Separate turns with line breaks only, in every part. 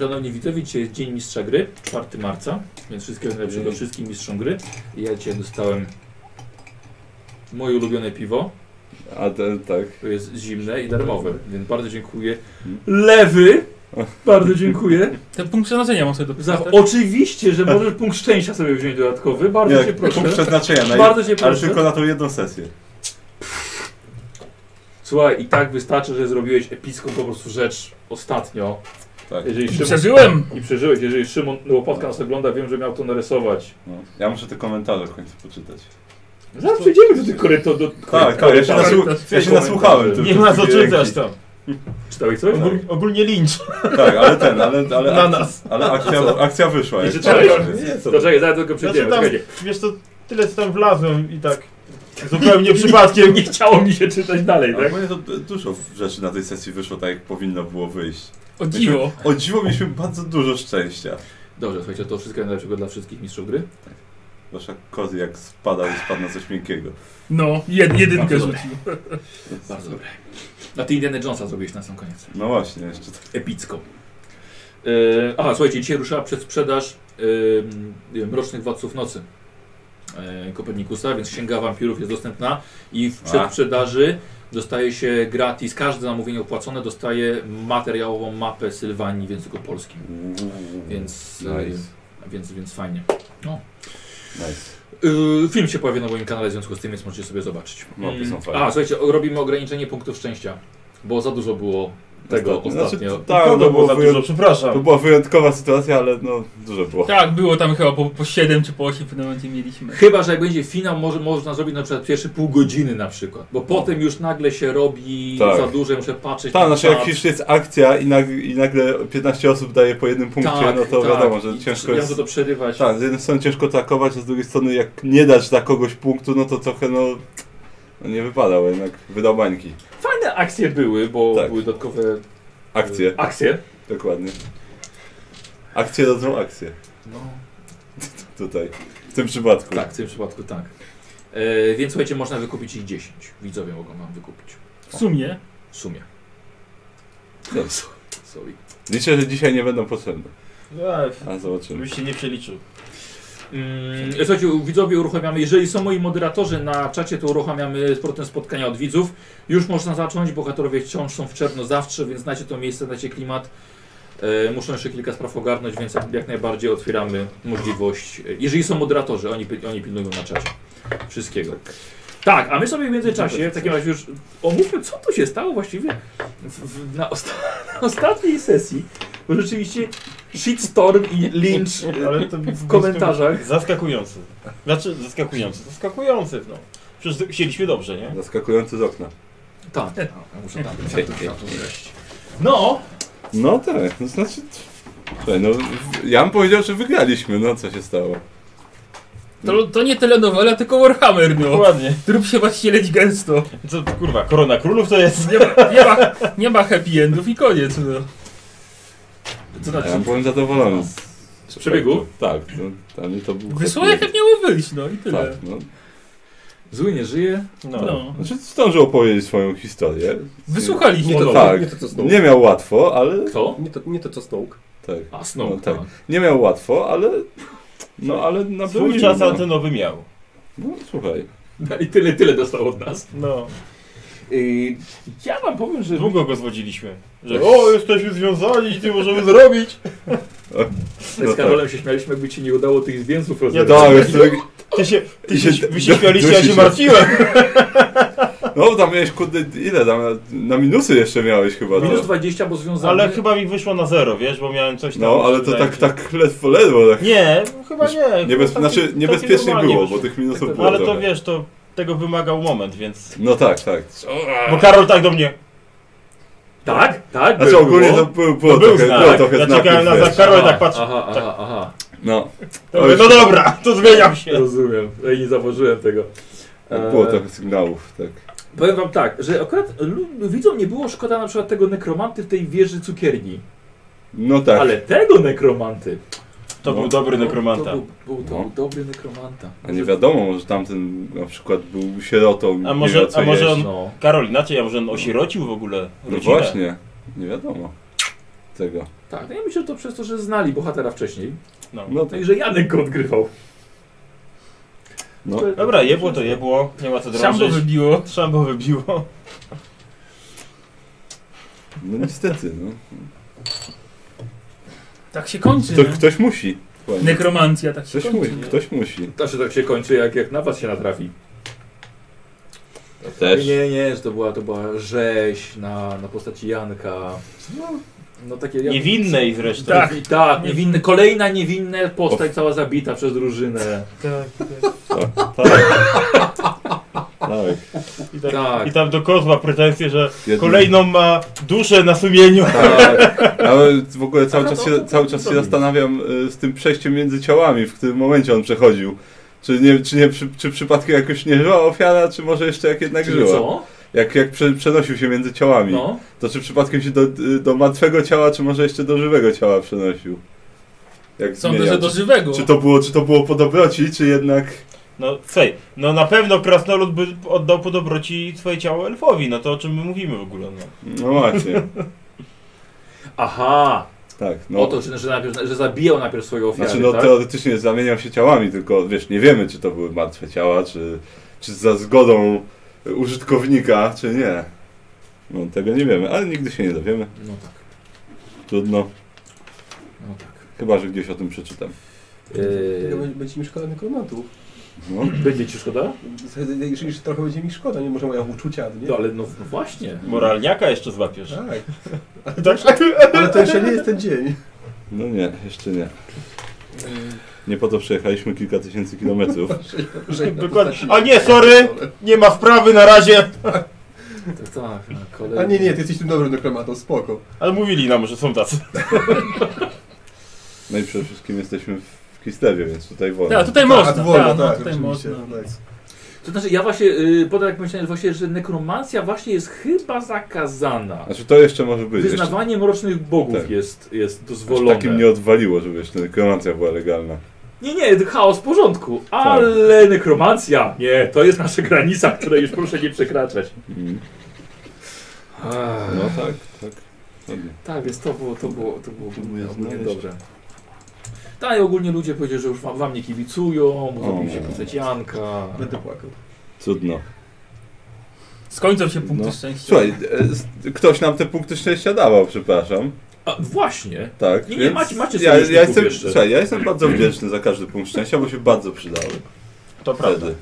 Szanowni widzowie, dzisiaj jest Dzień Mistrza Gry, 4 marca, więc wszystkiego najlepszego wszystkim mistrzom gry. Ja dzisiaj dostałem moje ulubione piwo,
A ten, tak.
to jest zimne i darmowe, więc bardzo dziękuję. Lewy, bardzo dziękuję.
Ten punkt przeznaczenia mam sobie
Za,
dopisać.
Tak.
oczywiście, że możesz punkt szczęścia sobie wziąć dodatkowy, bardzo cię proszę.
punkt przeznaczenia, na
Bardzo cię
ale
proszę.
tylko na tą jedną sesję.
Słuchaj, i tak wystarczy, że zrobiłeś epicką po prostu rzecz ostatnio.
Tak.
Jeżeli Szymon...
Przeżyłem!
I przeżyłeś, jeżeli Szymon Łopatka nas ogląda, wiem, że miał to narysować.
No. Ja muszę te komentarze w końcu poczytać.
No Zaraz przejdziemy do tych korytarzy. Do...
Tak, tak, ja się, nasłu- ja się nasłuchałem. tylko
Nie ma co
tej
czytać
ręki.
tam.
Czytałeś coś?
Ogól, ogólnie lincz
Tak, ale ten, ale, ale,
na
ale,
nas.
ale akcja, akcja wyszła.
I
jak
że
to
Tak. czekaj,
jest.
Nie, co?
Zaczekaj, zaraz do tego przejdziemy.
Znaczy tam,
czekajcie.
wiesz co, tyle co tam wlazłem i tak zupełnie przypadkiem.
Nie chciało mi się czytać dalej,
Ale
tak?
ogólnie to d- dużo rzeczy na tej sesji wyszło tak, jak powinno było wyjść.
O dziwo.
O dziwo mieliśmy bardzo dużo szczęścia.
Dobrze, słuchajcie, to wszystkiego najlepszego dla wszystkich mistrzów gry.
Wasza kozy jak spada i spadł na coś miękkiego.
No, jed, jedynkę
Bardzo
rzucił.
Bardzo dobre. A ty Indiana Jonesa zrobiłeś na sam koniec.
No właśnie, jeszcze tak.
Epicko. E, aha, słuchajcie, dzisiaj ruszyła przedsprzedaż e, Mrocznych Władców Nocy e, Kopernikusa, więc Księga Wampirów jest dostępna i w
A.
przedsprzedaży dostaje się gratis, każde zamówienie opłacone dostaje materiałową mapę Sylwanii w języku polskim, więc,
Nice.
e, więc, więc fajnie.
Nice.
Yy, film się pojawia na moim kanale w związku z tym, więc możecie sobie zobaczyć.
Mapy
Mm.
są fajne.
A, słuchajcie, o- robimy ograniczenie punktów szczęścia, bo za dużo było tego
Ostatnio.
ostatnio.
Znaczy,
Tak,
Tak,
to
no bo
było za
wy-
dużo,
To
przepraszam.
była wyjątkowa sytuacja, ale no dużo było.
Tak, było tam chyba po, po 7 czy po 8 w pewnym momencie mieliśmy.
Chyba, że jak będzie finał, może, można zrobić na przykład pierwsze pół godziny na przykład, bo potem już nagle się robi
No. Tak.
za dużo, muszę patrzeć
Tak,
na
znaczy jak
czat.
już jest akcja i, nag- i nagle 15 osób daje po jednym punkcie, no to wiadomo, że
Tak, I
ciężko
Ja
jest...
to to przerywać.
Tak, z jednej strony ciężko atakować, a z drugiej strony jak nie dać dla kogoś punktu, no to trochę no... no nie wypada, bo jednak wydał bańki.
Fajne akcje były, bo
Tak.
były dodatkowe
Akcje,
e, akcje.
dokładnie. Akcje rodzą akcje,
No.
tutaj, w tym przypadku.
Tak, w tym przypadku tak. E, więc słuchajcie, można wykupić ich 10. Widzowie mogą wam wykupić.
W sumie.
W sumie.
Dobrze.
Sorry.
Liczę, że dzisiaj nie będą potrzebne,
Ej,
a zobaczymy.
Żebyś się nie przeliczył.
Mm, Słuchajcie, widzowie uruchamiamy, jeżeli są moi moderatorzy na czacie, to uruchamiamy potem spotkania od widzów. Już można zacząć, bohaterowie wciąż są w czerwno zawsze, więc znacie to miejsce, znacie klimat. E, muszą jeszcze kilka spraw ogarnąć, więc jak najbardziej otwieramy możliwość, e, jeżeli są moderatorzy, oni, pi- oni pilnują na czacie wszystkiego. Tak, a my sobie w międzyczasie, w takim razie już omówmy, co tu się stało właściwie w, w, na, osta na ostatniej sesji, bo rzeczywiście shitstorm i lynch e,
Ale to
w komentarzach.
Zaskakujący. Znaczy, zaskakujący. Zaskakujący, no. Przecież chcieliśmy dobrze, nie?
Zaskakujący z okna.
Tak, ja muszę tam muszę tam- muszę tam zejść. No,
No tak, no znaczy. Słuchaj, no, w- ja bym powiedział, że wygraliśmy, no co się stało.
To, to nie telenowela, tylko Warhammer, no.
Dokładnie.
Trup się właśnie leci gęsto.
Co, kurwa, korona królów to jest?
Nie ma, nie ma, nie ma happy endów i koniec, no.
co
Ja
znaczy?
byłem zadowolony. Z, z
przebiegu?
Tak, no, dla mnie to był.
Wysłał jak miało wyjść, no i tyle.
Tak, no.
Zły nie żyje.
No.
No.
Znaczy zdążył opowiedzieć swoją historię.
Wysłuchaliśmy.
No,
Nie to,
tak.
nie to co Snoke.
Nie miał łatwo, ale.
Kto?
Nie to, nie to co Snoke.
Tak.
A, Snow.
No tak. Nie miał łatwo, ale. No ale na
Swój czas antenowy miał.
No słuchaj.
I tyle, tyle dostał od nas.
No.
Yy, ja wam powiem, że...
Długo go zwodziliśmy. Że o, jesteśmy związani i ty możemy zrobić.
No
Z Karolem się śmialiśmy, jakby ci nie udało tych zwięzłów
Tak,
rozwiązać.
jest tak.
Ty się, ty
I
się,
się-
wy się śmialiście, ja
dusi
się
się.
martwiłem.
No tam miałeś kurde ile tam na, na minusy jeszcze miałeś chyba.
Minus
No,
20, bo związany.
Ale chyba mi wyszło na zero, wiesz, bo miałem coś tam.
no ale to
wydaje
tak,
się.
tak ledwo, ledwo tak.
Nie, chyba nie. chyba
Niebez...
takie-
Znaczy
Tak, takie
niebezpiecznie
normalnie
było,
wyszło.
bo tych minusów było.
Ale to
trochę.
wiesz, to tego wymagał moment, więc.
No tak, tak.
Bo Karol tak do mnie.
Tak, tak.
Znaczy
było.
ogólnie to było, było
To był
trochę,
znak.
było trochę
Ja
znaków,
czekałem na
wiesz.
znak. Karol
Aha,
tak patrzy.
Aha, aha, aha.
No,
To mówię, no dobra, to zmieniam się.
Rozumiem. Ej, nie zauważyłem tego.
tak było
Eee.
trochę sygnałów, tak.
Powiem wam tak, że akurat lu- widzom nie było szkoda na przykład tego nekromanty w tej wieży cukierni.
No tak.
Ale tego nekromanty.
To
No.
był dobry
No,
nekromanta.
To był, był, to
No.
był dobry nekromanta.
A nie wiadomo, może tamten na przykład był sierotą,
A
nie
może-
wiedział, co
a może
jeść.
on- tak.
No.
Karol inaczej, a może on osierocił w ogóle
No
rodzinę?
właśnie, nie wiadomo. tego.
Tak, no ja myślę, że to przez to, że znali bohatera wcześniej.
No.
No,
No i że Janek go odgrywał.
no.
Dobra, jebło to jebło, nie ma co
Siambo
drążyć.
wybiło.
Szambo wybiło.
no niestety, no.
Tak się kończy.
To,
nie?
ktoś musi. Dokładnie.
Nekromancja tak się
Ktoś
kończy.
musi,
nie?
ktoś musi.
Znaczy tak się kończy, jak, jak na was się natrafi. Nie, nie, że to była, to była rzeź na, na postaci Janka. No takie... jak-
Niewinnej zresztą.
Tak.
I tak, niewinny, kolejna niewinna postać cała zabita przez drużynę.
Tak, tak.
Tak. tak. tak.
I, tak,
Tak.
I tam do kozła pretensje, że
Jedno-
kolejną ma duszę na sumieniu.
Tak. Ale w ogóle cały
Aha,
czas
no,
się,
to-
cały
to
czas się
zrobimy.
zastanawiam y, z tym przejściem między ciałami, w którym momencie on przechodził. Czy nie, czy nie przy, czy przypadkiem jakoś nie żyła ofiara, czy może jeszcze jak jednak
Czyli
żyła?
co?
Jak, jak prze, przenosił się między ciałami,
No.
to czy przypadkiem się do, y, do martwego ciała, czy może jeszcze do żywego ciała przenosił? Jak
Sądzę,
zmieniał.
że do żywego.
czy, to było, czy to było po dobroci, czy jednak...
No cej, no na pewno krasnolud by oddał po dobroci swoje ciało elfowi, no to o czym my mówimy w ogóle, no.
No właśnie,
Aha,
tak.
no.
No.
o to, że, że, najpierw, że zabijał najpierw swoją ofiarę,
Znaczy, no
tak?
teoretycznie zamieniał się ciałami, tylko wiesz, nie wiemy, czy to były martwe ciała, czy, czy za zgodą użytkownika, czy nie. No tego nie wiemy, ale nigdy się nie dowiemy.
No tak,
Trudno.
no tak.
Chyba, że gdzieś o tym przeczytam.
Yy,
Będzie- Będzie mi szkoda nekromantów.
No,
będzie ci szkoda?
Jeszcze, jeszcze trochę będzie mi szkoda, nie może moja uczucia, nie?
No ale no, no właśnie.
Moralniaka jeszcze złapiesz.
Tak.
Tak?
Ale to jeszcze nie jest ten dzień.
no nie, jeszcze nie. Nie po to przejechaliśmy kilka tysięcy kilometrów.
Dokładnie. A nie, sorry, nie ma sprawy na razie.
Tak, tak, na
A
kolejny-
nie, nie, ty jesteś tym dobrym nekromatą, spoko.
Ale mówili nam, że są tacy.
No i przede wszystkim jesteśmy w Kislewie, więc tutaj wolno.
Tak, tutaj
Tak,
można.
wolno,
tak, no,
tak,
tutaj
oczywiście,
można.
tak.
To znaczy, ja właśnie, yy, podam jak myślałem, właśnie, że nekromancja właśnie jest chyba zakazana.
Znaczy to jeszcze może być. Jeszcze,
Wyznawanie mrocznych bogów
Tak.
jest, jest
aż
dozwolone.
takim nie odwaliło, żeby jeszcze nekromancja była legalna.
Nie, nie, chaos w porządku,
Tak.
ale nekromancja, nie, to jest nasza granica, której już proszę nie przekraczać.
Mm.
Ach,
No tak, tak. Ładnie.
Tak, więc to było, to było, to było ogólnie,
Próbuję
ogólnie
znaleźć.
dobre. No, Tak, i ogólnie ludzie powiedzieli, że już wam, wam nie kibicują, bo zrobili się postać Janka.
Będę płakał.
Cudno.
Skończą się punkty
No.
szczęścia.
Słuchaj, e, s- ktoś nam te punkty szczęścia dawał, przepraszam.
A, właśnie,
Tak.
Nie, nie,
więc
macie- macie
ja,
sobie z
ja
punktów
jestem,
jeszcze.
Słuchaj, ja jestem bardzo wdzięczny za każdy punkt szczęścia, bo się bardzo przydały.
To prawda.
Wtedy.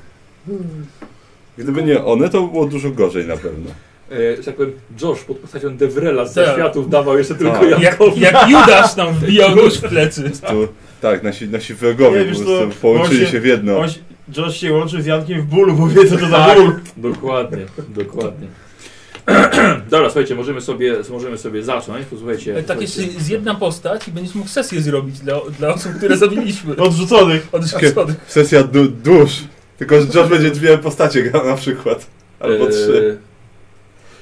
Gdyby nie one, to by było dużo gorzej na pewno.
e, że tak powiem, Josh pod postacią Devrela z
Tak.
światów dawał jeszcze tylko
Tak.
Jak,
Jankowi.
jak Judasz nam wbijał nóż w plecy.
Tu, tak, nasi, nasi wrogowie
Nie,
po
wiesz
prostu
co,
połączyli
właśnie-
się w jedno.
On się, Josh się łączy z Jankiem w bólu, bo wie co to za
Tak.
ból.
Dokładnie, dokładnie. Dobra, słuchajcie, możemy sobie, możemy sobie zacząć, posłuchajcie.
Tak jeszcze
słuchajcie.
z jedna postać i będziesz mógł sesję zrobić dla, dla osób, które zabiliśmy.
Odrzuconych.
Odrzuconych.
Sesja du dusz. Tylko, że Josh będzie dwie postacie grał na przykład. Albo
Eee,
E,
trzy.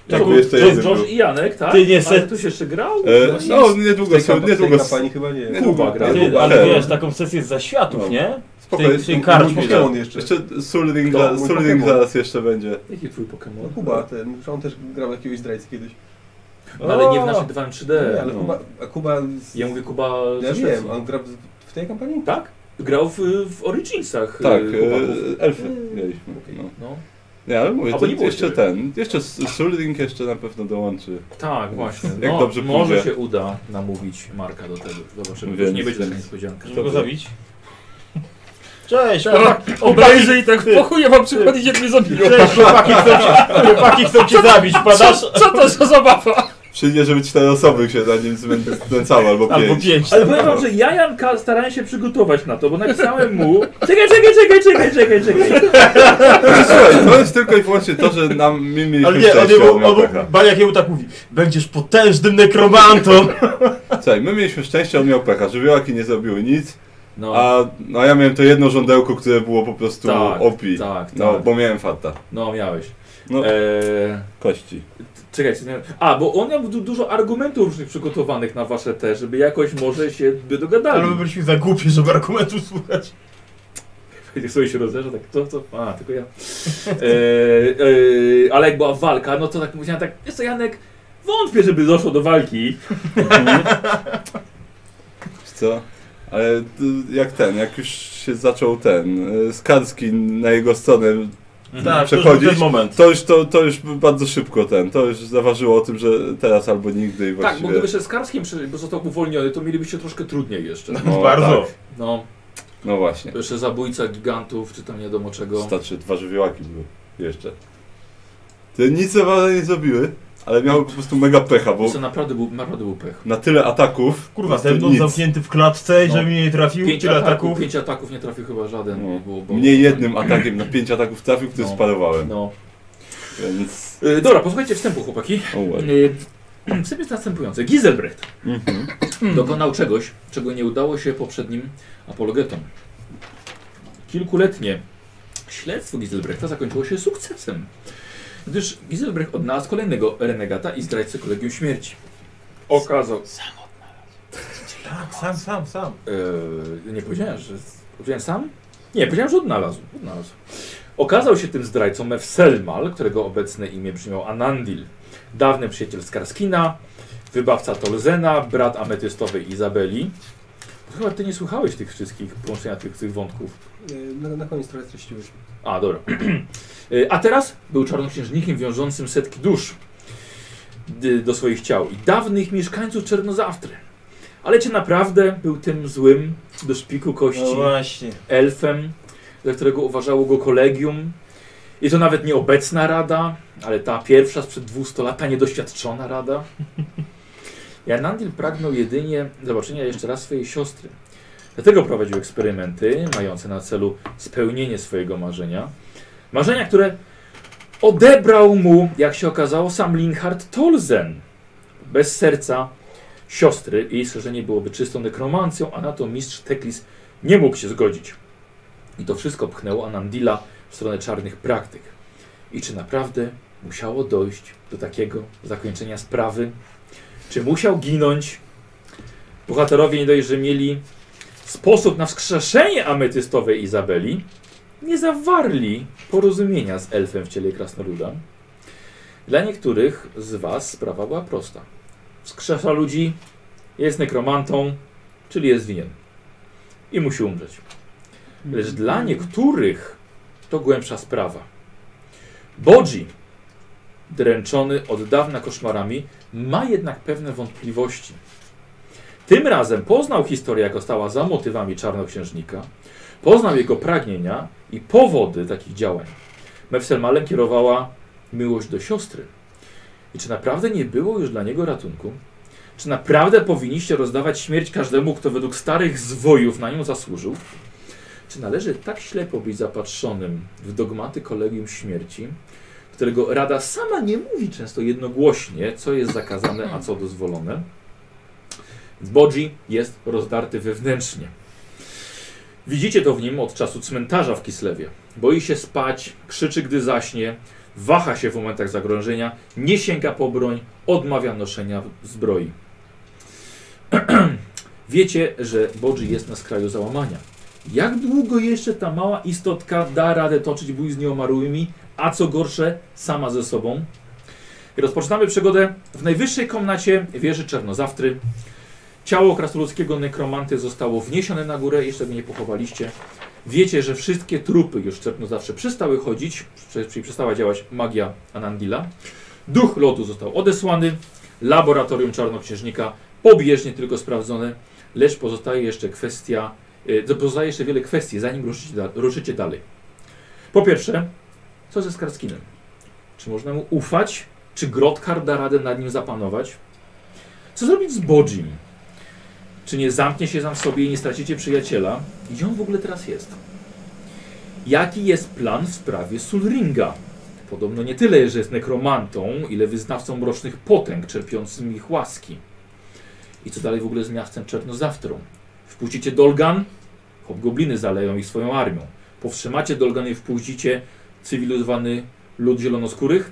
to
Tak,
był-
jeszcze
to
jeden
jest
był.
Josh i Janek, tak?
Ty nie,
Ale
se-
ktoś jeszcze grał?
E, no,
W
niedługo
tej
są,
kampa- w tej
niedługo
kampanii chyba nie.
niedługo-
Kuba gra.
niedługo-
Ty,
tak.
ale wiesz, taką sesję za światów,
No.
nie?
Spokojnie,
Ty- ty karcz mi dał.
Pokémon jeszcze.
Jeszcze Sulring,
To
za,
mój
Sulring
Pokémon.
zaraz jeszcze będzie.
Jaki twój
No,
Pokémon?
Kuba, ten, on też grał jakiegoś zdrajcy kiedyś.
No, ale nie w naszym 2 3D.
Nie, ale
no.
Kuba, a Kuba... Z,
Ja mówię Kuba
ja
ze
wiem,
Szwecji.
on gra w, w tej kampanii?
Tak? Grał w, w Originsach.
Tak,
e, chłopaków.
e, elfy mieliśmy.
Mm. Okej.
No.
No.
Nie, ale mówię,
Albo
to
nie było
jeszcze
ciebie.
ten, jeszcze S- Sulring jeszcze na pewno dołączy.
Tak, właśnie.
Jak
No,
dobrze
może
pójdzie.
się uda namówić Marka do tego. Zobaczymy.
Więc-
Więc... Nie będzie taka niespodzianka.
Żeby go
Dobry.
zabić. Cześć,
Tak,
chłopaki.
Obejrzę i tak po chuj wam przychodzić, jak mnie zabiją.
Cześć, chłopaki chcą cię, chłopaki chcą cię zabić, padasz?
Co, co to za zabawa?
Przyjdzie, żeby cztery osoby się na nim znęcały, albo pięć.
Albo pięć. tak?
Ale powiem wam, że ja Janka starałem się przygotować na to, bo napisałem mu czekaj, czekaj, czekaj, czekaj, czekaj, czekaj.
Znaczy, słuchaj, to jest tylko i wyłącznie to, że nam my mieliśmy
Ale nie, on
szczęście
jemu,
od
on,
Małpecha.
Baniak jemu tak mówi, będziesz potężnym nekromantą.
Słuchaj, my mieliśmy szczęście, on miał pecha. Żywiołaki nie zrobiły nic,
No,
a no, ja miałem to jedno żądełko, które było po prostu
tak,
opi.
tak, tak.
No,
No,
bo miałem fata.
miałeś.
No,
Eee,
kości.
czekajcie. nie- A, bo on miał du- dużo argumentów różnych przygotowanych na wasze te, żeby jakoś może się by
Ale my
dogadali.
byliśmy za głupi, żeby argumentów słuchać.
Jak sobie się rozejrzę, tak to, to, a, tylko ja. E, e, ale jak była walka, no to tak mówiłem, tak, jest to Janek, Wątpię, żeby doszło do walki.
Wiesz co? Ale t- jak ten, jak już się zaczął ten, y, Skarski na jego stronę,
Mhm.
Tak, to już
Przechodzić.
był ten moment.
Mhm. to już, to, to już bardzo szybko ten, to już zaważyło o tym, że teraz albo nigdy i
Tak, bo
właściwie...
gdyby się z Karskim przy- został uwolniony, to mielibyście troszkę trudniej jeszcze.
No,
Bardzo.
tak.
No,
No właśnie,
to jeszcze zabójca gigantów, czy tam nie wiadomo czego.
starczy dwa żywiołaki były jeszcze. Te nic za nie zrobiły, ale miały po prostu mega pecha, bo
To naprawdę był, naprawdę był pech.
na tyle ataków...
Kurwa,
po prostu
ten no,
nic.
zamknięty w klatce,
No.
żeby mnie nie trafił,
Pięć
tyle
ataków,
ataków.
pięć ataków nie trafił chyba żaden.
No.
Bo, bo...
Mnie jednym atakiem na pięć ataków trafił, który
No.
sparowałem,
No.
więc...
Y, dobra, posłuchajcie wstępu, chłopaki.
O, ładnie.
Y, Wstęp jest następujący. Giselbrecht
Mhm.
dokonał czegoś, czego nie udało się poprzednim apologetom. Kilkuletnie śledztwo Giselbrechta zakończyło się sukcesem, gdyż Giselbrecht odnalazł kolejnego renegata i zdrajcę kolegium śmierci. Okazał.
Tak, sam, sam, sam.
Eee, nie powiedziałem, że. Powiedziałem sam? Nie, powiedziałem, że odnalazł. odnalazł. Okazał się tym zdrajcą Mefselmal, którego obecne imię brzmiał Anandil. Dawny przyjaciel Skarskina, wybawca Tolzena, brat ametystowej Izabeli. Chyba ty nie słuchałeś tych wszystkich połączenia tych, tych wątków.
Y, Na, na koniec trochę streściłeś.
A, dobra. E, A teraz był czarnoksiężnikiem wiążącym setki dusz d- do swoich ciał i dawnych mieszkańców Czernozawtry. Ale czy naprawdę był tym złym do szpiku kości?
No właśnie.
elfem, za którego uważało go kolegium. I to nawet nie obecna rada, ale ta pierwsza sprzed 200 lat, ta niedoświadczona rada. Jarnandil pragnął jedynie zobaczenia jeszcze raz swojej siostry. Dlatego prowadził eksperymenty mające na celu spełnienie swojego marzenia. Marzenia, które odebrał mu, jak się okazało, sam Linhard Tolzen. Bez serca siostry jej szerzenie byłoby czystą nekromancją, a na to mistrz Teklis nie mógł się zgodzić. I to wszystko pchnęło Anandila w stronę czarnych praktyk. I czy naprawdę musiało dojść do takiego zakończenia sprawy? Czy musiał ginąć? Bohaterowie nie dość, że mieli sposób na wskrzeszenie ametystowej Izabeli, nie zawarli porozumienia z elfem w ciele krasnoluda. Dla niektórych z was sprawa była prosta. Wskrzesza ludzi, jest nekromantą, czyli jest winien i musi umrzeć. Lecz dla niektórych to głębsza sprawa. Bodzi, dręczony od dawna koszmarami, ma jednak pewne wątpliwości. Tym razem poznał historię, jaka stała za motywami czarnoksiężnika, poznał jego pragnienia i powody takich działań. Mefselmalem kierowała miłość do siostry. I czy naprawdę nie było już dla niego ratunku? Czy naprawdę powinniście rozdawać śmierć każdemu, kto według starych zwojów na nią zasłużył? Czy należy tak ślepo być zapatrzonym w dogmaty kolegium śmierci, którego Rada sama nie mówi często jednogłośnie, co jest zakazane, a co dozwolone? Bodzi jest rozdarty wewnętrznie. Widzicie to w nim od czasu cmentarza w Kislewie. Boi się spać, krzyczy, gdy zaśnie, waha się w momentach zagrożenia, nie sięga po broń, odmawia noszenia zbroi. Wiecie, że Bodzi jest na skraju załamania. Jak długo jeszcze ta mała istotka da radę toczyć bój z nieomarłymi, a co gorsze, sama ze sobą? I rozpoczynamy przygodę w najwyższej komnacie wieży Czernozawtry. Ciało krasnoludzkiego nekromanty zostało wniesione na górę, jeszcze mnie nie pochowaliście. Wiecie, że wszystkie trupy już w Czernozawtrze przestały chodzić, prze- czyli przestała działać magia Anandila. Duch lodu został odesłany, laboratorium czarnoksiężnika pobieżnie tylko sprawdzone, lecz pozostaje jeszcze kwestia, y, pozostaje jeszcze wiele kwestii, zanim ruszycie, da, ruszycie dalej. Po pierwsze, co ze Skarskinem? Czy można mu ufać? Czy Grotkar da radę nad nim zapanować? Co zrobić z Bodzim? Czy nie zamknie się sam w sobie i nie stracicie przyjaciela? Gdzie on w ogóle teraz jest? Jaki jest plan w sprawie Sulringa? Podobno nie tyle, że jest nekromantą, ile wyznawcą mrocznych potęg, czerpiącym ich łaski. I co dalej w ogóle z miastem Czernozawtrą? Wpuścicie Dolgan? Hobgobliny zaleją ich swoją armią. Powstrzymacie Dolgan i wpuścicie cywilizowany lud zielonoskórych?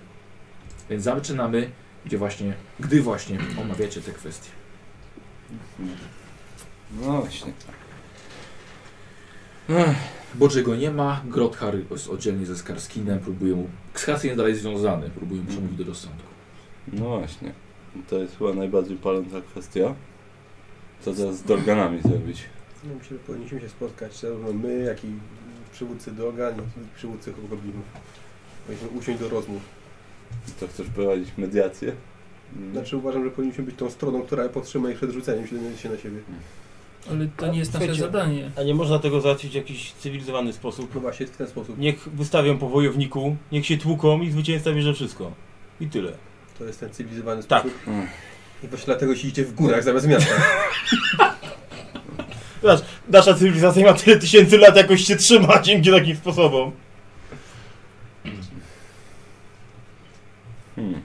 Więc zaczynamy, gdzie właśnie, gdy właśnie omawiacie te kwestie.
No właśnie.
Bożego nie ma, Grothar jest oddzielnie ze Mhm. Skarskinem, próbuje mu... Skarski jest dalej związany, próbuje mu przemówić do rozsądku.
No właśnie. To jest chyba najbardziej paląca kwestia. Co teraz z Dorganami zrobić?
No, myślę, że powinniśmy się spotkać, zarówno my, jak i przywódcy Dogan, jak i przywódcy Hobgoblinów. Powinniśmy usiąść do rozmów.
To chcesz prowadzić mediację? Mm.
Znaczy uważam, że powinniśmy być tą stroną, która powstrzyma ich przed rzuceniem się- się na siebie.
Ale to nie jest nasze
Słuchajcie.
zadanie.
A nie można tego załatwić w jakiś cywilizowany sposób.
No właśnie, w ten sposób.
Niech wystawią po wojowniku, niech się tłuką i zwycięzca bierze wszystko. I tyle.
To jest ten cywilizowany
Tak.
sposób.
Mm.
I właśnie dlatego się idzie w górach zamiast miasta.
Zobacz, nasza cywilizacja ma tyle tysięcy lat, jakoś się trzyma dzięki takim sposobom.
Hmm.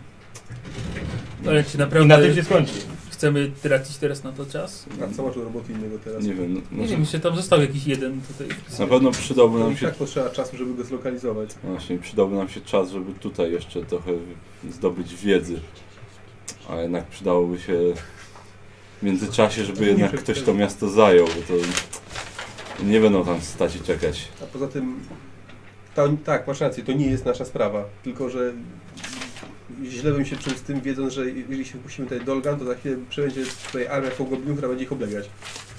Ale czy
I na
naprawdę
tym się skończy.
chcemy tracić teraz na to czas?
A co masz do roboty innego teraz?
Nie wiem, no,
Nie
może,
wiem, jeszcze tam został jakiś jeden tutaj.
na pewno przydałby
No
nam
i
się
tak potrzeba czasu, żeby go zlokalizować.
Właśnie, przydałby nam się czas, żeby tutaj jeszcze trochę zdobyć wiedzy. A jednak przydałoby się w międzyczasie, żeby jednak ktoś to miasto zajął, bo to nie będą tam stać i czekać.
A poza tym, to, tak, masz rację, to nie jest nasza sprawa. Tylko, że źle bym się czuł z tym, wiedząc, że jeżeli się wpuścimy tutaj Dolgan, to za chwilę przybędzie tutaj armia Kogoblinu, która będzie ich oblegać.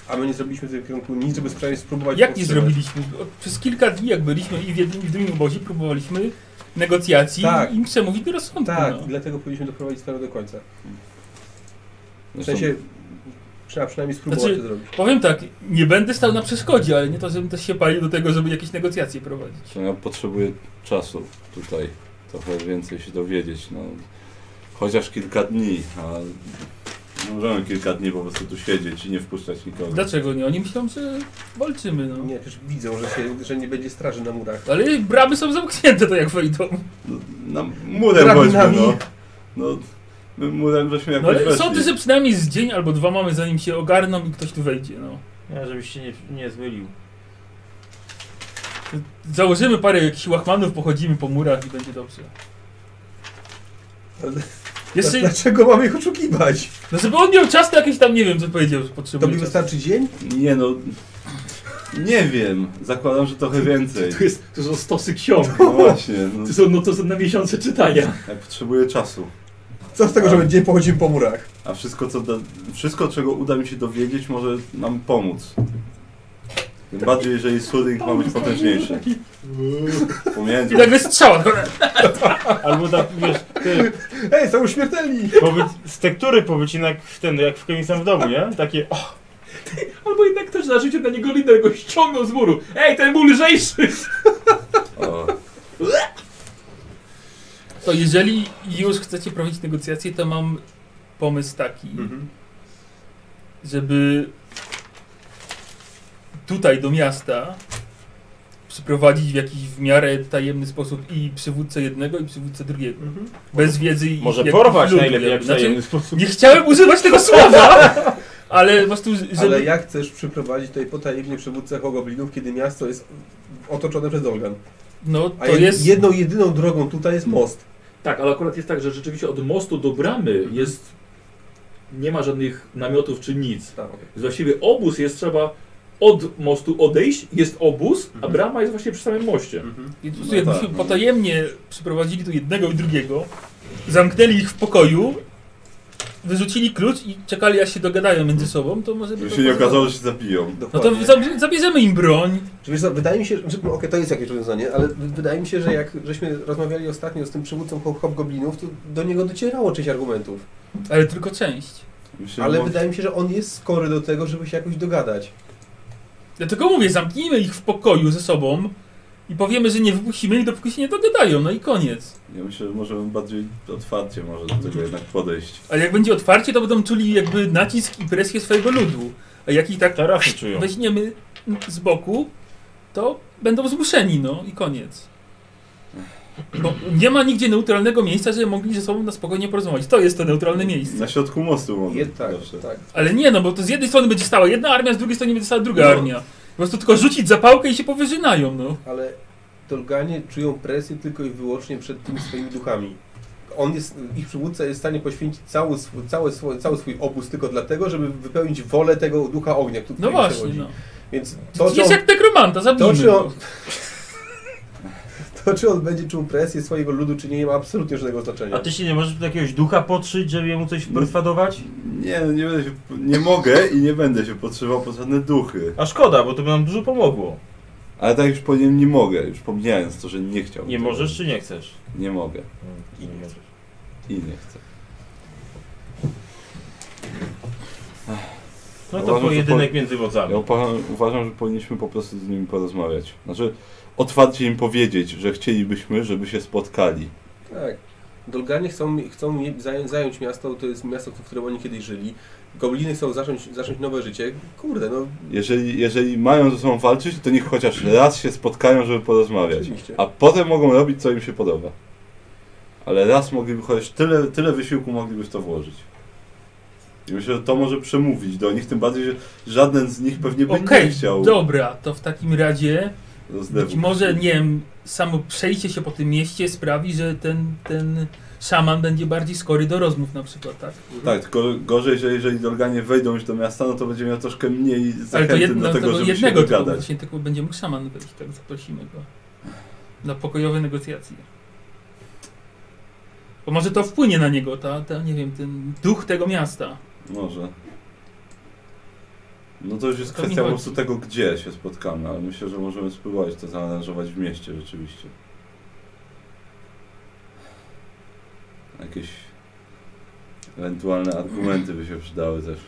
A my nie zrobiliśmy w tym kierunku nic, żeby spróbować spróbować
Jak nie
powstrzymać.
zrobiliśmy? Przez kilka dni, jak byliśmy i w jednym i w drugim obozie, próbowaliśmy negocjacji
Tak.
i przemówić do rozsądku.
Tak, i
No.
dlatego powinniśmy doprowadzić sprawę do końca. W
Zresztą,
sensie, trzeba przynajmniej spróbować
Znaczy-
to zrobić.
Powiem tak, nie będę stał na przeszkodzie, ale nie to, żebym też się palił do tego, żeby jakieś negocjacje prowadzić.
że ja potrzebuję czasu tutaj, trochę więcej się dowiedzieć. No, chociaż kilka dni, a nie możemy kilka dni po prostu tu siedzieć i nie wpuszczać nikogo.
No
Dlaczego nie? Oni myślą, że walczymy, no.
Nie, przecież widzą, że, się, że nie będzie straży na murach.
Ale bramy są zamknięte, to jak wejdą.
No, na, murem
Drabinami.
chodźmy, no. no. My murem żeśmy
No
jakoś
ale
weszli.
sądzę, że przynajmniej z dzień albo dwa mamy, zanim się ogarną i ktoś tu wejdzie, no.
Ja, żebyś się nie, nie zmylił.
Założymy parę jakichś łachmanów, pochodzimy po murach i będzie dobrze.
Ale-
Jeszcze,
Dlaczego mamy ich oszukiwać?
no żeby on miał czas na jakieś tam, nie wiem, co powiedział, że
To
potrzebuje
mi
czasu.
wystarczy dzień?
Nie no, nie wiem. Zakładam, że trochę więcej.
To, jest, to są stosy ksiąg.
No właśnie, no,
To są, no to są na miesiące czytania.
jak potrzebuję czasu.
Co z tego, że będzie dzień pochodzimy po murach?
A wszystko, co da, wszystko, czego uda mi się dowiedzieć, może nam pomóc. Tym bardziej, jeżeli Suring ma być potężniejszy.
I
Pomiędzy...
nagle strzała. no.
Albo tak, wiesz, ty,
Ej, są śmiertelni!
powy- z tektury powycina jak w ten, jak w Kemisam w domu, nie? Takie, o,
Albo jednak ktoś zarzucił na niego lider, go ściągnął z muru. Ej, ten był lżejszy!
O,
To jeżeli już chcecie prowadzić negocjacje, to mam pomysł taki,
Mhm.
żeby tutaj do miasta przyprowadzić w jakiś w miarę tajemny sposób i przywódcę jednego, i przywódcę drugiego.
Mhm.
Bez wiedzy i
może
jakich
porwać
ludzi,
najlepiej, jak w
znaczy,
tajemny sposób.
Nie chciałem używać tego słowa, ale po prostu, żeby...
Ale jak chcesz przyprowadzić tutaj potajemnie przywódcę Hogoblinów, kiedy miasto jest otoczone przez Dolgan?
No,
A
to
jed-
jest...
jedną, jedyną drogą tutaj jest most.
Tak, ale akurat jest tak, że rzeczywiście od mostu do bramy jest... Nie ma żadnych namiotów czy nic.
Tak.
Więc właściwie obóz jest trzeba od mostu odejść, jest obóz,
Mhm.
a brama jest właśnie przy samym moście.
Więc po
No
prostu jakbyśmy
tak, no.
potajemnie przyprowadzili tu jednego i drugiego, zamknęli ich w pokoju, wyrzucili klucz i czekali aż się dogadają między sobą, to może by
żeby
to
Mhm. się nie okazało,
pasowało.
tak, że się zabiją.
No
Dokładnie.
to zab- zabierzemy im broń.
Czy wiesz co, wydaje mi się, że, no okej, to jest jakieś rozwiązanie, ale w- wydaje mi się, że jak żeśmy rozmawiali ostatnio z tym przywódcą Hob- Hobgoblinów, to do niego docierało część argumentów.
Ale tylko część.
Myślę,
Ale
że
wydaje mi się, że on jest skory do tego, żeby się jakoś dogadać.
Dlatego mówię, zamknijmy ich w pokoju ze sobą i powiemy, że nie wypuścimy ich, dopóki się nie dogadają, no i koniec.
Ja myślę, że możemy bardziej otwarcie może do tego jednak podejść.
Ale jak będzie otwarcie, to będą czuli jakby nacisk i presję swojego ludu. A jak ich tak
Teraz się czują.
weźmiemy z boku, to będą zmuszeni, no i koniec. Bo nie ma nigdzie neutralnego miejsca, żeby mogli ze sobą na spokojnie porozmawiać. To jest to neutralne miejsce.
Na środku mostu może.
Je, tak,
zawsze.
tak.
Ale nie, no bo to z jednej strony będzie stała jedna armia, z drugiej strony będzie stała druga
No.
armia. Po prostu tylko rzucić zapałkę i się powyżynają, no.
Ale Dolganie czują presję tylko i wyłącznie przed tymi swoimi duchami. On jest, ich przywódca jest w stanie poświęcić cały, sw- cały, swój, cały swój obóz tylko dlatego, żeby wypełnić wolę tego ducha ognia, który
No
im
właśnie,
przewodzi.
no.
Więc
To,
to,
jest
czy on,
jak nekromanta,
to,
zabijmy
czy on,
go.
To czy on będzie czuł presję swojego ludu, czy nie, nie ma absolutnie żadnego znaczenia.
A ty się nie możesz do jakiegoś ducha podszyć, żeby mu coś perswadować?
Nie, no nie będę się, nie mogę i nie będę się potrzebował po żadne duchy.
A szkoda, bo to by nam dużo pomogło.
Ale tak już po nim nie mogę, już pomijając to, że nie chciałbym.
Nie
tego.
możesz czy nie chcesz?
Nie mogę
I nie możesz.
i nie chcę.
No
Uważam,
to No.
że
pojedynek
po-
między wodzami.
Ja uważam, uważam, że powinniśmy po prostu z nimi porozmawiać. Znaczy, otwarcie im powiedzieć, że chcielibyśmy, żeby się spotkali.
Tak. Dolganie chcą, chcą mie- zają- zająć miasto, to jest miasto, w którym oni kiedyś żyli. Gobliny chcą zacząć, zacząć nowe życie. Kurde, no
Jeżeli, jeżeli mają ze sobą walczyć, to niech chociaż raz się spotkają, żeby porozmawiać.
oczywiście.
A potem mogą robić, co im się podoba. Ale raz mogliby, chociaż tyle, tyle wysiłku mogliby w to włożyć. I myślę, że to może przemówić do nich, tym bardziej, że żaden z nich pewnie by
Okej,
nie chciał
Dobra, to w takim razie
rozlewu.
być może, nie wiem, samo przejście się po tym mieście sprawi, że ten, ten szaman będzie bardziej skory do rozmów na przykład, tak?
Tak, tylko gorzej, że jeżeli Dolganie wejdą już do miasta, no to będzie miał troszkę mniej zachęty
jedno-
do tego, żeby
jednego
się
tylko,
dogadać.
właśnie tylko będzie mógł szaman wejść, tak zaprosimy go na pokojowe negocjacje. Bo może to wpłynie na niego, ta, ta, nie wiem, ten duch tego miasta.
Może. No to już jest
To mi
kwestia po
chodzi.
prostu tego, gdzie się spotkamy, ale myślę, że możemy spróbować to zaaranżować w mieście rzeczywiście. Jakieś ewentualne argumenty by się przydały też.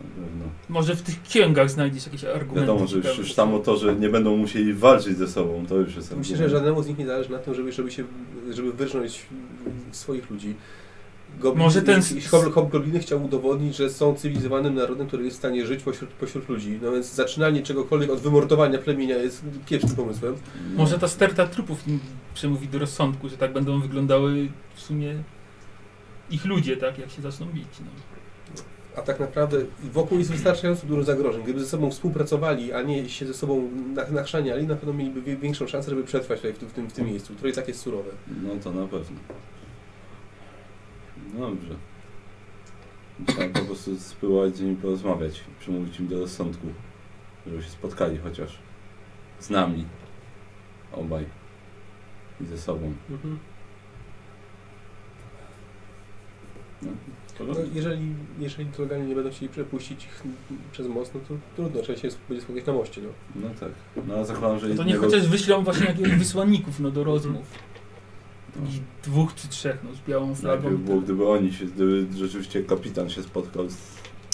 Na pewno.
Może w tych księgach znajdziesz jakieś argumenty.
Wiadomo, że już,
ciekawe.
już samo to, że nie będą musieli walczyć ze sobą, to już jest
Myślę, że
argument.
żadnemu z nich nie zależy na tym, żeby, żeby, się, żeby wyrżnąć swoich ludzi. Goblin,
Może ten-
ich- ich hob- Hobgobliny chciał udowodnić, że są cywilizowanym narodem, który jest w stanie żyć pośród, pośród ludzi. No więc zaczynanie czegokolwiek od wymordowania plemienia jest kiepskim pomysłem.
No.
Może ta sterta trupów im przemówi do rozsądku, że tak będą wyglądały w sumie ich ludzie, tak, jak się zaczną bić. No.
A tak naprawdę wokół jest wystarczająco dużo zagrożeń. Gdyby ze sobą współpracowali, a nie się ze sobą na- nachrzaniali, na pewno mieliby wie- większą szansę, żeby przetrwać tutaj w tym, w tym, w
Mhm.
tym miejscu, które i tak jest surowe.
No to na pewno. Dobrze. Trzeba po prostu spróbować z nimi porozmawiać, przemówić im do rozsądku, żeby się spotkali chociaż z nami obaj i ze sobą. No, to
No, jeżeli, jeżeli droganie nie będą chcieli przepuścić ich przez most, no to trudno, trzeba się będzie spotkać na moście. No.
no tak. No a zakładam, że
To niech
jednego-
chociaż wyślą właśnie jakichś wysłanników no, do rozmów. I dwóch czy trzech, no, z białą flagą.
no, Mhm. Najpierw było, gdyby oni się, gdyby rzeczywiście kapitan się spotkał z,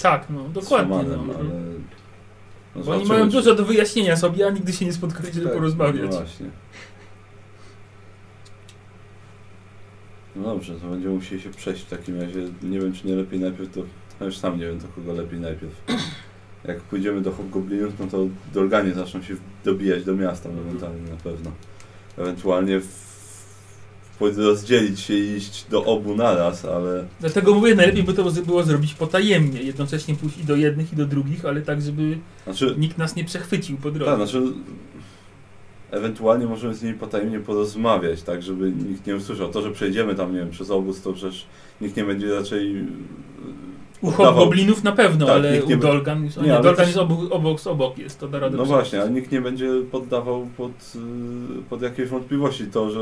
Tak, no,
z
dokładnie. No.
Szymanem, ale... No,
Bo oni
zobaczymy,
mają
czy-
dużo do wyjaśnienia sobie, a nigdy się nie spotkali, żeby
Tak,
porozmawiać.
No właśnie. No dobrze, to będziemy musieli się przejść w takim razie. Nie wiem, czy nie lepiej najpierw to... No już sam nie wiem, do kogo lepiej najpierw. Jak pójdziemy do Hobgoblinów, no to Dorganie zaczną się dobijać do miasta ewentualnie na pewno. Ewentualnie w... pójdę rozdzielić się i iść do obu naraz, ale...
Dlatego mówię, najlepiej by to było zrobić potajemnie, jednocześnie pójść i do jednych, i do drugich, ale tak, żeby
Znaczy,
nikt nas nie przechwycił po drodze.
Tak, znaczy ewentualnie możemy z nimi potajemnie porozmawiać, tak, żeby nikt nie usłyszał. To, że przejdziemy tam, nie wiem, przez obóz, to przecież nikt nie będzie raczej... yy,
U
oddawał-
Hobgoblinów na pewno,
no. Tak,
ale
nikt nie
u
będzie-
Dolgan jest,
Nie,
nie, nie,
ale
Dolgan
też-
jest obok, obok, z obok jest, to da radę
No
przejść.
właśnie, ale nikt nie będzie poddawał pod, yy, pod jakieś wątpliwości to, że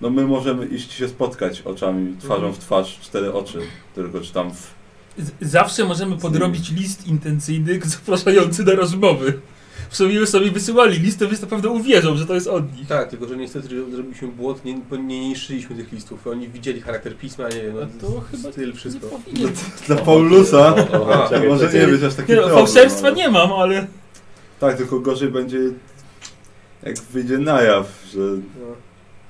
no my możemy iść się spotkać
Mhm.
oczami, twarzą w twarz, cztery oczy, tylko czy tam w...
Z- Zawsze możemy podrobić list intencyjny zapraszający do rozmowy. W sumie już sobie wysyłali listy, więc na pewno uwierzą, że to jest od nich.
Tak, tylko że niestety że zrobiliśmy błąd, nie, bo nie niszczyliśmy tych listów. Oni widzieli charakter pisma, nie wiem, no,
A to chyba
styl, wszystko.
Nie powinien.
Dla Paulusa
O, o, o, czekaj,
może
czekaj.
nie być aż No taki
Nie, no,
problem,
fałszerstwa
ale-
nie mam, ale
Tak, tylko gorzej będzie jak wyjdzie na jaw, że
No.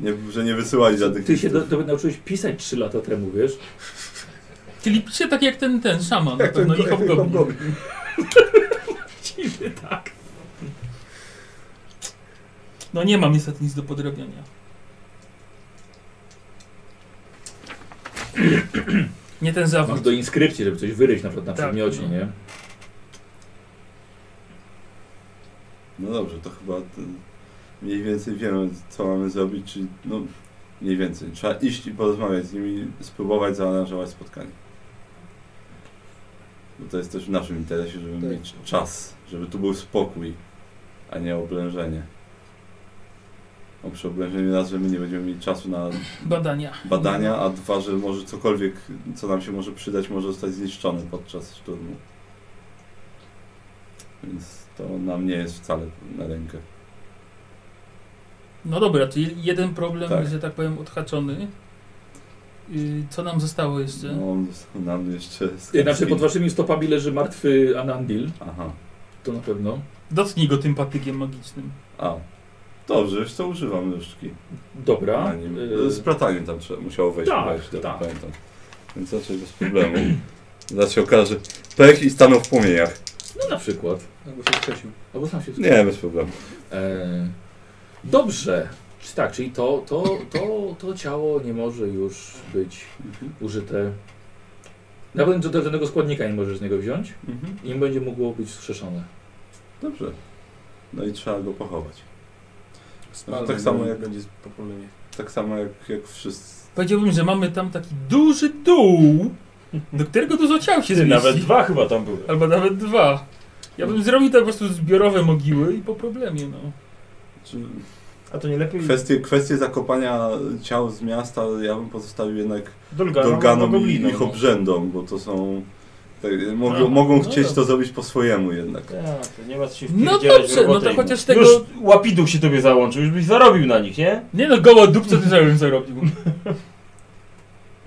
nie, że nie wysyłali
Mhm.
żadnych
Ty się
listów.
do, do, nauczyłeś pisać 3 lata temu, wiesz?
czyli pisze tak jak ten, ten szaman, na pewno i
jak ten
hobgoblin.
hobgoblin.
Właściwie tak. No nie mam niestety nic do podrobienia. Nie ten zawód.
Masz do inskrypcji, żeby coś wyryć na przykład na
Mhm. Tak,
przedmiocie,
no.
nie?
No dobrze, to chyba t- mniej więcej wiemy, co mamy zrobić, czyli no mniej więcej. Trzeba iść i porozmawiać z nimi, spróbować zaaranżować spotkanie. Bo to jest też w naszym interesie, żeby
Tak.
mieć czas, żeby tu był spokój, a nie oblężenie. oprócz oblężenia nas, że my nie będziemy mieli czasu na
Badania.
badania, a dwa, że może cokolwiek, co nam się może przydać, może zostać zniszczone podczas szturmu. Więc to nam nie jest wcale na rękę.
No dobra, czyli jeden problem,
Tak.
że tak powiem, odhaczony. Yy, co nam zostało jeszcze?
No, został nam jeszcze
E,
skarb
Znaczy
skin.
pod waszymi stopami leży martwy Anandil,
Aha,
to na pewno.
Dotknij go tym patykiem magicznym.
a. Dobrze, już to używam nóżki.
Dobra.
Na nim.
E,
Z plataniem tam trzeba, musiało wejść,
tak,
chyba, jeśli dobrze
tak.
pamiętam. Więc raczej bez problemu. Zaraz się okaże pech i stanął w płomieniach.
No na przykład.
Albo się skrzesił.
Albo sam się wstrzymał.
Nie, bez problemu.
E, dobrze. Czy tak, czyli to, to, to, to ciało nie może już być
Mhm.
użyte. Nawet do żadnego składnika nie możesz z niego wziąć
Mhm.
i nie będzie mogło być wskrzeszone.
Dobrze. No i trzeba go pochować.
Spalmy,
tak samo jak-
będzie popolenie.
Tak samo jak, jak wszyscy.
Powiedziałbym, że mamy tam taki duży dół, do którego dużo ciał się
Ty,
zmieści.
nawet dwa chyba tam były.
Albo nawet dwa. Ja bym zrobił tak po prostu zbiorowe mogiły i po problemie, no.
Czy
A to nie lepiej?
Kwestie, kwestie zakopania ciał z miasta ja bym pozostawił jednak
Dolganom, albo
Dolganom i
Goblinom,
ich
no.
obrzędom, bo to są... Tak, mogą,
A,
mogą
no
chcieć
dobra.
to zrobić po swojemu jednak.
Tak, to nie ma co się
No
wpierdzielać
dobrze,
w robotę
no to
inną.
chociaż tego-
Już łapiduch się tobie załączył, już byś zarobił na nich, nie?
Nie no, goła dupca ty bym zarobił.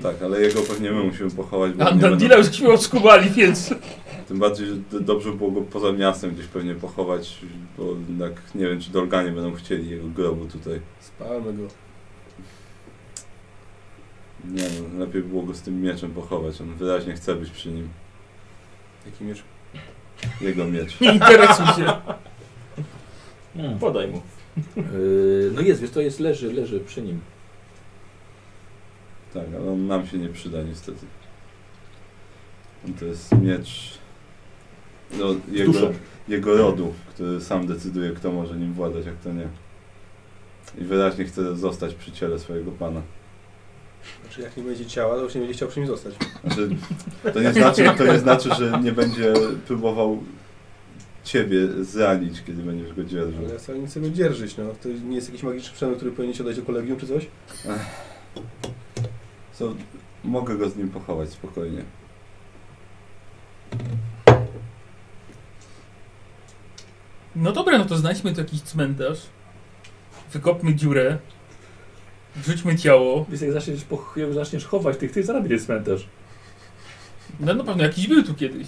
Tak, ale jego pewnie my musimy pochować, bo nie
Andandila
będą,
już żeśmy obskubali, więc...
tym bardziej, że d- dobrze było go poza miastem gdzieś pewnie pochować, bo jednak nie wiem, czy Dolganie będą chcieli jego grobu tutaj.
Spalmy go.
Nie no, lepiej było go z tym mieczem pochować, on wyraźnie chce być przy nim,
Jaki miecz?
jego miecz.
Nie interesuj się.
Podaj mu.
Yy, no jest, wiesz, to jest, leży, leży przy nim.
Tak, ale on nam się nie przyda niestety. To jest miecz no, jego,
duszą.
jego rodu, który sam decyduje, kto może nim władać, a kto nie. I wyraźnie chce zostać przy ciele swojego pana.
Znaczy jak nie będzie ciała, to już nie będzie chciał przy nim zostać.
Znaczy, to, nie znaczy, to nie znaczy, że nie będzie próbował ciebie zranić, kiedy będziesz go dzierżył.
Ale ja wcale nie chcę go dzierżyć, no. To nie jest jakiś magiczny przedmiot, który powinien się oddać do kolegium czy coś?
So, mogę go z nim pochować spokojnie.
No dobra, no to znajdźmy tu jakiś cmentarz. Wykopmy dziurę. Wrzućmy ciało.
Więc jak zaczniesz, poch- jak zaczniesz chować tych, ty zarobi ten cmentarz.
No na pewno jakiś był tu kiedyś.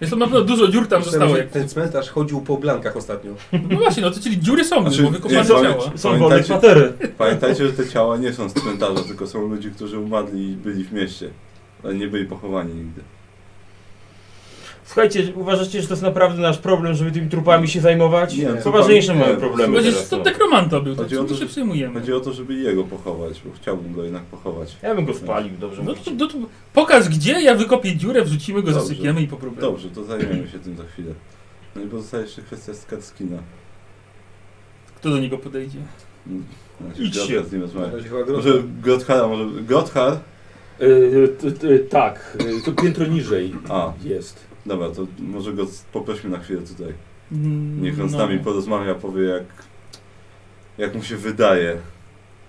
Więc to na pewno dużo dziur tam
Myślałem,
zostało.
że
Jak...
Ten cmentarz chodził po blankach ostatnio.
No właśnie, no to czyli dziury są,
Znaczy,
bo wykopano
nie,
ciała.
pamięć-
Są wolne
pamiętajcie,
kwatery.
Pamiętajcie, że te ciała nie są z cmentarza, tylko są ludzi, którzy umarli i byli w mieście. Ale nie byli pochowani nigdy.
Słuchajcie, uważacie, że to jest naprawdę nasz problem, żeby tymi trupami się zajmować?
Nie,
Poważniejsze
nie,
mamy
nie,
problemy
chodzi-
Będzie
teraz.
to tak-
no.
dekromanta był, to
Chodzi o
czym
to,
my się
że-
przejmujemy.
Chodzi o to, żeby jego pochować, bo chciałbym go jednak pochować.
Ja bym go spalił, dobrze
No
mówicie.
to, no to pokaż gdzie, ja wykopię dziurę, wrzucimy go,
Dobrze.
zasypiemy i po problemie.
Dobrze, to zajmiemy się tym za chwilę. No i pozostaje jeszcze kwestia Skatskina.
Kto do niego podejdzie?
Znaczy,
Idź
Grothar
się.
z nim
Na
rozmawia.
razie chyba groza.
Może Grothara, może Grothar?
Yy, t, t, tak, yy, to piętro niżej
A,
jest.
dobra, to może go z- poprośmy na chwilę tutaj.
Mm,
Niech on z
no.
nami porozmawia, powie jak... Jak mu się wydaje.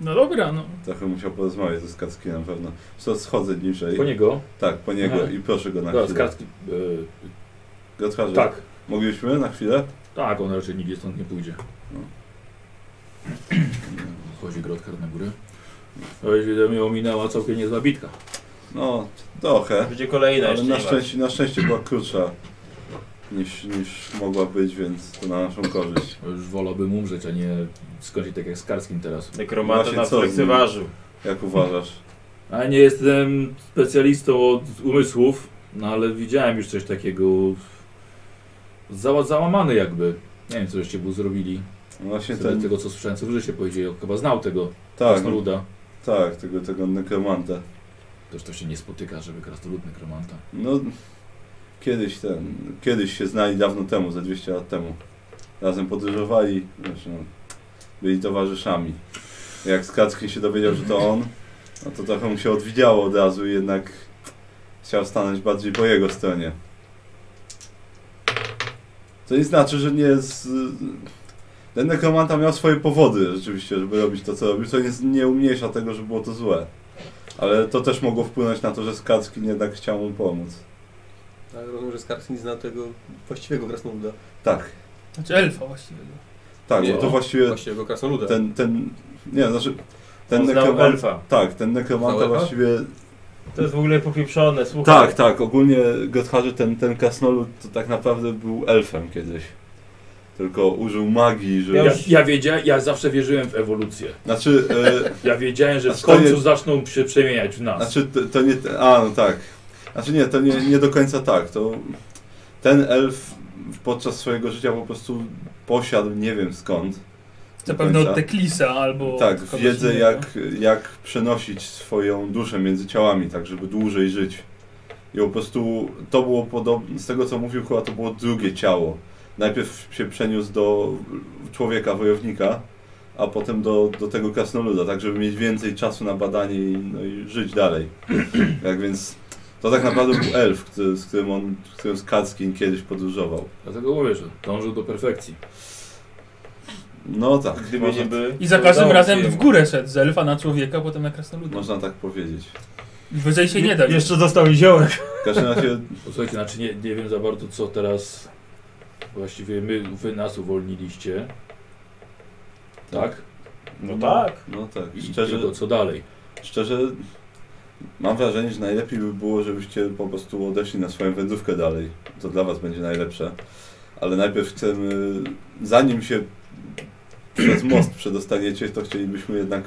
No dobra, no.
Trochę musiał porozmawiać ze Skatskinem pewno. Co, schodzę niżej.
Po niego.
Tak, po niego
Aha.
i proszę go na
Dobra, z
chwilę.
kartki. Yy,
Grotharze,
tak,
moglibyśmy na chwilę?
tak, on raczej nigdzie stąd nie pójdzie.
No.
Chodzi grotkar na górę. No Oj, mi ominęła całkiem niezła bitka.
No, trochę.
Będzie kolejna
Ale
jeszcze.
na
nie ma.
szczęście, na szczęście była krótsza niż, niż mogła być, więc to na naszą korzyść.
Już wolałbym umrzeć, a nie skończyć tak jak z Karskim teraz.
Nekromanta
Właśnie
na
co z nim?
fleksywarzu.
Jak uważasz?
A nie jestem specjalistą od umysłów, no ale widziałem już coś takiego za, załamany jakby. Nie wiem, co żeście mu zrobili.
No Właśnie
Wtedy
ten,
tego, co słyszałem, co w życiu powiedzieli. On Chyba znał tego
tak,
krasnoluda.
tak, tego, tego nekromanta.
Też to się nie spotyka, żeby krasnolud nekromanta.
No, kiedyś ten, kiedyś się znali dawno temu, za 200 lat temu. Razem podróżowali, znaczy no, byli towarzyszami. Jak Skacki się dowiedział, że to on, no to trochę mu się odwidziało od razu i jednak chciał stanąć bardziej po jego stronie. To nie znaczy, że nie z... Ten nekromanta miał swoje powody rzeczywiście, żeby robić to, co robił, co nie, nie umniejsza tego, że było to złe. Ale to też mogło wpłynąć na to, że Skacki jednak chciał mu pomóc.
Tak, rozumiem, że Skarb nie zna tego właściwego krasnoluda.
Tak,
Znaczy elfa właściwie.
tak,
Nie,
bo to właściwie
Właściwego krasnoluda.
ten, ten, nie, znaczy, ten
Ten znał
nekromanta,
elfa.
tak, ten nekromanta
Znał elfa?
właściwie,
To jest w ogóle popieprzone, słuchaj.
tak, tak, ogólnie Gotharze ten, ten krasnolud to tak naprawdę był elfem kiedyś. Tylko użył magii, żeby...
Ja, ja, wiedzia, ja zawsze wierzyłem w ewolucję.
Znaczy, e,
Ja wiedziałem, że
A
w
to
końcu
jest-
zaczną się przemieniać w nas.
Znaczy to, to nie. A no tak. Znaczy nie, to nie, nie do końca tak. To ten elf podczas swojego życia po prostu posiadł nie wiem skąd.
Zapewne
końca.
od Teklisa albo.
tak,
od kogoś
wiedzę
innego.
jak, jak przenosić swoją duszę między ciałami, tak żeby dłużej żyć. I po prostu to było podobne, z tego co mówił chyba to było drugie ciało. Najpierw się przeniósł do człowieka, wojownika, a potem do, do tego krasnoluda, tak żeby mieć więcej czasu na badanie i, no, i żyć dalej. Tak więc to tak naprawdę był elf, który, z którym on, z którym Skackin kiedyś podróżował.
Dlatego mówię, że dążył do perfekcji.
No tak,
Gdyby nie
można,
by...
I za każdym
udało
razem
się
w górę szedł z elfa na człowieka, potem na krasnoluda.
można tak powiedzieć.
I wyżej się nie da. już.
Jeszcze dostał ziołek.
W każdym razie
Posłuchajcie, znaczy nie, nie wiem za bardzo co teraz właściwie my, wy nas uwolniliście. Tak?
No tak.
No tak,
I
szczerze,
tylko co dalej?
szczerze mam wrażenie, że najlepiej by było, żebyście po prostu odeszli na swoją wędrówkę dalej. To dla was będzie najlepsze. Ale najpierw chcemy, zanim się przez most przedostaniecie, to chcielibyśmy jednak,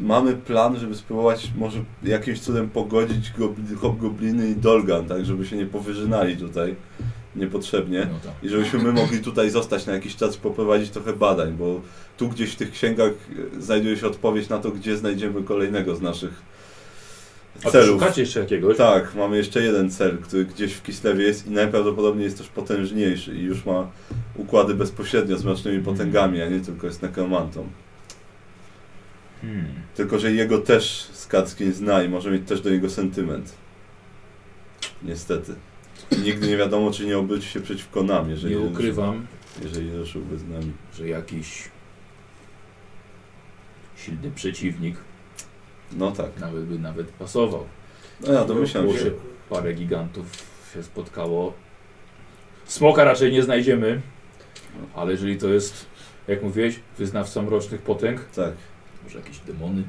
mamy plan, żeby spróbować może jakimś cudem pogodzić gobli- hobgobliny i Dolgan, tak żeby się nie powyżynali tutaj niepotrzebnie.
No tak.
I żebyśmy my mogli tutaj zostać na jakiś czas, poprowadzić trochę badań, bo tu gdzieś w tych księgach e, znajduje się odpowiedź na to, gdzie znajdziemy kolejnego z naszych
A tu
celów.
szukacie jeszcze jakiegoś?
Tak, mamy jeszcze jeden cel, który gdzieś w Kislewie jest i najprawdopodobniej jest też potężniejszy i już ma układy bezpośrednio z mrocznymi potęgami, a nie tylko jest nekromantą.
Hmm.
Tylko, że jego też Skackin zna i może mieć też do niego sentyment. Niestety. Nigdy nie wiadomo, czy nie obróci się przeciwko nam, jeżeli,
Nie ukrywam,
jeżeli ruszyłby z nami.
że jakiś silny przeciwnik
No tak.
nawet by nawet pasował.
No ja domyślam
Było
się.
Parę gigantów się spotkało. Smoka raczej nie znajdziemy, ale jeżeli to jest, jak mówiłeś, wyznawca mrocznych potęg,
Tak,
może jakieś demony,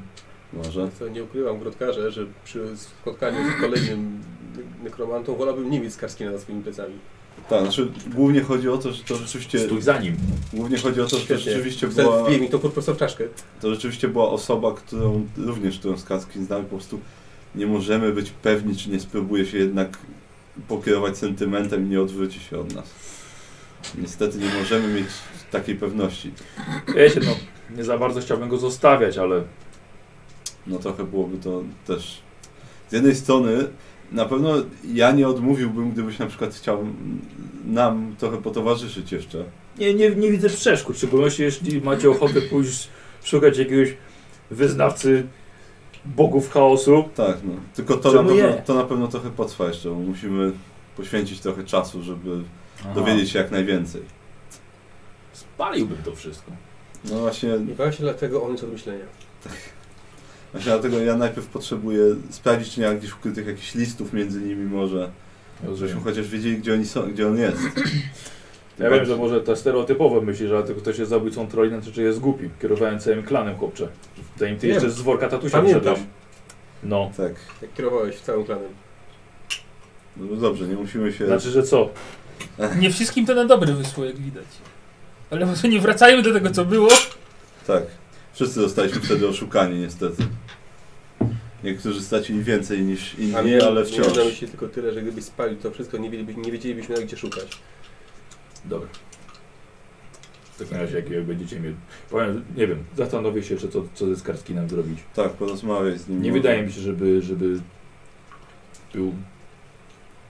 może.
Co nie ukrywam, grotkarze, że przy spotkaniu z kolejnym ne- nekromantą wolałbym nie mieć Skarskina nad swoimi plecami.
Tak, znaczy głównie chodzi o to, że to rzeczywiście.
stój za nim.
Głównie chodzi o to, że to
Świetnie.
rzeczywiście
Wtedy
była.
Wbij mi to po prostu w czaszkę.
To rzeczywiście była osoba, którą również którą Skackin znamy, po prostu nie możemy być pewni, czy nie spróbuje się jednak pokierować sentymentem i nie odwróci się od nas. Niestety nie możemy mieć takiej pewności.
Wiecie, no, nie za bardzo chciałbym go zostawiać, ale
No trochę byłoby to też. Z jednej strony na pewno ja nie odmówiłbym, gdybyś na przykład chciał nam trochę potowarzyszyć jeszcze.
nie, nie, nie widzę przeszkód, w szczególności jeśli macie ochotę pójść szukać jakiegoś wyznawcy bogów chaosu.
Tak, no. Tylko to na,
Czemu
pewno,
nie?
to na pewno trochę potrwa jeszcze, bo musimy poświęcić trochę czasu, żeby dowiedzieć się jak najwięcej.
Spaliłbym to wszystko.
No właśnie,
I właśnie dlatego on jest od myślenia.
właśnie dlatego ja najpierw potrzebuję sprawdzić, czy nie ma gdzieś ukrytych jakichś listów między nimi może, żebyśmy
Rozumiem.
chociaż wiedzieli, gdzie, oni są, gdzie on jest.
Ja wiem, że może to stereotypowe myśli, że tylko ktoś jest zabójcą Trojna, to czy jest głupi. Kierowałem całym klanem, chłopcze. Zanim ty
Nie.
jeszcze z worka tatusia
Pamiętam.
wszedłeś. No.
Tak,
Jak kierowałeś całym klanem.
no bo dobrze, nie musimy się...
Znaczy, że co?
Nie wszystkim to na dobre wyszło, jak widać. Ale może nie wracajmy do tego, co było.
Tak, wszyscy zostaliśmy wtedy oszukani niestety. Niektórzy stracili więcej niż inni,
A mnie,
ale
Mnie
wciąż.
na myśli tylko tyle, że gdybyś spalił to wszystko, nie, wiedzieliby, nie wiedzielibyśmy nawet gdzie szukać.
Dobra. W takim razie, jak będziecie mieli... Powiem, nie wiem, zastanowię się jeszcze, co, co ze Skarskinem zrobić.
Tak, porozmawiaj z nimi.
Nie wydaje mi się, żeby, żeby był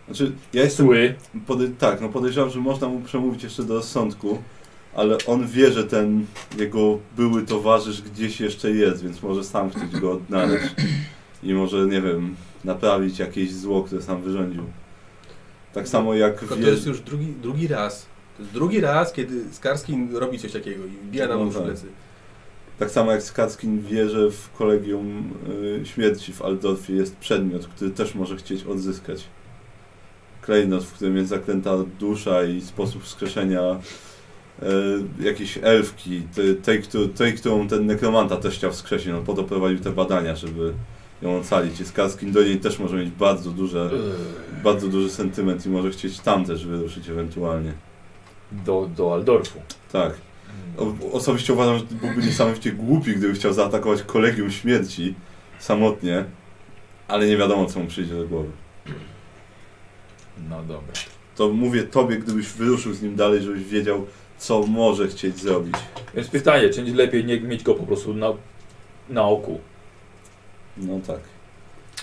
Znaczy, ja jestem
zły.
Pode tak, no podejrzewam, że można mu przemówić jeszcze do rozsądku, ale on wie, że ten jego były towarzysz gdzieś jeszcze jest, więc może sam chcieć go odnaleźć i może, nie wiem, naprawić jakieś zło, które sam wyrządził. Tak samo jak
Tylko
wie,
to jest już drugi, drugi raz. To To jest drugi raz, kiedy Skarski robi coś takiego i wbija nam
No
nóż w
tak.
plecy.
Tak samo jak Skackin wie, że w kolegium y, śmierci w Aldorfie jest przedmiot, który też może chcieć odzyskać. Klejnot, w którym jest zaklęta dusza i sposób wskrzeszenia y, jakiejś elfki, tej, tej, któ- tej, którą ten nekromanta też chciał wskrzesić. On po to prowadził te badania, żeby ją ocalić. I Skackin do niej też może mieć bardzo
E,
duże, bardzo duży sentyment i może chcieć tam też wyruszyć ewentualnie.
Do, do Aldorfu.
Tak. O, osobiście uważam, że byłby niesamowicie głupi, gdyby chciał zaatakować kolegium śmierci samotnie, ale nie wiadomo, co mu przyjdzie do głowy.
No dobra.
To mówię tobie, gdybyś wyruszył z nim dalej, żebyś wiedział, co może chcieć zrobić.
Więc pytanie, czy nie lepiej nie mieć go po prostu na, na oku?
No tak.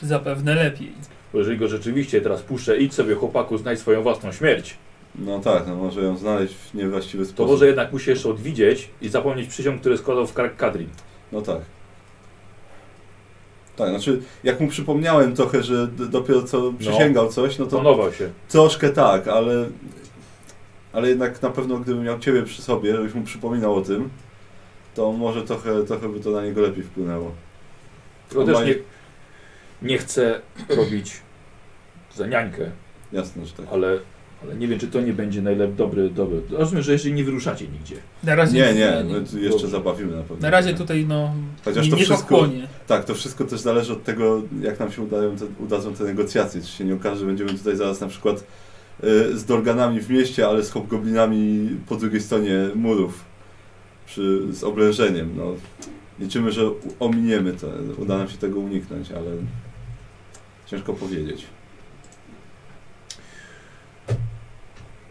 Zapewne lepiej.
Bo jeżeli go rzeczywiście teraz puszczę, idź sobie chłopaku, znajdź swoją własną śmierć,
No tak, no może ją znaleźć w niewłaściwy
to
sposób.
może jednak musi jeszcze odwidzieć i zapomnieć przysiąg, który składał w Kark Kadrin.
No tak. Tak, znaczy, jak mu przypomniałem trochę, że d- dopiero co przysięgał coś, no to
Tonował się.
Troszkę tak, ale, ale jednak na pewno gdybym miał Ciebie przy sobie, żebyś mu przypominał o tym, to może trochę, trochę by to na niego lepiej wpłynęło.
Tylko też
Obaj-
nie, nie chcę robić za niańkę,
Jasne, że tak.
ale, ale nie wiem, czy to nie będzie najlepszy dobry, dobry. Rozumiem, że jeżeli nie wyruszacie nigdzie.
Na razie,
Nie, nie, my tu jeszcze
Dobrze.
zabawimy na pewno.
Na razie tutaj no.
Chociaż
nie-
to
niech
wszystko-
ochłonie.
Tak, to wszystko też zależy od tego, jak nam się udają te, udadzą te negocjacje. Czy się nie okaże, że będziemy tutaj zaraz na przykład y, z Dorganami w mieście, ale z Hobgoblinami po drugiej stronie murów, przy, z oblężeniem. No, liczymy, że u- ominiemy to, uda nam się tego uniknąć, ale ciężko powiedzieć.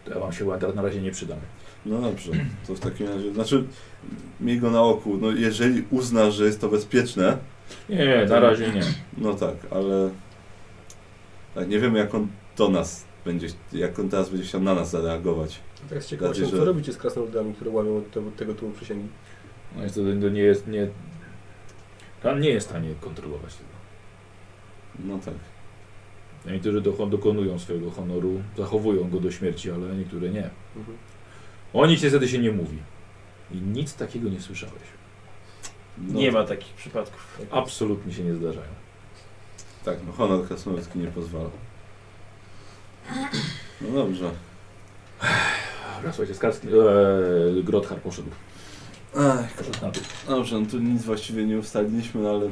To ja wam się ładnie na razie nie przydam.
No dobrze, to w takim razie, znaczy miej go na oku, no jeżeli uznasz, że jest to bezpieczne,
Nie, na razie nie.
No tak, ale tak, nie wiemy jak on do nas będzie, jak on teraz będzie chciał na nas zareagować.
Teraz ciekawością,
Znaczy,
co
że-
robicie z krasnoludami, które łamią od tego, tego tłumu przysięgi?
No i to, to nie jest, nie... Kan nie jest w stanie kontrolować tego.
No tak.
Niektórzy dokon- dokonują swojego honoru, zachowują go do śmierci, ale niektóre nie.
Mhm.
O nich niestety się nie mówi. I nic takiego nie słyszałeś.
No
Nie
tak,
ma takich przypadków.
Absolutnie się nie zdarzają.
Tak, no honor krasnoludzki nie pozwala. No dobrze.
Dobra, słuchajcie, Skarski, eee, Grothar poszedł.
Ech,
Poszedł na dół.
dobrze, no tu nic właściwie nie ustaliliśmy, no ale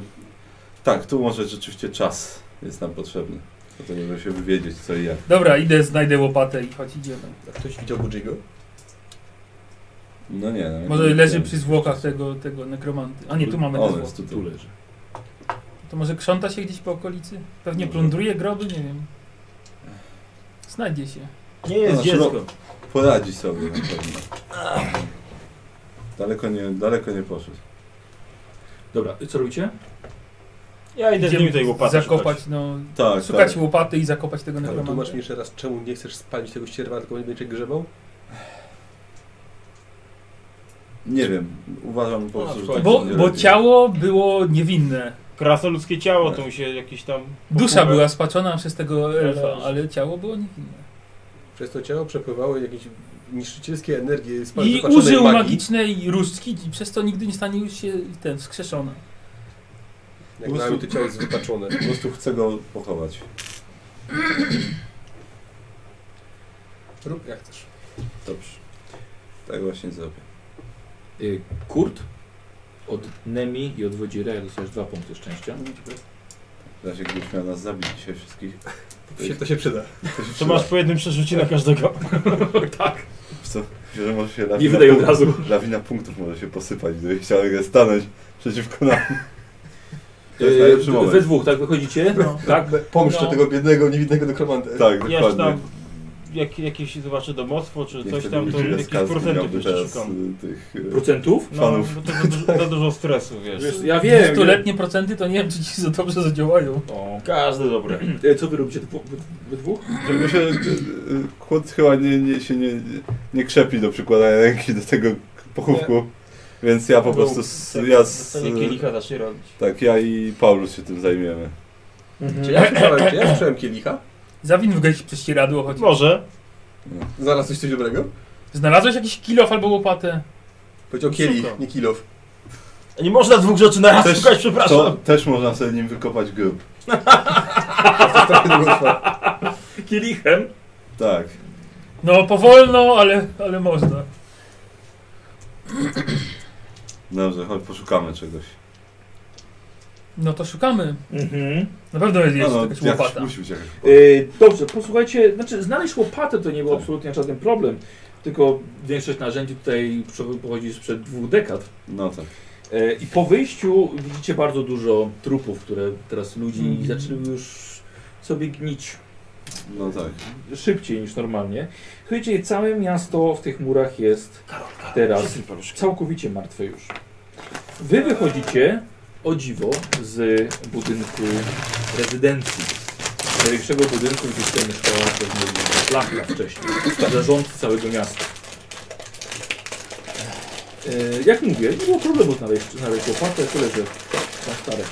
tak, tu może rzeczywiście czas jest nam potrzebny. Do tego, żeby się wywiedzieć co i jak.
Dobra, idę, znajdę łopatę i chodź idziemy.
A ktoś widział Budziego?
No nie. No,
Może
nie
leży
wiem.
przy zwłokach tego, tego nekromanty. A nie, tu mamy te
O,
zwłoki.
jest tutaj.
Tu leży.
To może krząta się gdzieś po okolicy? Pewnie
Może.
plądruje groby, nie wiem. Znajdzie się.
Nie jest
Znaczy,
dziecko.
Poradzi sobie na pewno. Daleko nie, daleko nie poszedł.
Dobra, i co robicie?
Ja idę z
Idziemy
nim tej łopaty
Zakopać, no.
Tak,
szukać
tak.
łopaty i zakopać tego
Ale tłumacz
nekromanta.
mi jeszcze raz, czemu nie chcesz spalić tego ścierwa, tylko będzie grzebał?
Nie wiem, uważam
No,
po
A,
prostu, że
słuchaj,
tak
Bo,
nie
bo
lepiej.
ciało było niewinne.
Krasnoludzkie ciało, to mu się jakieś tam...
Dusza
popływek-
była spaczona przez tego elfa,
Ale-
ale ciało było niewinne.
Przez to ciało przepływały jakieś niszczycielskie energie z
I
wypaczonej
użył magicznej różdżki i przez to nigdy nie stanie już się ten wskrzeszona.
Jak
Po
na
prostu-
to ciało jest wypaczone.
Po prostu chcę go pochować.
Rób jak chcesz.
Dobrze. Tak właśnie zrobię.
Y, Kurt od Nemi i od Wodzira dostajesz dwa punkty szczęścia.
W razie gdybyś miał nas zabić dzisiaj wszystkich.
To się, to się przyda.
To masz po jednym przerzucie na każdego.
tak.
Wiesz Co? Myślę, że może się lawina,
Nie wydaj od
punktów-
razu.
lawina punktów może się posypać, gdyby chciał stanąć przeciwko nam. To jest
Y,
najlepszy
we
moment.
dwóch, tak wychodzicie?
No.
Tak.
Pomszczę
No.
tego biednego, niewinnego nekromantę.
Tak,
Ja już
dokładnie.
tam jak, jakieś zobaczę domostwo czy
Nie
coś
chcę,
tam,
żeby
to
Julius
jakieś
Kasper
procenty
miałby
jeszcze
teraz,
szukam.
y, tych, y,
Procentów?
No,
fanów.
bo to za dużo, za dużo stresu, wiesz.
Wiesz, ja wiem. wiem.
Stuletnie procenty to nie wiem, czy ci za dobrze zadziałają.
O.
Każdy dobry.
Y, Co wy robicie dwu- wy- wy dwóch?
Żeby się... y, y, Kłod chyba nie, nie, się nie, nie krzepi do przykładania ręki do tego pochówku. Więc ja po prostu... S, ja s,
Dostanie kielicha zacznie robić.
tak, ja i Paulus się tym zajmiemy.
Czy ja słyszałem, czy ja słyszałem kielicha?
Zawin w gęś prześcieradło, choć
Może.
Zaraz coś, coś dobrego?
Znalazłeś jakiś kilof albo łopatę?
Powiedział kielich,
Suko.
nie kilof.
Nie można dwóch rzeczy na raz
Też-
szukać, przepraszam.
To też można sobie nim wykopać grób.
To strasznie długo trwa.
Kielichem?
Tak.
No, powolno, ale, ale można.
Dobrze, chodź poszukamy czegoś.
No to szukamy.
Mhm.
Na pewno jest jeszcze jakaś
jakoś
łopata.
No, musi być jakaś łopata.
Yy, dobrze, posłuchajcie, znaczy znaleźć łopatę to nie był
E, Tak.
absolutnie żaden problem, tylko większość narzędzi tutaj prze- pochodzi sprzed dwóch dekad.
No tak.
Yy, I po wyjściu widzicie bardzo dużo trupów, które teraz ludzi
Mm.
zaczęły już sobie gnić
No tak.
szybciej niż normalnie. Słuchajcie, całe miasto w tych murach jest teraz całkowicie martwe już. Wy wychodzicie, o dziwo, z budynku rezydencji. Z największego budynku, gdzie tutaj mieszkała pewnie Lachla wcześniej. Zarządcy całego miasta. E, Jak mówię, nie było problemu znaleźć, znaleźć łopatę, tyle że tak, na stare.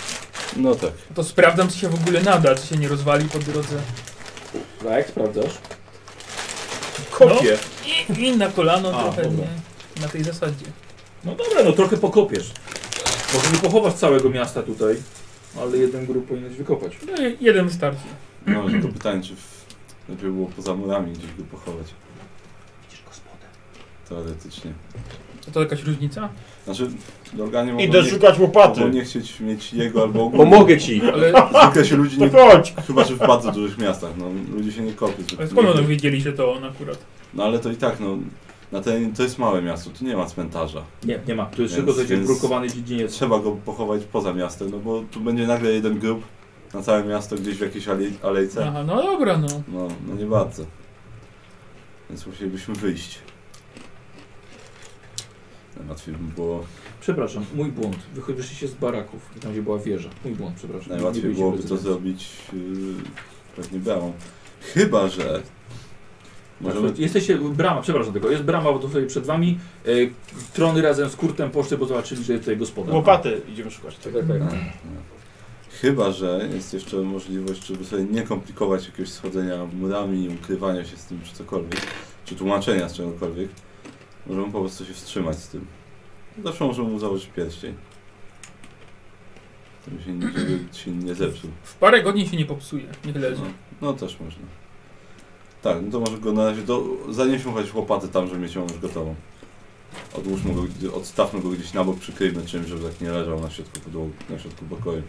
No tak.
To sprawdzam, czy się w ogóle nada, czy się nie rozwali po drodze.
Tak, sprawdzasz?
Kopie.
No I, i na kolano
A,
trochę,
dobra.
nie? Na tej zasadzie.
No dobra, no trochę pokopiesz. Może nie pochowasz całego miasta tutaj, ale jeden grób powinieneś wykopać.
No, i jeden starczy.
No, to pytanie, czy w... lepiej było poza murami gdzieś go pochować.
Widzisz gospodę.
Teoretycznie.
To, to jakaś różnica?
Znaczy, Dorganie mogą
Idę
nie,
szukać
mogą
łopaty.
nie chcieć mieć jego albo ogólnie.
Pomogę ci!
Ale,
Zwykle się ludzi nie...
To chodź.
Chyba, że w bardzo dużych miastach, no. Ludzie się nie kopie. zwykle.
ale skąd dowiedzieli się to on akurat?
No ale to i tak, no. Na ten, to jest małe miasto, tu nie ma cmentarza.
Nie, nie ma. Tu
Więc-
jest tylko będzie
więc-
brukowany dziedziniec.
Trzeba go pochować poza miastem, no bo tu będzie nagle jeden grób na całe miasto gdzieś w jakiejś alej, alejce.
Aha, no dobra, no.
No, no nie bardzo. Więc musielibyśmy wyjść. Najłatwiej by było,
Przepraszam, mój błąd. Wychodziliście z baraków, tam gdzie była wieża. Mój błąd, przepraszam.
najłatwiej
byliśmy
byłoby
bez
to
racji.
zrobić yy, pewnie białą. Chyba, że
Tak,
możemy...
Znaczy, Jesteście, brama, przepraszam tylko, jest brama, bo to sobie przed wami. E, trony razem z Kurtem poszły, bo zobaczyli, że jest tutaj gospoda.
Łopaty idziemy szukać.
Tak, tak,
No.
tak.
Chyba, że jest jeszcze możliwość, żeby sobie nie komplikować jakiegoś schodzenia murami, ukrywania się z tym czy cokolwiek, czy tłumaczenia z czegokolwiek. Możemy po prostu się wstrzymać z tym. Zawsze możemy mu założyć pierścień. Żeby się, nie- żeby się nie zepsuł.
W parę godzin się nie popsuje, nie leży.
No, no też można. Tak, no to może go na razie do... zanieśmy chociaż łopaty tam, żeby mieć ją już gotową. Odłóżmy go, gdzie- odstawmy go gdzieś na bok, przykryjmy czymś, żeby tak nie leżał na środku podłogi, na środku pokoju.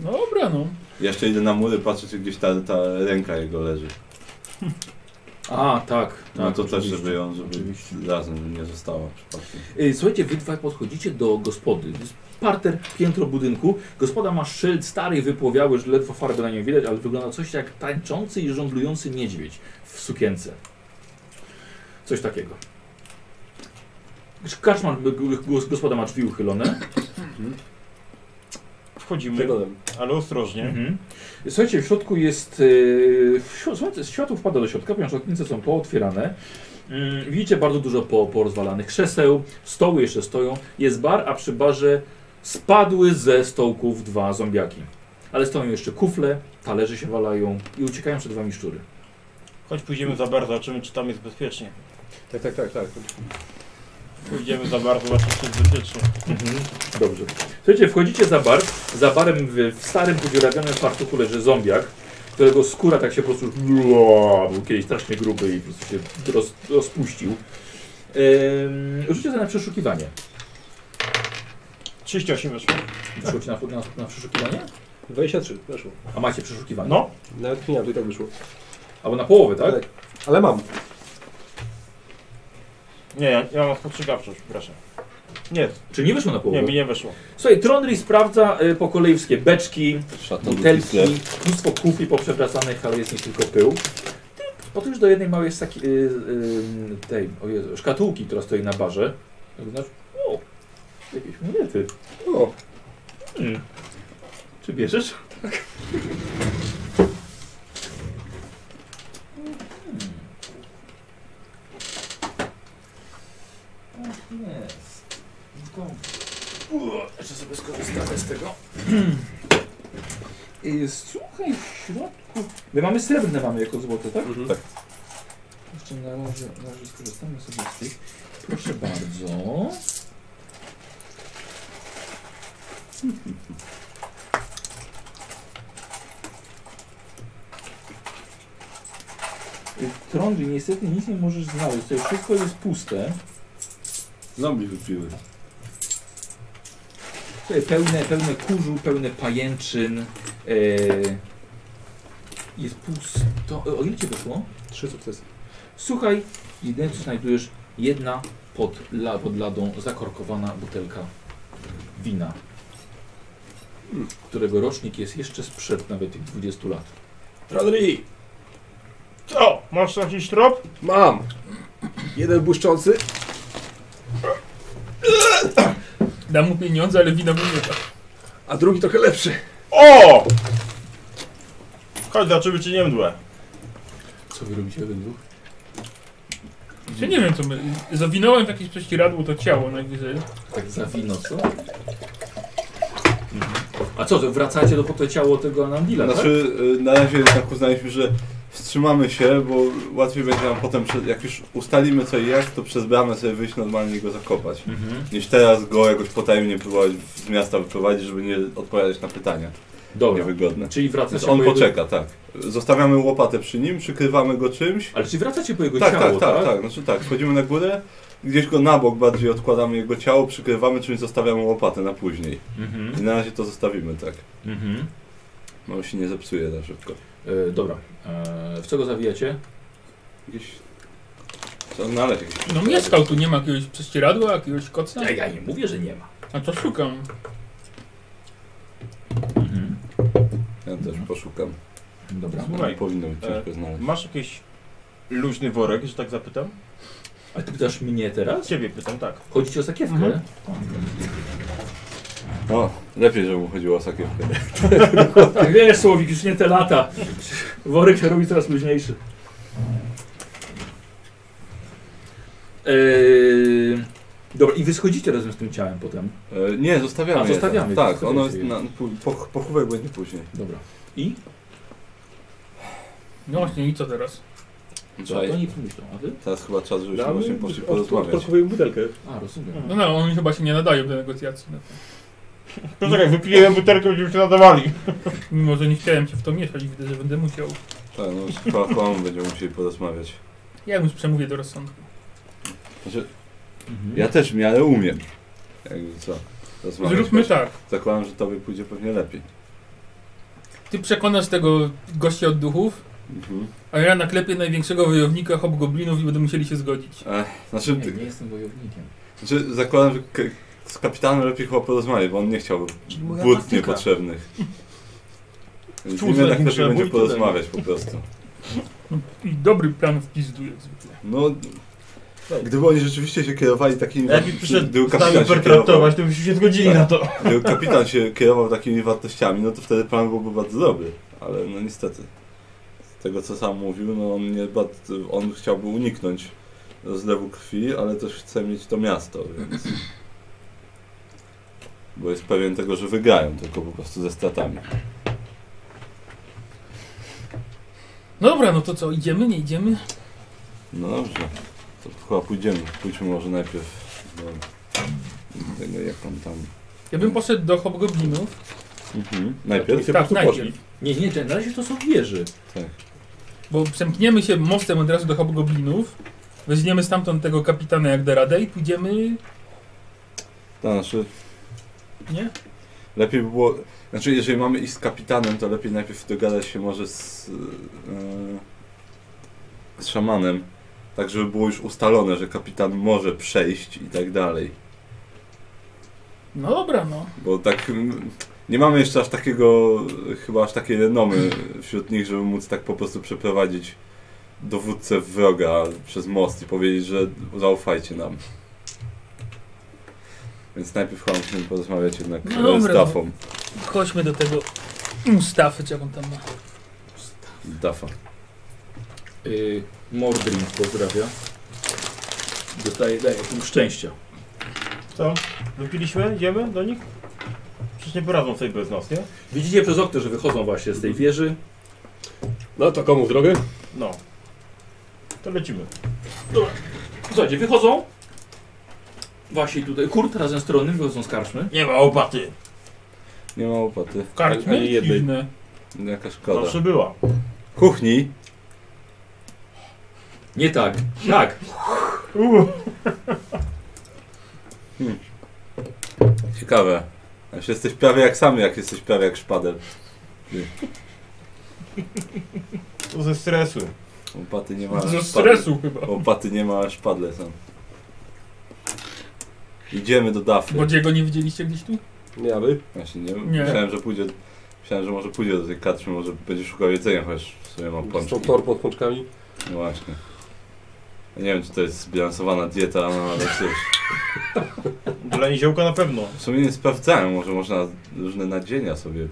No dobra, no.
Ja Jeszcze idę na mury, patrzę, czy gdzieś ta, ta ręka jego leży.
A, tak.
No
tak,
to też,
oczywiście.
żeby ją, żeby
Oczywiście.
razem nie została przypadkiem.
Y, Słuchajcie, wy dwa podchodzicie do gospody. To jest parter, piętro budynku. Gospoda ma szyld stary, wypłowiały, że ledwo farby na nim widać, ale wygląda coś jak tańczący i żonglujący niedźwiedź w sukience. Coś takiego. Kaszmar, gospoda ma drzwi uchylone.
Wchodzimy,
Przeglądam.
ale ostrożnie.
Mhm. Słuchajcie, w środku jest. Yy, słońce, światło wpada do środka, ponieważ oknice są pootwierane. Mm, Widzicie bardzo dużo po, porozwalanych krzeseł, stoły jeszcze stoją. Jest bar, a przy barze spadły ze stołków dwa zombiaki. Ale stoją jeszcze kufle, talerze się walają i uciekają przed wami szczury.
Chodź pójdziemy za bar, zobaczymy czy tam jest bezpiecznie.
Tak, tak, tak, tak.
Pójdziemy za bar, zobaczymy czy jest bezpiecznie.
Mhm. Dobrze. Słuchajcie, wchodzicie za bar. Za barem w, w starym, podziurawionym fartuchu leży zombiak, którego skóra tak się po prostu Ua, był kiedyś strasznie gruby i po prostu się roz, rozpuścił. Ym, Rzućcie sobie na przeszukiwanie.
38 weszło.
Rzućcie na, na, na przeszukiwanie?
23, weszło.
A macie przeszukiwanie.
No,
Nawet nie, to i tak wyszło.
Albo na połowę, tak?
Tak. Ale mam.
nie, ja, ja mam spostrzegawczość, przepraszam. Nie,
Czy nie wyszło na połowę?
nie, mi nie weszło.
Słuchaj, Trondry sprawdza y, po kolei wszystkie beczki,
Szatan
butelki, mnóstwo kufli poprzewracanych, ale jest nich tylko pył. Ty podchodzisz do jednej małej saki, y, y, tej, o Jezu, szkatułki, która stoi na barze. Tak znasz, o, jakieś monety.
O,
Hmm. Czy bierzesz? Tak. Hmm. Ach, jest. Dobrze. Uuu, Jeszcze sobie skorzystamy z tego. I słuchaj, w środku... My mamy srebrne mamy jako złote, tak?
mhm.
Tak.
jeszcze na razie, na razie skorzystamy sobie z tych. Proszę bardzo. Trondri, niestety nic nie możesz znaleźć. To wszystko jest puste.
Zombie wypiły.
Tak, Słuchaj, Pełne, pełne kurzu, pełne pajęczyn. E, jest pusto. e, O ile cię wyszło?
Trzy sukcesy.
Słuchaj, jedyne co znajdujesz, jedna pod, la, pod ladą zakorkowana butelka wina,
Hmm.
którego rocznik jest jeszcze sprzed nawet tych 20 lat.
Rodri!
O, masz jakiś trop?
Mam! Jeden błyszczący.
Dam mu pieniądze, ale wina mu nie da.
A drugi trochę lepszy.
O! Chodź, zobaczymy czy nie mdłe.
Co wy robicie jeden dwóch?
Ja nie wiem co my... Zawinąłem w jakieś prześcieradło to ciało najwyżej.
Tak za wino, co? Mhm. A co, to wracacie do po to ciało tego Anandila, tak?
Znaczy, y, na razie jednak uznaliśmy, że wstrzymamy się, bo łatwiej będzie nam potem, prze- jak już ustalimy co i jak, to przez bramę sobie wyjść normalnie i go zakopać.
Mhm.
Niż teraz go jakoś potajemnie próbować z miasta wyprowadzić, żeby nie odpowiadać na pytania
Dobra,
niewygodne.
czyli wracacie
Znaczy on
po jego...
poczeka, tak. Zostawiamy łopatę przy nim, przykrywamy go czymś.
Ale czy wracacie po jego
Tak,
ciało,
tak, tak, tak. Znaczy tak, wchodzimy na górę, gdzieś go na bok bardziej odkładamy jego ciało, przykrywamy czymś, zostawiamy łopatę na później.
Mhm.
I na razie to zostawimy, tak.
Mhm.
No się nie zepsuje za szybko.
E, dobra, e, w co go zawijacie?
Gdzieś... Trzeba znaleźć jakieś...
No mieszkał tu, nie ma jakiegoś prześcieradła, jakiegoś koca?
Ja, ja nie mówię, że nie ma.
A to szukam.
Mhm.
Ja też poszukam.
Dobra.
No,
Słuchaj,
powinno
e,
być ciężko znaleźć.
Masz jakiś luźny worek, że tak zapytam?
A ty pytasz mnie teraz?
Ciebie pytam, tak.
Chodzi ci o sakiewkę?
Mhm.
O, lepiej, żeby mu chodziło o sakiewkę.
Tak, wiesz, Słowik, już nie te lata. Worek się robi coraz luźniejszy. Eee, E, dobra, i wy schodzicie razem z tym ciałem potem.
E, nie, zostawiamy
A,
je tam.
zostawiamy,
Tak,
zostawiamy
ono jest
je.
na... pu- Po, pochówek będzie później.
Dobra. I?
No właśnie, i co teraz?
Co, to nie pomyślą, a wy?
Teraz chyba czas, żebyśmy
Damy-
właśnie poszli
od-
porozmawiać.
Odpakowujemy butelkę.
A, rozumiem.
No, no, on chyba się nie nadaje do negocjacji. No.
No tak, wypijemy butelkę, będziemy się nadawali.
Mimo, że nie chciałem się w to mieszać, widzę, że będę musiał.
Tak, no, koło- koło będziemy musieli porozmawiać.
Ja już przemówię do rozsądku.
Znaczy,
Mhm.
ja też w miarę umiem. Jakby co,
No,
rozmawiać.
Zróbmy tak.
Zakładam, że tobie pójdzie pewnie lepiej.
Ty przekonasz tego gościa od duchów,
Mhm.
a ja naklepię największego wojownika hobgoblinów i będę musieli się zgodzić.
Znaczy,
Nie,
ty-
nie jestem wojownikiem.
znaczy zakładam, że k- z kapitanem lepiej chyba porozmawiać, bo on nie chciał
Czyli moja
błód
taktyka.
niepotrzebnych. Więc
Czuł,
Czuł,
że
tak
nie
lepiej
trzeba
będzie
bój, to
porozmawiać po prostu.
No, I dobry plan w pizdu jak zwykle.
No, gdyby oni rzeczywiście się kierowali takimi...
Jakbyś przyszedł
gdyby
z nami
kapitan się kierował,
pertraktować, to byśmy się zgodzili na to.
gdyby kapitan się kierował takimi wartościami, no to wtedy plan byłby bardzo dobry. Ale no niestety, z tego co sam mówił, no on, nie, bardzo- on chciałby uniknąć rozlewu krwi, ale też chce mieć to miasto, więc... Bo jest pewien tego, że wygrają, tylko po prostu ze stratami.
No dobra, no to co, idziemy, nie idziemy?
No dobrze, to chyba pójdziemy. Pójdźmy może najpierw do tego, jak on tam...
Ja bym poszedł do hobgoblinów.
Mhm. Najpierw?
Tak, najpierw.
Nie, nie, ten, na razie to są wieży.
Tak.
Bo przemkniemy się mostem od razu do hobgoblinów, weźmiemy stamtąd tego kapitana jak da radę i pójdziemy...
To znaczy,
Nie?
lepiej by było... Znaczy, jeżeli mamy iść z kapitanem, to lepiej najpierw dogadać się może z... e, z szamanem. Tak, żeby było już ustalone, że kapitan może przejść i tak dalej.
No dobra, no.
Bo tak... mm, Nie mamy jeszcze aż takiego, chyba aż takiej renomy wśród nich, żeby móc tak po prostu przeprowadzić dowódcę wroga przez most i powiedzieć, że zaufajcie nam. Więc najpierw chyba musimy porozmawiać jednak
No
e, z
dobra, no.
Dafą.
Chodźmy do tego Mustafy, czy jak on tam ma.
Dafa.
Yy, Mordrin pozdrawia. Dostaje, daje punkt szczęścia.
Co? Wypiliśmy? Idziemy do nich? Przecież nie poradzą sobie bez nas, nie?
Widzicie przez okno, że wychodzą właśnie z tej wieży.
No to komu w drogę?
No. To lecimy.
Słuchajcie, wychodzą. Właśnie tutaj. Kurt razem z Tronnym wychodzą z karczmy.
Nie ma opaty.
Nie ma łopaty.
Karczmy?
Ani jednej.
Dziwne.
No, Jaka szkoda.
Zawsze była.
Kuchni.
Nie tak. Tak.
Ciekawe. Aż jesteś prawie jak sam, jak jesteś prawie jak szpadel.
To ze stresu.
Łopaty nie ma.
Ze
szpadel.
No, stresu chyba.
Łopaty nie ma, a szpadle są. Idziemy do Dafy.
Bo Diego nie widzieliście gdzieś tu?
Nie, aby.
Właśnie nie,
Nie.
Myślałem, że pójdzie. Myślałem, że może pójdzie do tej kaczmy, może będzie szukał jedzenia, chociaż w sumie ma
Są
pączki.
tor pod pączkami.
No właśnie. Ja nie wiem, czy to jest zbilansowana dieta, no ale cóż.
Dla niziołka na pewno.
W sumie nie sprawdzałem, może można różne nadzienia sobie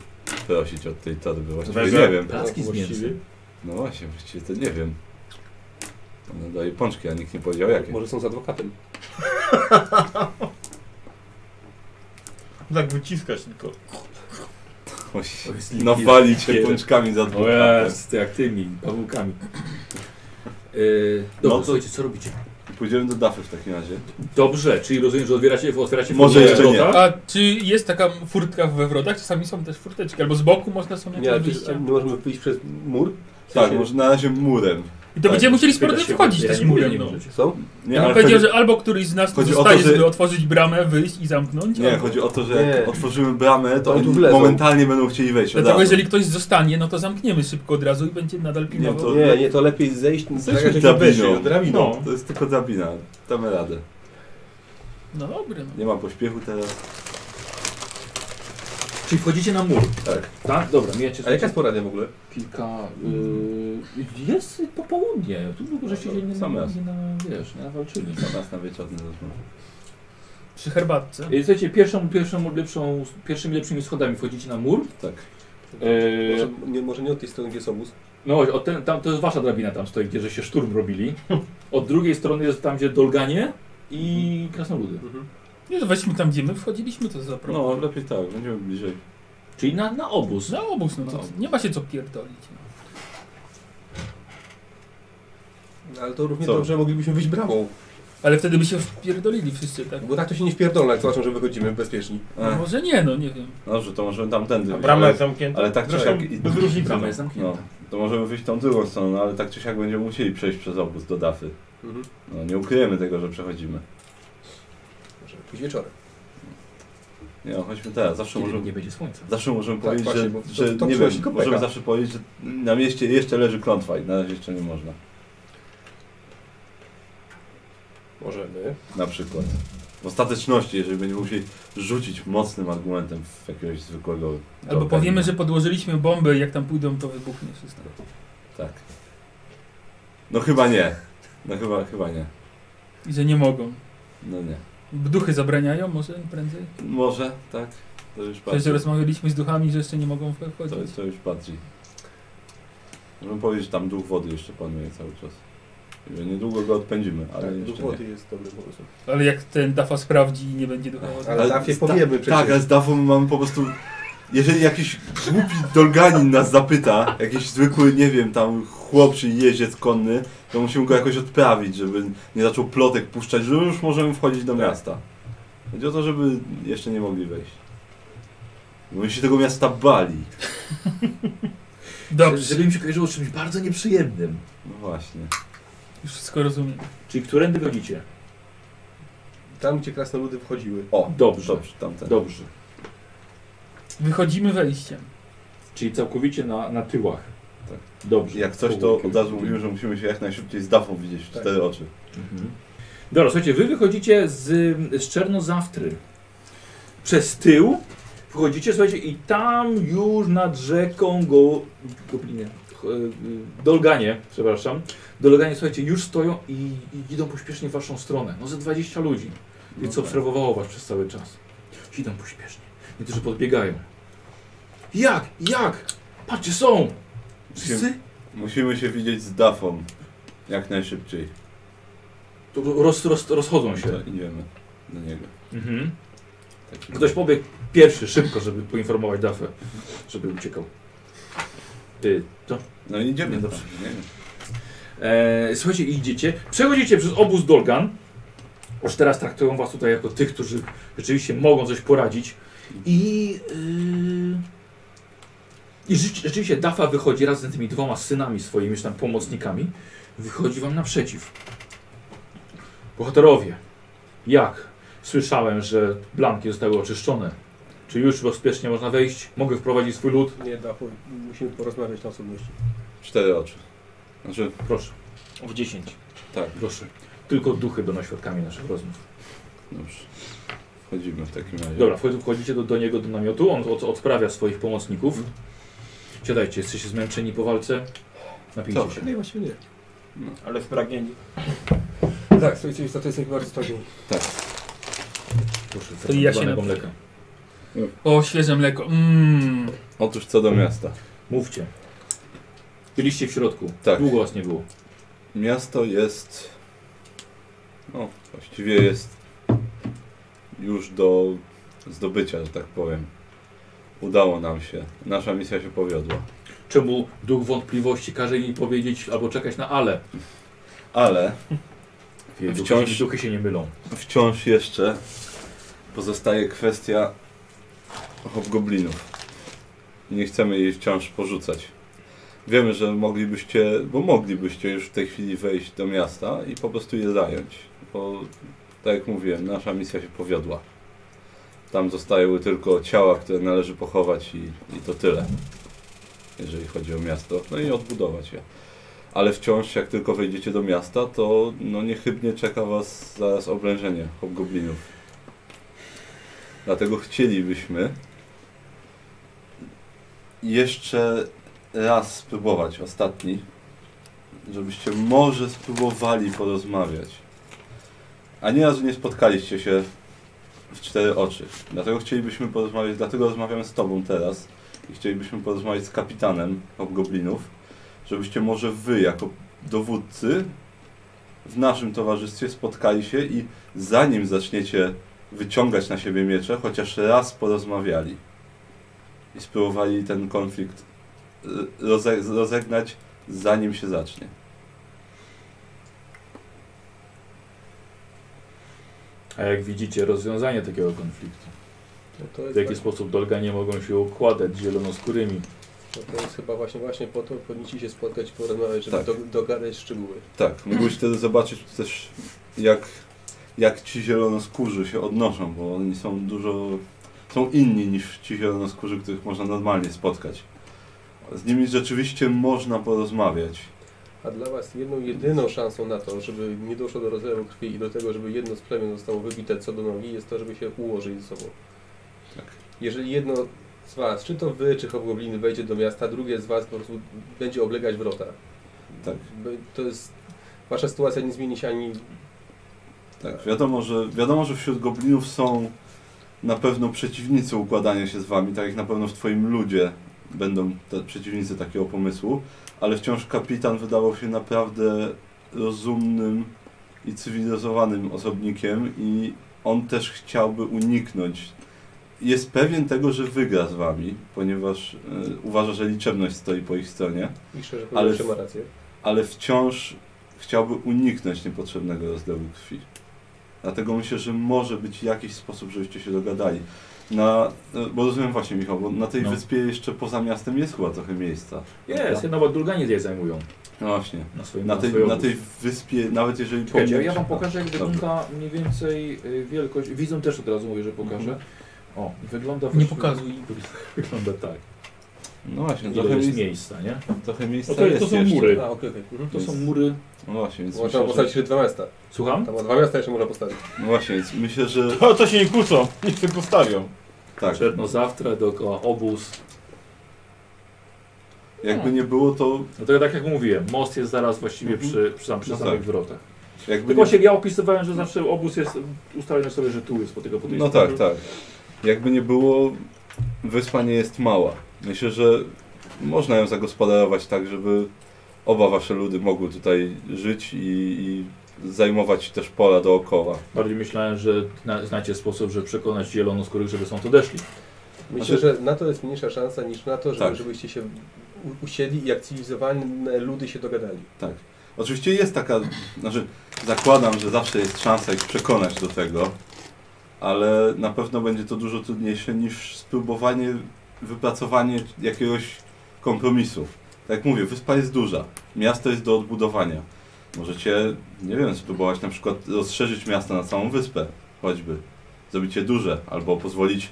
prosić od tej torby. Właściwie
Wege.
nie wiem.
Placki z
Tak, Właściwie.
mięsem.
No właśnie, właściwie to nie wiem. Ona daje pączki, a nikt nie powiedział jakie.
Może są z adwokatem.
Tak wyciskać tylko.
Oś-
To jest
No
lipiec.
wali cię No pączkami za
O
dwóch.
jest, jak tymi pawłkami. Yy, dobrze,
No.
słuchajcie, co robicie?
Pójdziemy do Dafy w takim razie.
Dobrze, czyli rozumiem, że otwieracie, otwieracie
Może
furtkę
jeszcze nie.
wrota?
A czy jest taka furtka we wrotach? Czasami są też furteczki, albo z boku można są
Nie,
jakieś
ale przecież
wyjścia.
nie możemy wyjść przez mur? W sensie-
Tak, może na razie murem.
I to
tak,
będziemy musieli
Pyta
sporo
się
wchodzić
właśnie,
też
ja nie mówię,
murem.
nie
No.
możecie.
Są?
Nie,
Ja bym
tak. ale
powiedział,
chodzi-
że albo któryś z nas tu
chodzi o
zostaje,
to, że-
żeby otworzyć bramę, wyjść i zamknąć.
Nie,
albo...
chodzi o to, że jak
Nie.
otworzymy bramę, to
Oni tu
oni
wlezą.
momentalnie będą chcieli wejść. od
Dlatego
razu.
jeżeli ktoś zostanie, no to zamkniemy szybko od razu i będzie nadal pilnował.
to-
Nie, nie, to lepiej zejść.
Jesteśmy
zagrać jakieś
drabiną.
wejście, drabiną.
No, to jest tylko drabina. Damy radę.
No dobry. No.
Nie ma pośpiechu teraz.
Czyli wchodzicie na mur,
Tak.
tak? Dobra, mijacie
A jaka jest poradnia w ogóle?
kilka... Yy, jest popołudnie, tu długo żeście się nie,
Sam raz.
nie, na, wiesz, nie nawalczyli.
Na nas na wieczorny rozmów.
Przy herbatce.
Yy, Słuchajcie, pierwszą, pierwszą lepszą, pierwszymi lepszymi schodami wchodzicie na mur.
Tak.
Yy,
Może E, nie, może nie od tej strony, gdzie są wóz?
no właśnie, od ten, tam, to jest wasza drabina tam stoi, gdzie żeście szturm robili. Od drugiej strony jest tam, gdzie Dolganie i Krasnoludy.
Mhm.
Nie, to weźmy tam, gdzie my wchodziliśmy, to za problem.
No, lepiej tak, będziemy bliżej.
Czyli na, na obóz.
Na obóz, no, to
No.
nie ma się co pierdolić. No.
Ale to równie
Co?
dobrze moglibyśmy wyjść bramą.
Ale wtedy by się wpierdolili wszyscy, tak?
Bo tak to się nie wpierdolą, jak zobaczą, że wychodzimy bezpieczni.
No,
E,
może nie, no nie wiem.
dobrze, to możemy tamtędy
A
wyjść.
brama
Ale,
jest zamknięta.
ale tak czy
Zresztą
siak i-
Bez różnicy.
Brama jest
no,
zamknięta.
to możemy wyjść tą drugą stroną, ale tak czy siak będziemy musieli przejść przez obóz do Dafy.
Mhm.
No, nie ukryjemy tego, że przechodzimy.
Możemy pójść wieczorem.
Nie, no, chodźmy teraz. Zawsze
Kiedy
możemy,
nie będzie słońca.
zawsze możemy
Tak,
powiedzieć,
właśnie,
że,
bo to-
że
to
nie
przynosi
wiem,
kopeka.
możemy zawsze powiedzieć, że na mieście jeszcze leży klątwa i na razie jeszcze nie można.
Możemy.
Na przykład. W ostateczności, jeżeli będziemy musieli rzucić mocnym argumentem w jakiegoś zwykłego.
Albo
organizmu.
powiemy, że podłożyliśmy bombę i jak tam pójdą, to wybuchnie wszystko.
Tak. No chyba nie. No chyba, chyba nie.
I że nie mogą.
No nie.
Duchy zabraniają może prędzej?
Może, tak? To już
Przecież
bardziej.
rozmawialiśmy z duchami, że jeszcze nie mogą wchodzić.
To, to już bardziej. Możemy powiedzieć, że tam duch wody jeszcze panuje cały czas. I że niedługo go odpędzimy, ale
tak,
jeszcze
duch
nie.
wody jest dobry pomysł.
Ale jak ten Dafa sprawdzi i nie będzie ducha
Ale Dafie powiemy przecież.
Tak, ale z Dafą mamy po prostu... Jeżeli jakiś głupi dolganin nas zapyta, jakiś zwykły, nie wiem, tam chłop czy jeździec konny, to musimy go jakoś odprawić, żeby nie zaczął plotek puszczać, że już możemy wchodzić
Tak.
do miasta. Chodzi o to, żeby jeszcze nie mogli wejść. Bo oni się tego miasta bali.
Dobrze,
Żeby im się kojarzyło z czymś bardzo nieprzyjemnym.
No właśnie.
już wszystko rozumiem.
Czyli którędy chodzicie?
Tam, gdzie krasnoludy wchodziły.
O,
Dobrze.
dobrze, tamten.
Dobrze.
Wychodzimy wejściem.
Czyli całkowicie na, na tyłach.
Tak.
Dobrze.
Jak coś, to od razu mówimy, że musimy się jak najszybciej z Dafą widzieć w
Tak.
cztery oczy.
Mhm. Dobra, słuchajcie, wy wychodzicie z, z Czernozawtry. Przez tył wchodzicie, słuchajcie, i tam już nad rzeką go... Goblinie. Ch- y, Dolganie, przepraszam. Dolganie, słuchajcie, już stoją i, i idą pośpiesznie w waszą stronę. No ze 20 ludzi.
No
I
tak.
co obserwowało was przez cały czas. Idą pośpiesznie. Niektórzy podbiegają. Jak? Jak? Patrzcie, są! Wszyscy?
Musimy się widzieć z Dafą. Jak najszybciej.
To Roz, roz, rozchodzą się.
To Idziemy do niego.
Mhm.
Taki
Ktoś pobiegł pierwszy, szybko, żeby poinformować Dafę, żeby uciekał. Ty, to.
No idziemy,
Dobrze.
dobrze. Nie wiem.
E, słuchajcie, idziecie, przechodzicie przez obóz Dolgan. Już teraz traktują was tutaj jako tych, którzy rzeczywiście mogą coś poradzić. I, yy, i rzeczy- rzeczywiście Dafa wychodzi razem z tymi dwoma synami swoimi, czy tam pomocnikami. Wychodzi wam naprzeciw. Bohaterowie, jak słyszałem, że blanki zostały oczyszczone, czy już bezpiecznie można wejść? Mogę wprowadzić swój lud?
Nie da, po- musimy porozmawiać na osobności.
Cztery oczy. Znaczy,
Proszę,
W 10.
tak,
proszę. Tylko duchy będą świadkami naszych rozmów.
dobrze. Wchodzimy w takim razie.
Dobra, wchodzi- wchodzicie do, do niego, do namiotu, on od, odprawia swoich pomocników. Siadajcie, jesteście zmęczeni po walce? Napijcie
Tak.
się.
Nie, właściwie nie.
Ale spragnieni.
Tak, słuchajcie, już to jest chyba stopniu.
Proszę,
To i ja się
zaczerpnionego
napiję.
mleka.
O, świeże mleko. Mmm.
Otóż co do miasta.
Mówcie. Byliście w środku.
Tak.
Długo was nie było.
Miasto jest. No, właściwie jest już do zdobycia, że tak powiem. Udało nam się. Nasza misja się powiodła.
Czemu duch wątpliwości każe jej powiedzieć albo czekać na ale?
Ale Wciąż-
Wciąż duchy się nie mylą.
wciąż jeszcze pozostaje kwestia hobgoblinów. Nie chcemy jej wciąż porzucać. Wiemy, że moglibyście, bo moglibyście już w tej chwili wejść do miasta i po prostu je zająć. Bo tak jak mówiłem, nasza misja się powiodła. Tam zostały tylko ciała, które należy pochować i, i to tyle. Jeżeli chodzi o miasto, no i odbudować je. Ale wciąż, jak tylko wejdziecie do miasta, to no niechybnie czeka Was zaraz oblężenie hobgoblinów. Dlatego chcielibyśmy jeszcze raz spróbować, ostatni, żebyście może spróbowali porozmawiać. A nieraz nie spotkaliście się w cztery oczy. Dlatego chcielibyśmy porozmawiać, dlatego rozmawiamy z Tobą teraz i chcielibyśmy porozmawiać z kapitanem hobgoblinów żebyście może wy jako dowódcy w naszym towarzystwie spotkali się i zanim zaczniecie wyciągać na siebie miecze, chociaż raz porozmawiali i spróbowali ten konflikt y, roze- rozegnać, zanim się zacznie.
A jak widzicie, rozwiązanie takiego konfliktu.
No to
W
jest,
jaki sposób Dolganie mogą się układać zielonoskórymi.
no to jest chyba właśnie, właśnie po to powinniście się spotkać i porozmawiać, żeby
Tak.
do, dogadać szczegóły.
Tak, mógłbyś wtedy zobaczyć też, jak, jak ci zielonoskórzy się odnoszą, bo oni są dużo. są inni niż ci zielonoskórzy, których można normalnie spotkać. Z nimi rzeczywiście można porozmawiać.
A dla Was jedną, jedyną szansą na to, żeby nie doszło do rozlewu krwi i do tego, żeby jedno z plemion zostało wybite co do nogi, jest to, żeby się ułożyć ze sobą.
Tak.
Jeżeli jedno z Was, czy to Wy, czy Hobgobliny wejdzie do miasta, drugie z Was po prostu będzie oblegać wrota.
Tak.
By- To jest... Wasza sytuacja nie zmieni się ani...
Tak, wiadomo, że wiadomo, że wśród goblinów są na pewno przeciwnicy układania się z wami, tak jak na pewno w twoim ludzie będą te przeciwnicy takiego pomysłu, ale wciąż kapitan wydawał się naprawdę rozumnym i cywilizowanym osobnikiem i on też chciałby uniknąć. Jest pewien tego, że wygra z wami, ponieważ y, uważa, że liczebność stoi po ich stronie,
I szczerze
Ale
mówiąc, że ma rację.
ale wciąż chciałby uniknąć niepotrzebnego rozlewu krwi. Dlatego myślę, że może być jakiś sposób, żebyście się dogadali. Na, e, bo rozumiem właśnie, Michał, bo na tej
No.
wyspie jeszcze poza miastem jest chyba trochę miejsca.
Jest, nawet Dolganie je zajmują.
No właśnie.
Na, swoim,
Na tej,
swojej
na
obóz.
tej wyspie, nawet jeżeli...
Czekajcie,
pomnieć-
ja wam pokażę jak
Dobra.
wygląda mniej więej y, wielkość. Widzą też od razu mówię, że pokażę.
Mhm.
O, wygląda
Nie
właściwie-
pokazuj.
Wygląda tak.
No właśnie,
Ile
trochę,
jest
miejsc,
miejsca, nie?
trochę miejsca
No to- to
jest
są
jeszcze.
mury.
A, okej, okej. Mhm.
To są
Jest.
mury.
No właśnie, więc
Można
myślę,
postawić
że,
jeszcze dwa miasta.
Słucham?
Tam o dwa miasta jeszcze można postawić.
no właśnie, więc myślę, że...
To, to się nie kłócą, niech się postawią.
Tak,
Czerno zawtra dookoła obóz.
jakby nie było to...
No to ja tak jak mówiłem, most jest zaraz właściwie przy, przy, sam, przy
No
samych
tak.
wrotach.
Jakby
Tylko
nie...
właśnie ja opisywałem, że zawsze obóz jest ustawiony sobie, że tu jest po tego po tej
No
stronie.
tak, tak. Jakby nie było, wyspa nie jest mała. Myślę, że można ją zagospodarować tak, żeby oba wasze ludy mogły tutaj żyć i, i zajmować też pola dookoła.
Bardziej myślałem, że na, znacie sposób, żeby przekonać zielonoskórych, żeby są to deszli.
Myślę, że na to jest mniejsza szansa niż na to, żeby,
Tak.
żebyście się u- usiedli i jak cywilizowane ludy się dogadali.
Tak. Oczywiście jest taka, znaczy zakładam, że zawsze jest szansa ich przekonać do tego, ale na pewno będzie to dużo trudniejsze niż spróbowanie, wypracowanie jakiegoś kompromisu. Tak jak mówię, wyspa jest duża, miasto jest do odbudowania. Możecie, nie wiem, spróbować na przykład rozszerzyć miasto na całą wyspę, choćby. Zrobić je duże, albo pozwolić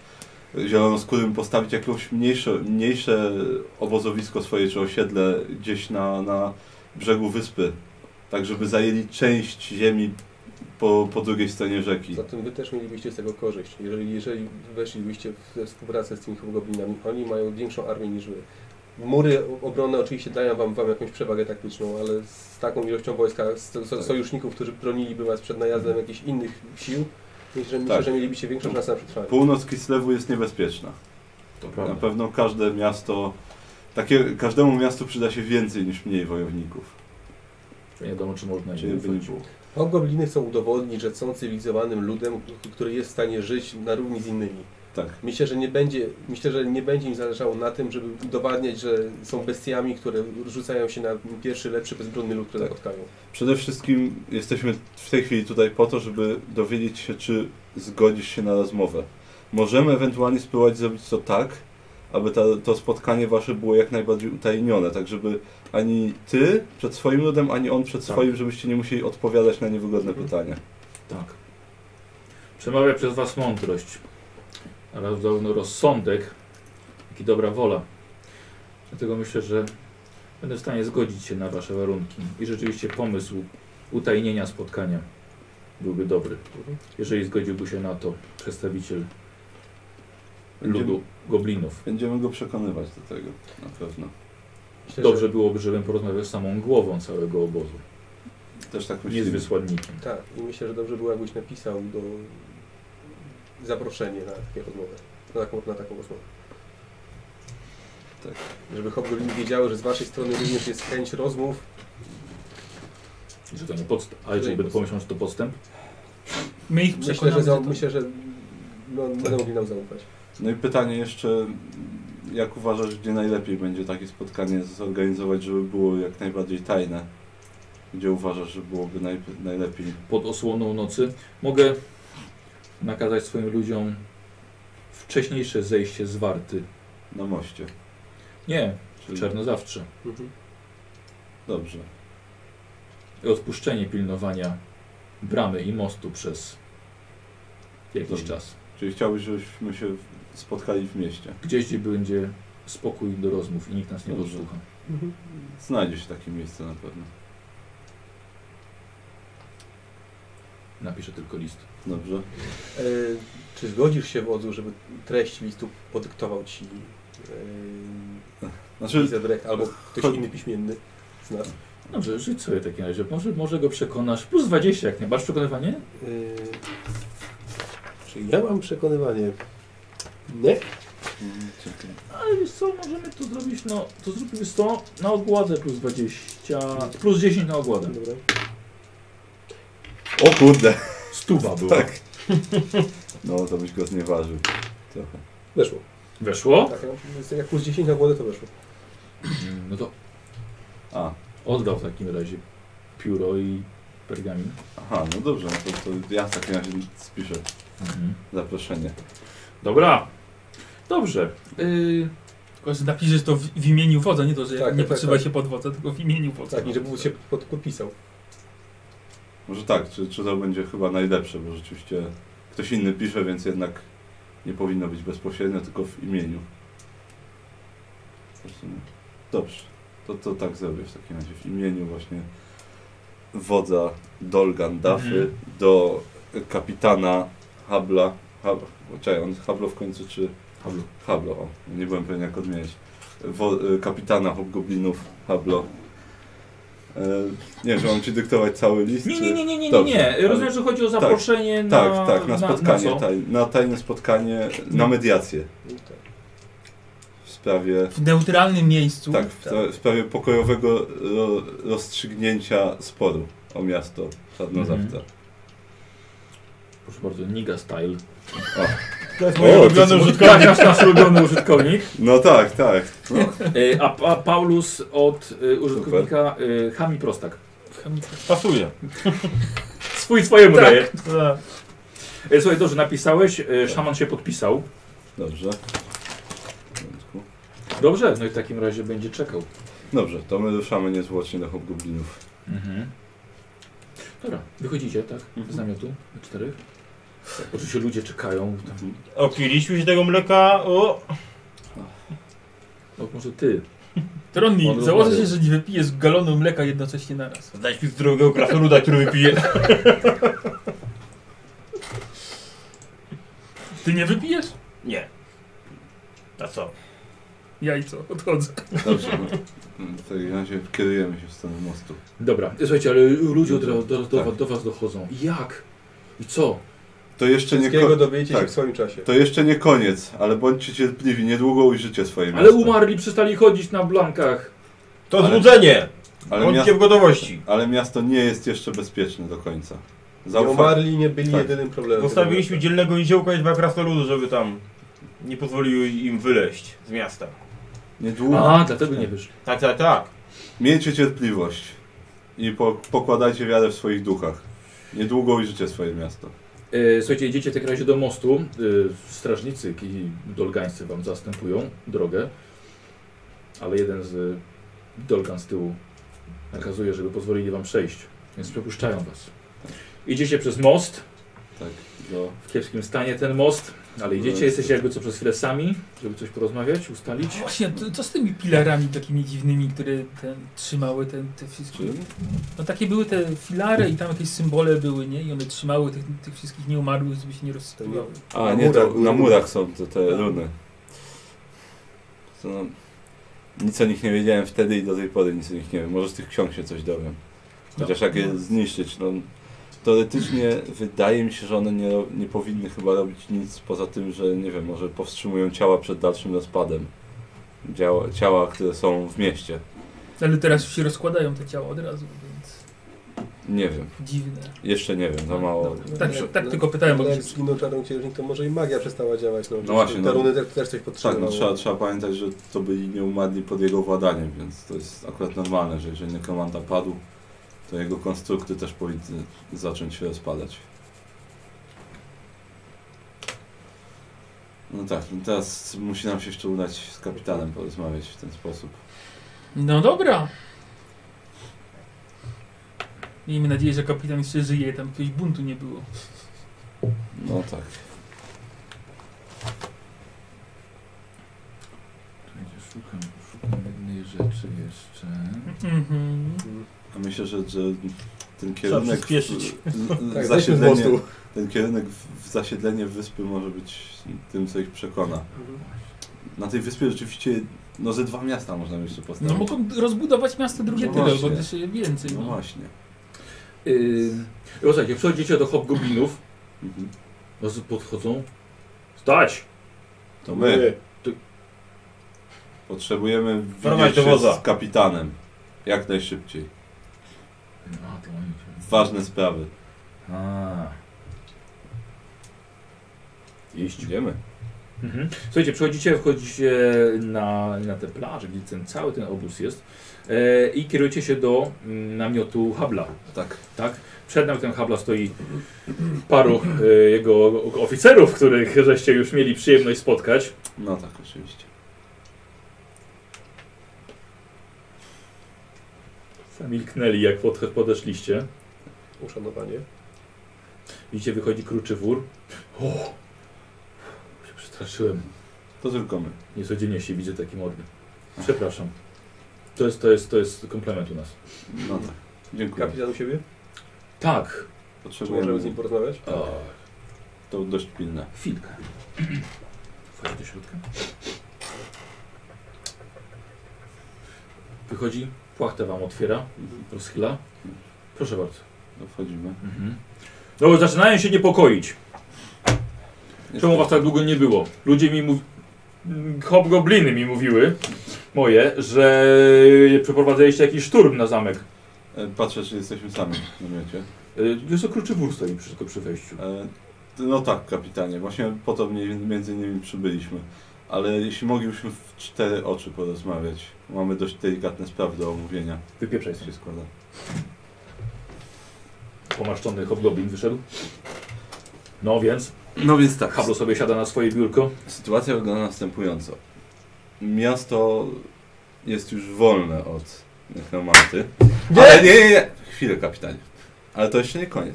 zielonoskórym postawić jakieś mniejsze, mniejsze obozowisko swoje czy osiedle gdzieś na, na brzegu wyspy, tak żeby zajęli część ziemi po, po drugiej stronie rzeki.
Zatem wy też mielibyście z tego korzyść. Jeżeli, jeżeli weszlibyście w współpracę z tymi hobgoblinami, oni mają większą armię niż wy. Mury obronne oczywiście dają wam, wam jakąś przewagę taktyczną, ale z taką ilością wojska, z, z,
Tak. Mhm.
sojuszników, którzy broniliby was przed najazdem jakichś innych sił, myślę, że-
Tak.
myślę, że mielibyście większą szansę na przetrwanie.
Północ Kislewu jest niebezpieczna.
To
Na pewno każde miasto, takie, każdemu miastu przyda się więcej niż mniej wojowników.
Nie wiadomo, czy można
Czyli
je
by nie
wyrzucić.
było.
Hobgobliny chcą udowodnić, że są cywilizowanym ludem, który jest w stanie żyć na równi z innymi.
Tak.
Myślę, że nie będzie, myślę, że nie będzie im zależało na tym, żeby udowadniać, że są bestiami, które rzucają się na pierwszy, lepszy, bezbronny lud, który
Tak.
spotkają.
Przede wszystkim jesteśmy w tej chwili tutaj po to, żeby dowiedzieć się, czy zgodzisz się na rozmowę. Możemy ewentualnie spróbować zrobić to tak, aby ta, to spotkanie wasze było jak najbardziej utajnione, tak żeby ani ty przed swoim ludem, ani on przed
Tak. Mhm.
swoim, żebyście nie musieli odpowiadać na niewygodne pytania.
Tak. Przemawia przez was mądrość, ale zarówno rozsądek, jak i dobra wola. Dlatego myślę, że będę w stanie zgodzić się na wasze warunki. I rzeczywiście pomysł utajnienia spotkania byłby dobry. Jeżeli zgodziłby się na to przedstawiciel ludu goblinów.
Będziemy go przekonywać do tego, na pewno.
Myślę,
Dobrze
Że,
byłoby, żebym porozmawiał z samą głową całego obozu,
Też tak
nie z
myślimy.
wysłannikiem.
tak, i myślę, że dobrze było, jakbyś napisał do zaproszenie na takie rozmowę, na taką, na taką rozmowę.
Tak.
Żeby hobgobliny wiedziały, że z waszej strony również jest chęć rozmów.
I Że to nie podstęp. A jeżeli będę pomyślał, że to podstęp?
My ich
Myślę,
przekonamy,
że,
że
za,
to-
myślę, że no, będą mogli nam zaufać.
No i pytanie jeszcze, jak uważasz, gdzie najlepiej będzie takie spotkanie zorganizować, żeby było jak najbardziej tajne? Gdzie uważasz, że byłoby naj, najlepiej?
pod osłoną nocy. Mogę nakazać swoim ludziom wcześniejsze zejście z warty.
Na moście.
Nie,
Czyli
czerno zawsze.
Dobrze.
I odpuszczenie pilnowania bramy i mostu przez jakiś
Dobrze.
czas.
Czyli chciałbyś, żebyśmy się spotkali w mieście.
Gdzieś, gdzie będzie spokój do rozmów i nikt nas nie
Dobrze.
podsłucha.
Znajdzie się takie miejsce na pewno.
Napiszę tylko list.
Dobrze.
E, czy zgodzisz się, wodzu, żeby treść listu podyktował ci e,
Znaczy,
Izebrecht albo ktoś
chodź-
inny piśmienny z nas?
Dobrze, żyć sobie w takim razie. Może, może go przekonasz. Plus 20 jak najbardziej. Przekonywanie?
Yy, czy ja mam przekonywanie? Nie.
mm, czekaj.
Ale wiesz co, możemy to zrobić, no to zrobimy 100 na ogładę plus 20, plus 10 na ogładę.
Dobra.
o kurde!
Stuwa była.
Tak. No, to byś go znieważył. Trochę.
Weszło.
Weszło?
Tak, no, jak plus 10 na głodę to weszło.
Mm, No to
A,
oddał w takim razie pióro i pergamin.
aha, no dobrze, no to, to ja w takim razie spiszę Mhm. zaproszenie.
Dobra. Dobrze. Yy,
Tylko, że napiszesz to w, w imieniu wodza, nie to, że
Tak,
nie
tak,
potrzeba
tak.
się pod wodza, tylko w imieniu wodza.
Tak, i żeby się pod, podpisał.
Może tak, czy, czy to będzie chyba najlepsze, bo rzeczywiście ktoś inny pisze, więc jednak nie powinno być bezpośrednio, tylko w imieniu. W sumie. Dobrze, to, to tak zrobię w takim razie. W imieniu właśnie wodza Dolgan Duffy
Mhm.
do kapitana Habla. Hab, czekaj, on jest Hablo w końcu czy...
Hablo.
Hablo, o, nie byłem pewien jak odmienić. Wo, y, kapitana Hobgoblinów Hablo. E, nie, że mam ci dyktować cały list?
nie,
czy-
nie, nie, nie, nie, nie,
Dobrze,
nie.
ale-
Rozumiem, że chodzi o zaproszenie No, na...
tak, tak, na spotkanie,
na co?
taj, na tajne spotkanie, na mediację
No tak.
w sprawie,
W neutralnym miejscu.
tak, w, w sprawie pokojowego ro, rozstrzygnięcia sporu o miasto Czarnozawca.
Proszę bardzo, Niga Style.
To jest
O,
moje
to
ulubione
co-
użytkowanie.
Koniasz nasz ulubiony użytkownik.
No tak, tak. No.
Yy, a, a Paulus od y, użytkownika y, Hami Prostak.
Pasuje.
Swój swojemu
Tak.
daje.
Tak.
E, Słuchaj, dobrze, napisałeś, e,
Tak.
szaman się podpisał.
Dobrze. W porządku.
Dobrze, no i w takim razie będzie czekał.
Dobrze, to my ruszamy niezwłocznie do hobgoblinów.
Mhm. Dobra, wychodzicie, tak? Z namiotu, na czterech. Tak, Mhm. Oczywiście ludzie czekają. Tam,
Opiliśmy się tego mleka. O!
no może ty.
Tronni,
On
założę się,
rozmawia.
że nie wypijesz galonu mleka jednocześnie naraz.
Znajdź mi zdrowego krasnoluda, który wypije.
Ty nie wypijesz?
Nie. A co?
Jajco, odchodzę.
Dobrze, no. W takim razie kierujemy się w stronę mostu.
Dobra, e, słuchajcie, ale ludzie do, do, do, do was dochodzą. Jak? I co?
To jeszcze nie
Wszystkiego
koniec.
dowiecie
tak.
się w swoim czasie.
To jeszcze nie koniec, ale bądźcie cierpliwi, niedługo ujrzycie swoje miasto.
Ale umarli, przestali chodzić na blankach.
To
Ale-
złudzenie!
Ale,
Ale
miasto,
w gotowości.
ale miasto nie jest jeszcze bezpieczne do końca.
Nie
Zaufa...
umarli, nie byli
Tak.
jedynym problemem.
Postawiliśmy dzielnego niziołka i dwa krasnoludy, żeby tam nie pozwoliły im wyleść z miasta.
Niedługo.
A, dlatego nie wyszli.
Tak, tak, tak.
Miejcie cierpliwość i po, pokładajcie wiarę w swoich duchach. Niedługo ujrzycie swoje miasto.
E, Słuchajcie, idziecie w takim razie do mostu. E, Strażnicy i dolgańscy wam zastępują drogę. Ale jeden z e, dolgan z tyłu nakazuje, żeby pozwolili wam przejść. Więc przepuszczają was. Idziecie przez most.
Tak, do...
W kiepskim stanie ten most. Ale idziecie, jesteście jakby co przez chwilę sami, żeby coś porozmawiać, ustalić.
No Właśnie, to, co z tymi filarami takimi dziwnymi, które ten, trzymały ten, te wszystkie...
Czym?
No takie były te filary i tam jakieś symbole były, nie? I one trzymały tych, tych wszystkich nieumarłych, żeby się nie rozsypywały.
A,
Na
nie, to
murach.
na murach Tak. są te, te runy. To, no, nic o nich nie wiedziałem wtedy i do tej pory nic o nich nie wiem. Może z tych ksiąg się coś dowiem.
No.
Chociaż jak je zniszczyć, no... Teoretycznie wydaje mi się, że one nie, ro- nie powinny chyba robić nic poza tym, że nie wiem, może powstrzymują ciała przed dalszym rozpadem. Ciała, ciała które są w mieście.
Ale teraz już się rozkładają te ciała od razu, więc
Nie wiem.
dziwne.
Jeszcze nie wiem, za mało.
Dobra, Tak, tak tylko pytałem, bo
Bo no, jak zginął czarnoksiężnik, to może i magia przestała działać. No,
No właśnie,
Te
no.
runy też, też coś
Tak,
potrzebowały.
no trzeba, trzeba pamiętać, że to byli nieumarli pod jego władaniem, więc to jest akurat normalne, że jeżeli nekromanta padł, to jego konstrukty też powinny zacząć się rozpadać. No tak, no teraz musi nam się jeszcze udać z kapitanem porozmawiać w ten sposób.
No dobra. Miejmy nadzieję, że kapitan jeszcze żyje, tam jakiegoś buntu nie było.
No tak.
Szukam, szukam jednej rzeczy jeszcze.
Mhm.
A myślę, że, że ten
Trzeba
kierunek.
przyspieszyć.
w-
Tak, zejdźmy z
zasiedlenie,
mostu.
ten kierunek w, w zasiedlenie wyspy może być tym, co ich przekona. Na tej wyspie rzeczywiście, no ze dwa miasta można by jeszcze postawić.
No mogą rozbudować miasto drugie
No
tyle,
właśnie.
bo też więcej.
No
No.
właśnie.
Yy, słuchajcie, przechodzicie do hobgoblinów.
Mhm.
No, podchodzą. Stać!
To my potrzebujemy
Porwać
widzieć
do
się
woza.
z kapitanem. Jak najszybciej.
No, to oni się...
Ważne sprawy.
A. Iść.
Idziemy.
Mhm. Słuchajcie, przychodzicie, wchodzicie na, na tę plażę, gdzie ten cały ten obóz jest e, i kierujecie się do mm, namiotu Habla,
Tak.
tak? Przed namiotem Habla stoi paru e, jego oficerów, których żeście już mieli przyjemność spotkać.
No tak, oczywiście.
Zamilknęli, jak pod, podeszliście.
Uszanowanie.
Widzicie, wychodzi kruczy wór. O! Się przestraszyłem.
To tylko my.
Niecodziennie się widzę takim orgiem. Przepraszam. To jest, to jest, to jest komplement u nas.
No tak. Dziękuję.
Kapitan u siebie?
Tak.
Czy możemy z
Potrzebujemy.
nim porozmawiać?
O,
To dość pilne.
chwilkę. Wchodzi do środka. Wychodzi, płachtę wam otwiera, rozchyla. Proszę bardzo.
To wchodzimy.
No bo zaczynają się niepokoić. Czemu was tak długo nie było? Ludzie mi mów... mm, Hobgobliny mi mówiły, moje, że przeprowadzaliście jakiś szturm na zamek.
E, Patrzę, czy jesteśmy sami w namiocie.
Y, Jest to kruczy wór stoi przy, tylko przy wejściu.
E, No tak, kapitanie. Właśnie po to mniej- między innymi przybyliśmy. Ale jeśli moglibyśmy w cztery oczy porozmawiać. Mamy dość delikatne sprawy do omówienia.
Wypieprzaj
Jak
sobie.
się składa.
pomaszczony hobgoblin wyszedł. No więc,
No więc tak.
Hablo sobie siada na swoje biurko.
Sytuacja wygląda następująco. Miasto jest już wolne od nekromanty. Ale nie, nie, nie. Chwilę, kapitanie. Ale to jeszcze nie koniec.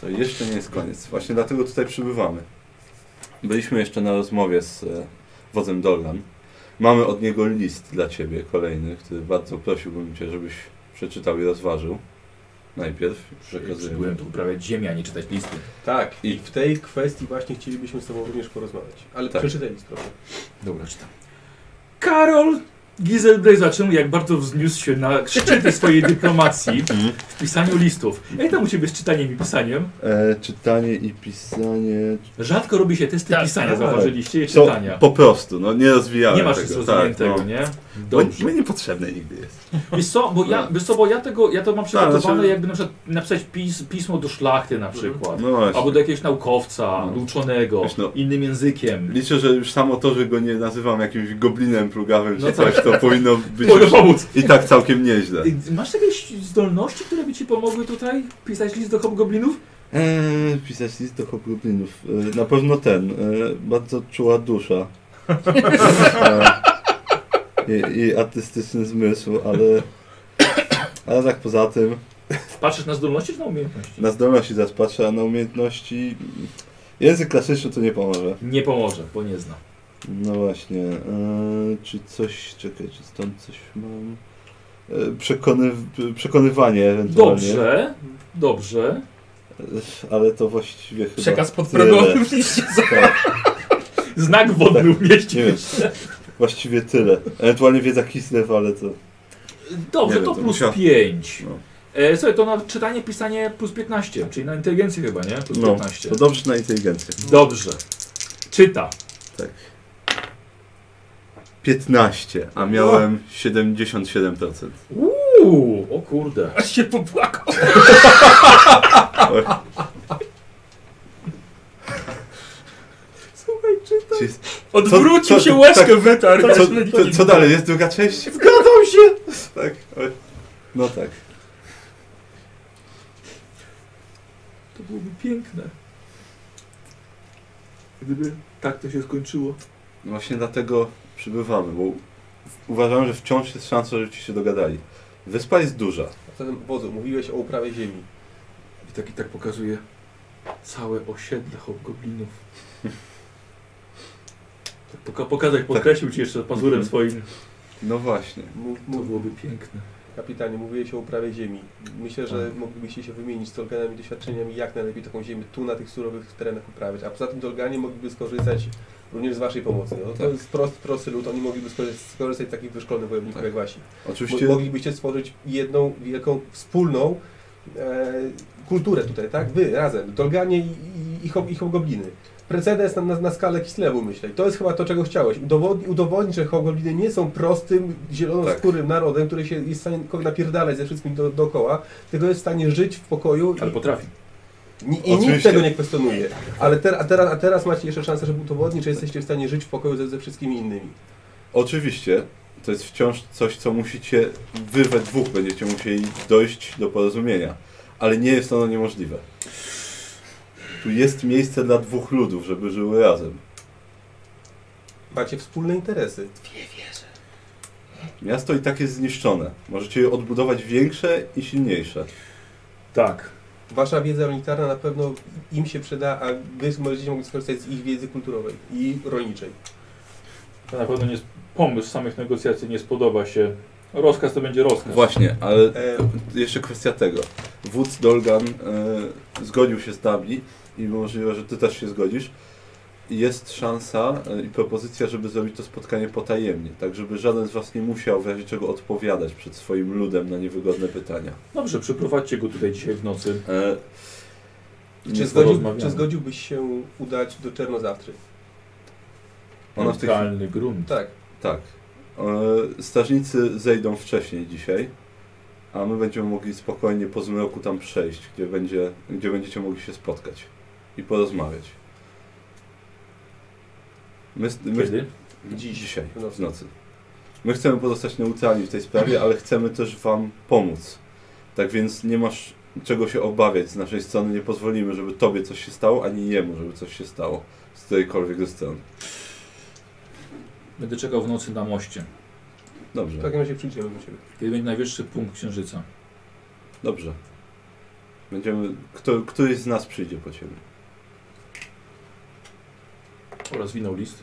To jeszcze nie jest koniec. Właśnie dlatego tutaj przybywamy. Byliśmy jeszcze na rozmowie z e, wodzem Dolgan. Mamy od niego list dla ciebie kolejny, który bardzo prosiłbym cię, żebyś przeczytał i rozważył. Najpierw przekazujemy.
Byłem tu uprawiać ziemię, a nie czytać listy.
Tak,
I-
i w tej kwestii właśnie chcielibyśmy z Tobą również porozmawiać. Ale
Tak.
przeczytaj list, proszę.
Dobra, czytam. Karol Giselbley zaczął, jak bardzo wzniósł się na szczyty swojej dyplomacji
Mhm.
w pisaniu listów. Jak tam u Ciebie z czytaniem i pisaniem?
E, czytanie i pisanie.
Rzadko robi się testy
Tak,
pisania,
tak.
zauważyliście, i
To
czytania.
po prostu, no nie rozwijałem
Nie masz
tego.
nic rozwiniętego,
tak, no.
nie?
Bo,
Dobrze.
bo niepotrzebne nigdy jest.
Wiesz co, bo ja, wiesz co, bo ja tego, ja to mam przygotowane,
znaczy-
jakby na przykład napisać pis, pismo do szlachty na przykład.
No właśnie.
Albo do jakiegoś naukowca,
No.
do uczonego,
Wiesz, no.
innym językiem.
Liczę, że już samo to, że go nie nazywam jakimś goblinem plugawym
No
czy coś, to powinno być
Mogę
już
pomóc!
i tak całkiem nieźle.
Ty Y, Masz jakieś zdolności, które by ci pomogły tutaj pisać list do hobgoblinów?
Eee, pisać list do hobgoblinów. Eee, na pewno ten. Eee, bardzo czuła dusza. Eee, i, I artystyczny zmysł, ale... Ale tak poza tym,
Patrzysz na zdolności czy na umiejętności?
na zdolności zaraz patrzę, a na umiejętności... Język klasyczny to nie pomoże.
Nie pomoże, bo nie znam.
No właśnie, e, czy coś, czekaj, czy stąd coś mam? E, Przekony, przekonywanie ewentualnie.
Dobrze, dobrze.
E, Ale to właściwie chyba...
Przekaz
tyle.
podprogowy w liście.
Tak,
Znak wodny
nie
umieścił.
wiem, właściwie tyle. Ewentualnie wiedza Kislew, ale to...
Dobrze,
Nie wiem,
to
to
plus
musiał-
5.
No.
E, słuchaj, to na czytanie, pisanie plus 15, czyli na inteligencję chyba, nie? Plus
No,
15.
to dobrze na inteligencję.
Dobrze. Czyta.
15, a miałem 77%.
Uuu, o kurde.
Aż się popłakał.
Słuchaj, czyta.
Czyli-
Odwrócił
co-
się,
tak-
łezkę wytarł.
Co,
Aż leci.
co, co dalej, jest druga część? Zgadzam się! Tak, oj. no tak.
To byłoby piękne. Gdyby tak to się skończyło.
No Właśnie dlatego przybywamy, bo uważam, że wciąż jest szansa, że ci się dogadali. Wyspa jest duża.
A Zatem wodzu, mówiłeś o uprawie ziemi.
I tak i tak pokazuje całe osiedle hobgoblinów. Tak poka pokazać, podkreślił ci jeszcze pazurem swoim.
No właśnie.
Mów,
To
mów,
byłoby piękne.
kapitanie, mówiłeś o uprawie ziemi. Myślę, że moglibyście się wymienić z Dolganami doświadczeniami, jak najlepiej taką ziemię tu na tych surowych terenach uprawiać. A poza tym Dolganie mogliby skorzystać również z Waszej pomocy. No, to
Tak.
jest prosty, prosty lud, oni mogliby skorzystać, skorzystać z takich wyszkolonych wojowników
Tak.
jak Wasi.
Oczywiście
Mo- Moglibyście stworzyć jedną wielką, wspólną e, kulturę tutaj, tak? Wy razem, Dolganie i, i, i, hob, i hobgobliny. Precedens na, na, na skalę Kislewu, myślę. I To jest chyba to, czego chciałeś. Udowodni, udowodnić, że hobgobliny nie są prostym, zielonoskórym narodem, który się jest w stanie tylko napierdalać ze wszystkim do, dookoła, tylko jest w stanie żyć w pokoju
Ale potrafi.
i, ni- i nikt
Oczywiście.
tego nie kwestionuje. Ale ter, a, teraz, a teraz macie jeszcze szansę, żeby udowodnić, że jesteście w stanie żyć w pokoju ze, ze wszystkimi innymi.
Oczywiście, to jest wciąż coś, co musicie, wy we dwóch będziecie musieli dojść do porozumienia, ale nie jest ono niemożliwe. Tu jest miejsce dla dwóch ludów, żeby żyły razem.
Macie wspólne interesy.
Miasto i tak jest zniszczone. Możecie je odbudować większe i silniejsze.
Tak.
Wasza wiedza militarna na pewno im się przyda, a wy możecie mogli skorzystać z ich wiedzy kulturowej i rolniczej.
To na pewno nie jest pomysł samych negocjacji nie spodoba się. Rozkaz to będzie rozkaz.
Właśnie, ale
E,
jeszcze kwestia tego. Wódz Dolgan e, zgodził się z nami i możliwe, że ty też się zgodzisz. I Jest szansa e, i propozycja, żeby zrobić to spotkanie potajemnie, tak żeby żaden z was nie musiał w razie czego odpowiadać przed swoim ludem na niewygodne pytania.
Dobrze, przyprowadźcie go tutaj dzisiaj w nocy.
E,
czy,
nie-
zgodził,
porozmawiamy.
czy zgodziłbyś się udać do Czernozawtry?
Ona w tej chwili,
Neutralny grunt.
Tak.
tak. E, strażnicy zejdą wcześniej dzisiaj, a my będziemy mogli spokojnie po zmroku tam przejść, gdzie, będzie, gdzie będziecie mogli się spotkać i porozmawiać. My, my,
Kiedy?
Dziś, dzisiaj,
w nocy.
w nocy. My chcemy pozostać neutralni w tej sprawie, ale chcemy też Wam pomóc. Tak więc nie masz czego się obawiać z naszej strony. Nie pozwolimy, żeby tobie coś się stało, ani jemu, żeby coś się stało z którejkolwiek ze stron.
Będę czekał w nocy na moście,
Dobrze,
W takim razie przyjdziemy do ciebie.
kiedy będzie najwyższy punkt księżyca.
dobrze. Będziemy, kto, któryś z nas przyjdzie po ciebie.
Rozwinął list.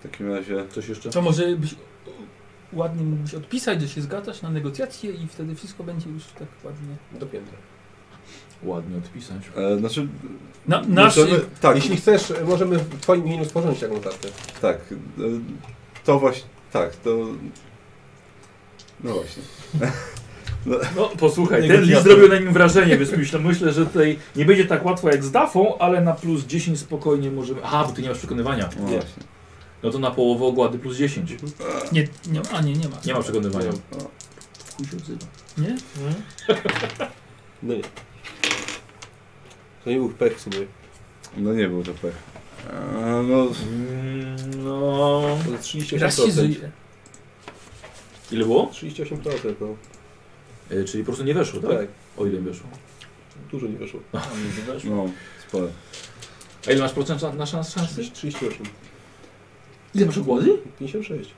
W takim razie
Coś jeszcze?
To może byś ładnie mógłbyś odpisać, że się zgadzasz na negocjacje i wtedy wszystko będzie już tak ładnie.
Dopięte.
Ładnie odpisać.
E, znaczy,
Na, nasz, y-
możemy, tak,
Jeśli chcesz, możemy w twoim imieniu sporządzić taką notatkę.
tak, e, to właśnie, tak, to, no właśnie.
No posłuchaj, ten
Negocjacja.
list zrobił na nim wrażenie, więc myślę, myślę, że tutaj nie będzie tak łatwo jak z Dafą, ale na plus 10 spokojnie możemy... Aha, bo ty nie masz przekonywania.
No właśnie.
No to na połowę ogłady plus 10.
nie, nie, a nie, nie ma.
Nie ma przekonywania.
Chuj się odzywa.
Nie?
No nie. To nie był pech w sumie.
No nie był to pech. E, no,
Mm, No...
To
Raz się
38%.
żyje.
Ile było?
38% no.
E, czyli po prostu nie weszło, tak?
Tak,
O ile weszło?
dużo nie wyszło.
no, spore.
A ile masz procent na- na szans, szansy?
38.
Ile masz ogłady?
56.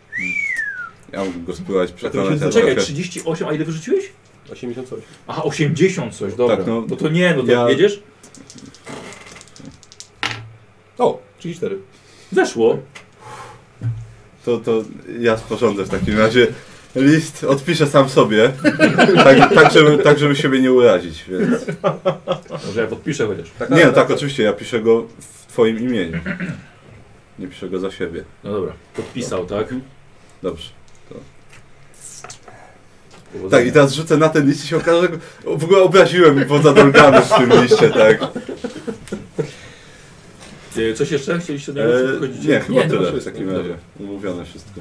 Ja mógłbym go spływać, przekonać, ale
Czekaj,
trochę-
38, a ile wyrzuciłeś?
88.
Aha, 80 coś, dobra.
Tak, no.
no. to nie, no to
Ja-
jedziesz?
O, 34.
Weszło.
To, to ja sporządzę w takim razie list, odpiszę sam sobie, tak, tak, żeby, tak żeby siebie nie urazić, więc...
Może ja podpiszę chociaż.
Tak,
Nie, no tak, oczywiście, ja piszę go w twoim imieniu. Nie piszę go za siebie.
No dobra, podpisał, tak?
Dobrze. Tak, i
Powodzenia.
teraz rzucę na ten list i się okaże, że go- o, w ogóle obraziłem i poza dolgany w tym liście, tak.
E, Coś jeszcze chcieliście
No,
do
E,
niego czy wychodzicie?
nie, chyba
Nie, no
tyle w
wszystko,
takim razie. Umówione wszystko.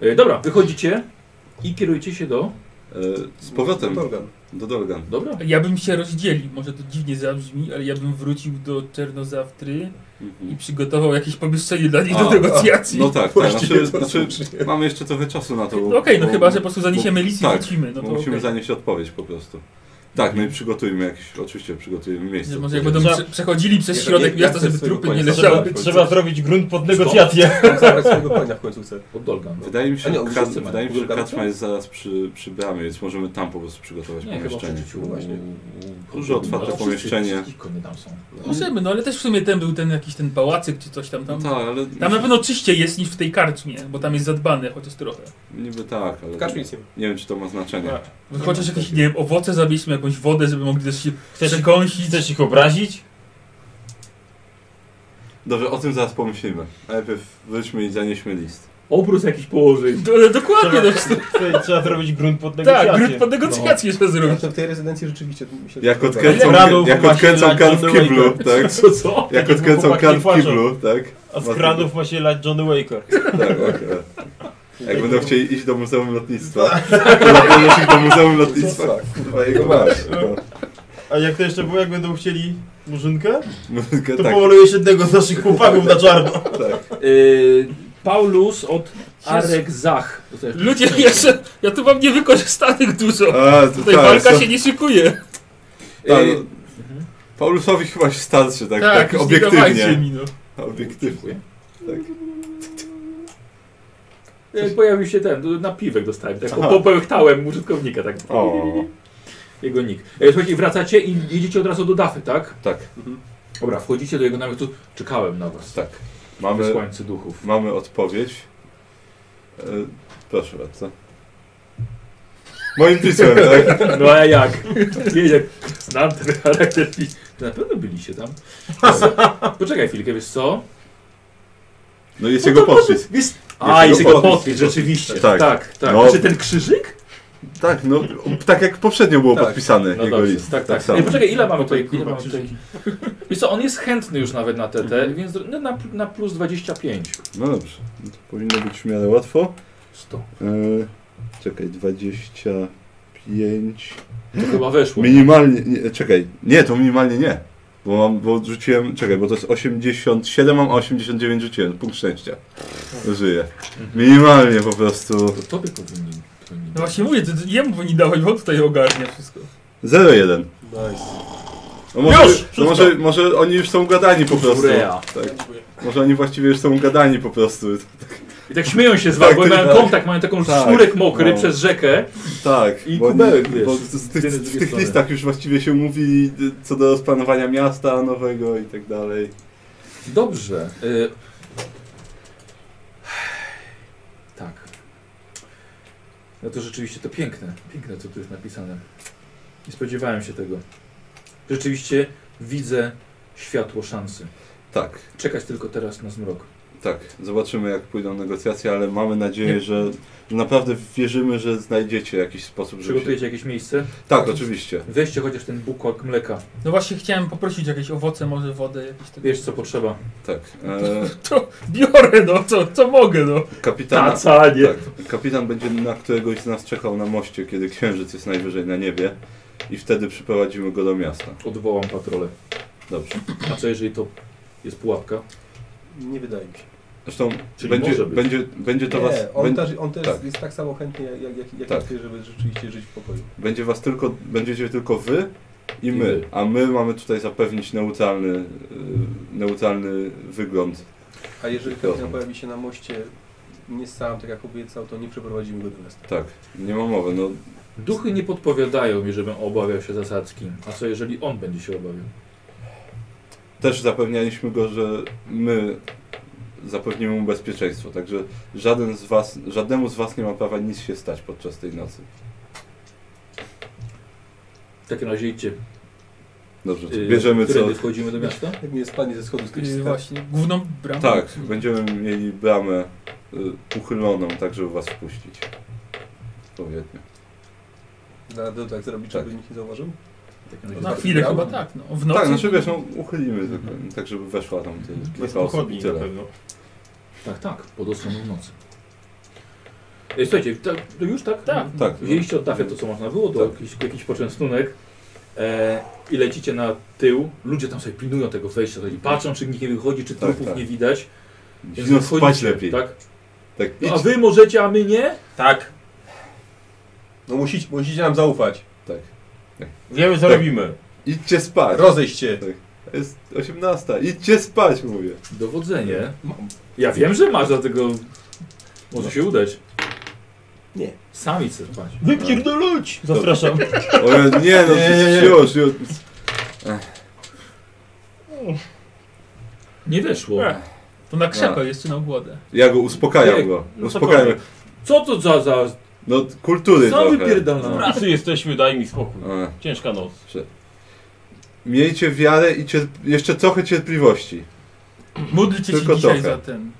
E, Dobra, wychodzicie i kierujcie się do...
E, z
No
powrotem
Organ.
do Dolgan.
Dobra.
Ja bym się rozdzielił, może to dziwnie zabrzmi, ale ja bym wrócił do Czernozawtry i
Mhm.
przygotował jakieś pomieszczenie dla nich do
A,
negocjacji.
No tak, tak. Znaczy,
to
znaczy,
znaczy-
mamy jeszcze trochę czasu na to.
Okej,
bo-
no
bo-
chyba, że po prostu zaniesiemy list i
tak,
wrócimy. No
Bo
to
musimy
okej.
zanieść odpowiedź po prostu. Tak, no i przygotujmy jakieś, oczywiście przygotujemy
Że
miejsce.
Może jak będą
Trzeba-
prze- przechodzili przez
Ja-
środek
ja-
miasta,
ja chcę
żeby
swojego
trupy
konia
nie
zabrać.
leżały.
Trzeba zrobić grunt pod negocjacje.
Tam zabrać swojego konia w końcówce.
Od Dolgan. no.
Wydaje mi się,
A nie,
że
on
kac,
wszyscy mają.
wydaje mi się, że
Wielka
kaczma
noc?
jest zaraz przy, przy bramie, więc możemy tam po prostu przygotować
Nie, chyba w
pomieszczenie.
przeczuciu.
Właśnie.
Duże otwarte
Ale wszyscy-
pomieszczenie.
wszystkich konie tam są.
Możemy, no ale też w sumie ten był ten jakiś ten pałacyk czy coś tam.
No
Tam,
tak, ale
tam na pewno czyściej jest niż w tej karczmie, bo tam jest zadbane chociaż trochę.
niby tak, ale
W kacznicy.
nie wiem czy to ma znaczenie.
Tak.
Chociaż
No,
jakieś,
tak.
nie wiem, owoce zabiliśmy, jakąś wodę, żeby mogli też się
Chcesz,
przekąsić.
chcesz ich obrazić?
Dobrze, o tym zaraz pomyślimy. Najpierw wróćmy i zanieśmy list.
Obrót jakiś położyć.
Do, ale dokładnie, no,
Trzeba, Tak, trzeba zrobić grunt pod negocjacje.
tak, gry pod
No.
negocjacje trzeba zrobić.
Znaczy w tej rezydencji rzeczywiście to tak. mi się
Jak
podoba.
odkręcą,
Radów
jak
właśnie
odkręcą
dla
kart w
John
kiblu,
Wayne'a.
tak?
Co, co?
Jak
Żeby
odkręcą
chłopaki
kart w
płaczą.
kiblu, tak?
A z kranów ma się lać Johnny Waker.
Tak, akurat. Jak będą chcieli iść do Muzeum Lotnictwa, to zaproszę ich do Muzeum Lotnictwa. Kurwa, jego masz. No.
A jak to jeszcze było, jak będą chcieli murzynkę?
Muzykę,
To
tak,
pomalujesz jednego z naszych chłopaków na czarno.
tak.
Y, Paulus od Arek Zach. E,
Ludzie, jeszcze, ja tu mam niewykorzystanych dużo.
A, to
Tutaj
tak,
walka
so-
się nie szykuje.
tak,
Y,
Paulusowi chyba się starczy, tak, tak,
już nie dawajcie
obiektywnie.
Mi, no.
Obiektywnie.
Tak. y, Pojawił się ten, na piwek dostałem, tak,
Aha.
po- popęchtałem użytkownika, tak,
O,
jego nick. E, Słuchajcie, wracacie i jedziecie od razu do Dafy, tak?
tak,
Dobra, wchodzicie do jego namiotu, czekałem na was,
tak. Mamy,
wysłańcy duchów.
mamy odpowiedź. E, proszę bardzo. Moim pismem, tak?
No a jak? Nie, jak znam ten charakter. i- To na pewno byliście tam. Poczekaj chwilkę, wiesz co?
No jest jego podpis.
Jest... A, jest jego podpis, rzeczywiście.
Tak.
Tak, tak. tak.
No.
Czy ten krzyżyk?
Tak, no, tak jak poprzednio było
Tak.
podpisany
No
jego
dobrze,
list.
tak, tak.
samo.
Ej, poczekaj, ile mamy tutaj? Ile
Kurwa,
mamy tutaj? Wiesz co, on jest chętny już nawet na TT, więc no, na, na plus 25.
No dobrze, No to powinno być w miarę łatwo.
100.
E, czekaj, 25.
To chyba weszło.
Minimalnie, nie, czekaj, nie, to minimalnie nie. Bo, mam, bo rzuciłem, czekaj, bo to jest 87, mam a 89 rzuciłem, punkt szczęścia. Żyję. Minimalnie po prostu.
No To tobie powinni. powinni
No właśnie mówię, to, to jemu powinni dawać, bo on tutaj ogarnia wszystko.
0-1.
Nice.
No może,
Już!
no może, może oni już są gadani po prostu.
Urea.
Tak. Może oni właściwie już są gadani po prostu.
I tak śmieją się z wami,
Tak,
bo
ty-
mają
tak.
kontakt, mają taką
Tak,
sznurek mokry
no.
przez rzekę.
Tak.
I
bo oni-
kubełek, wiesz,
Bo w tych,
z
w
drugiej
tych
strony.
listach już właściwie się mówi y, co do planowania miasta nowego i tak dalej.
Dobrze. Y... Tak. No to rzeczywiście to piękne. Piękne, co tu jest napisane. Nie spodziewałem się tego. Rzeczywiście widzę światło szansy.
Tak,
Czekać tylko teraz na zmrok.
tak. Zobaczymy jak pójdą negocjacje, ale mamy nadzieję, że, że naprawdę wierzymy, że znajdziecie jakiś sposób, żeby się...
Przygotujecie jakieś miejsce?
Tak, oczywiście.
Weźcie chociaż ten bukłak mleka.
No właśnie chciałem poprosić jakieś owoce, może wodę, jakieś tego.
Wiesz co potrzeba.
Tak. E,
To biorę, no, co, co mogę, no.
kapitana,
Taca, nie.
Tak. Kapitan będzie na któregoś z nas czekał na moście, kiedy księżyc jest najwyżej na niebie i wtedy przyprowadzimy go do miasta.
Odwołam patrolę.
Dobrze.
A co jeżeli to jest pułapka?
Nie wydaje mi się.
Zresztą
Czyli
będzie,
może być.
będzie, będzie to
nie,
was...
on,
bę-
też, on też
tak.
jest tak samo chętnie jak, jak, jak
Tak.
ty, żeby rzeczywiście żyć w pokoju.
Będzie was tylko, będziecie tylko wy i
I
my,
wy.
a my mamy tutaj zapewnić neutralny, y, neutralny wygląd.
A jeżeli
Dobra.
kapitan pojawi się na moście nie sam, tak jak obiecał, to nie przeprowadzimy go do miasta.
Tak, nie ma mowy, no
Duchy nie podpowiadają mi, żebym obawiał się zasadzki. A co jeżeli on będzie się obawiał?
też zapewnialiśmy go, że my zapewnimy mu bezpieczeństwo, także żaden z was, żadnemu z was nie ma prawa nic się stać podczas tej nocy.
W takim razie idźcie.
Dobrze, to
Yy,
bierzemy co...
którędy wchodzimy do miasta?
Jak mnie spadnie ze schodów
Yy,
skoczyć, tak?
właśnie, główną bramę.
Tak, będziemy mieli bramę y, uchyloną, tak żeby was wpuścić. Odpowiednio.
na dodatek zrobić,
Tak.
żeby nikt nie zauważył?
W takim razie
Na
tak.
chwilę chyba tak, no. W nocy.
Tak, znaczy wiesz, no uchylimy tylko, tak żeby weszła tam ty,
Bez
kilka osób i
pochodni na
tyle.
pewno.
Tak, tak, pod osłoną nocy. E, Słuchajcie, ta, to już tak?
Tak.
Tak.
Wzięliście od tafy to, co można było, to
Tak.
jakiś, jakiś poczęstunek e, i lecicie na tył. Ludzie tam sobie pilnują tego wejścia, to i patrzą, czy nikt nie wychodzi, czy
Tak,
trupów
tak.
nie widać. więc
Zimno No, spać
wychodzicie,
lepiej. Tak,
Tak? No, a wy możecie, a my nie?
Tak.
No musicie, musicie nam zaufać.
tak.
Wiemy co
Tak.
robimy.
Idźcie spać.
Rozejść się.
Jest 18. Idźcie spać, mówię.
Dowodzenie.
No.
Ja wiem, że masz, dlatego może się udać.
Nie.
Sami chcesz spać.
Wypierdolać!
Tak.
Zastraszam.
O, ja- nie no,
Nie, nie,
już, już.
Nie weszło.
Ech. To na krzepę
No.
jeszcze na ogłodę.
Ja go uspokajam
Nie,
go.
no
Uspokajam.
Co to za... za
No kultury
co
trochę.
Z
wypierdala?
pracy jesteśmy, daj mi spokój.
E,
Ciężka noc.
Miejcie wiarę i cierp- jeszcze trochę cierpliwości.
Módlcie się
Tylko
dzisiaj
trochę.
za ten.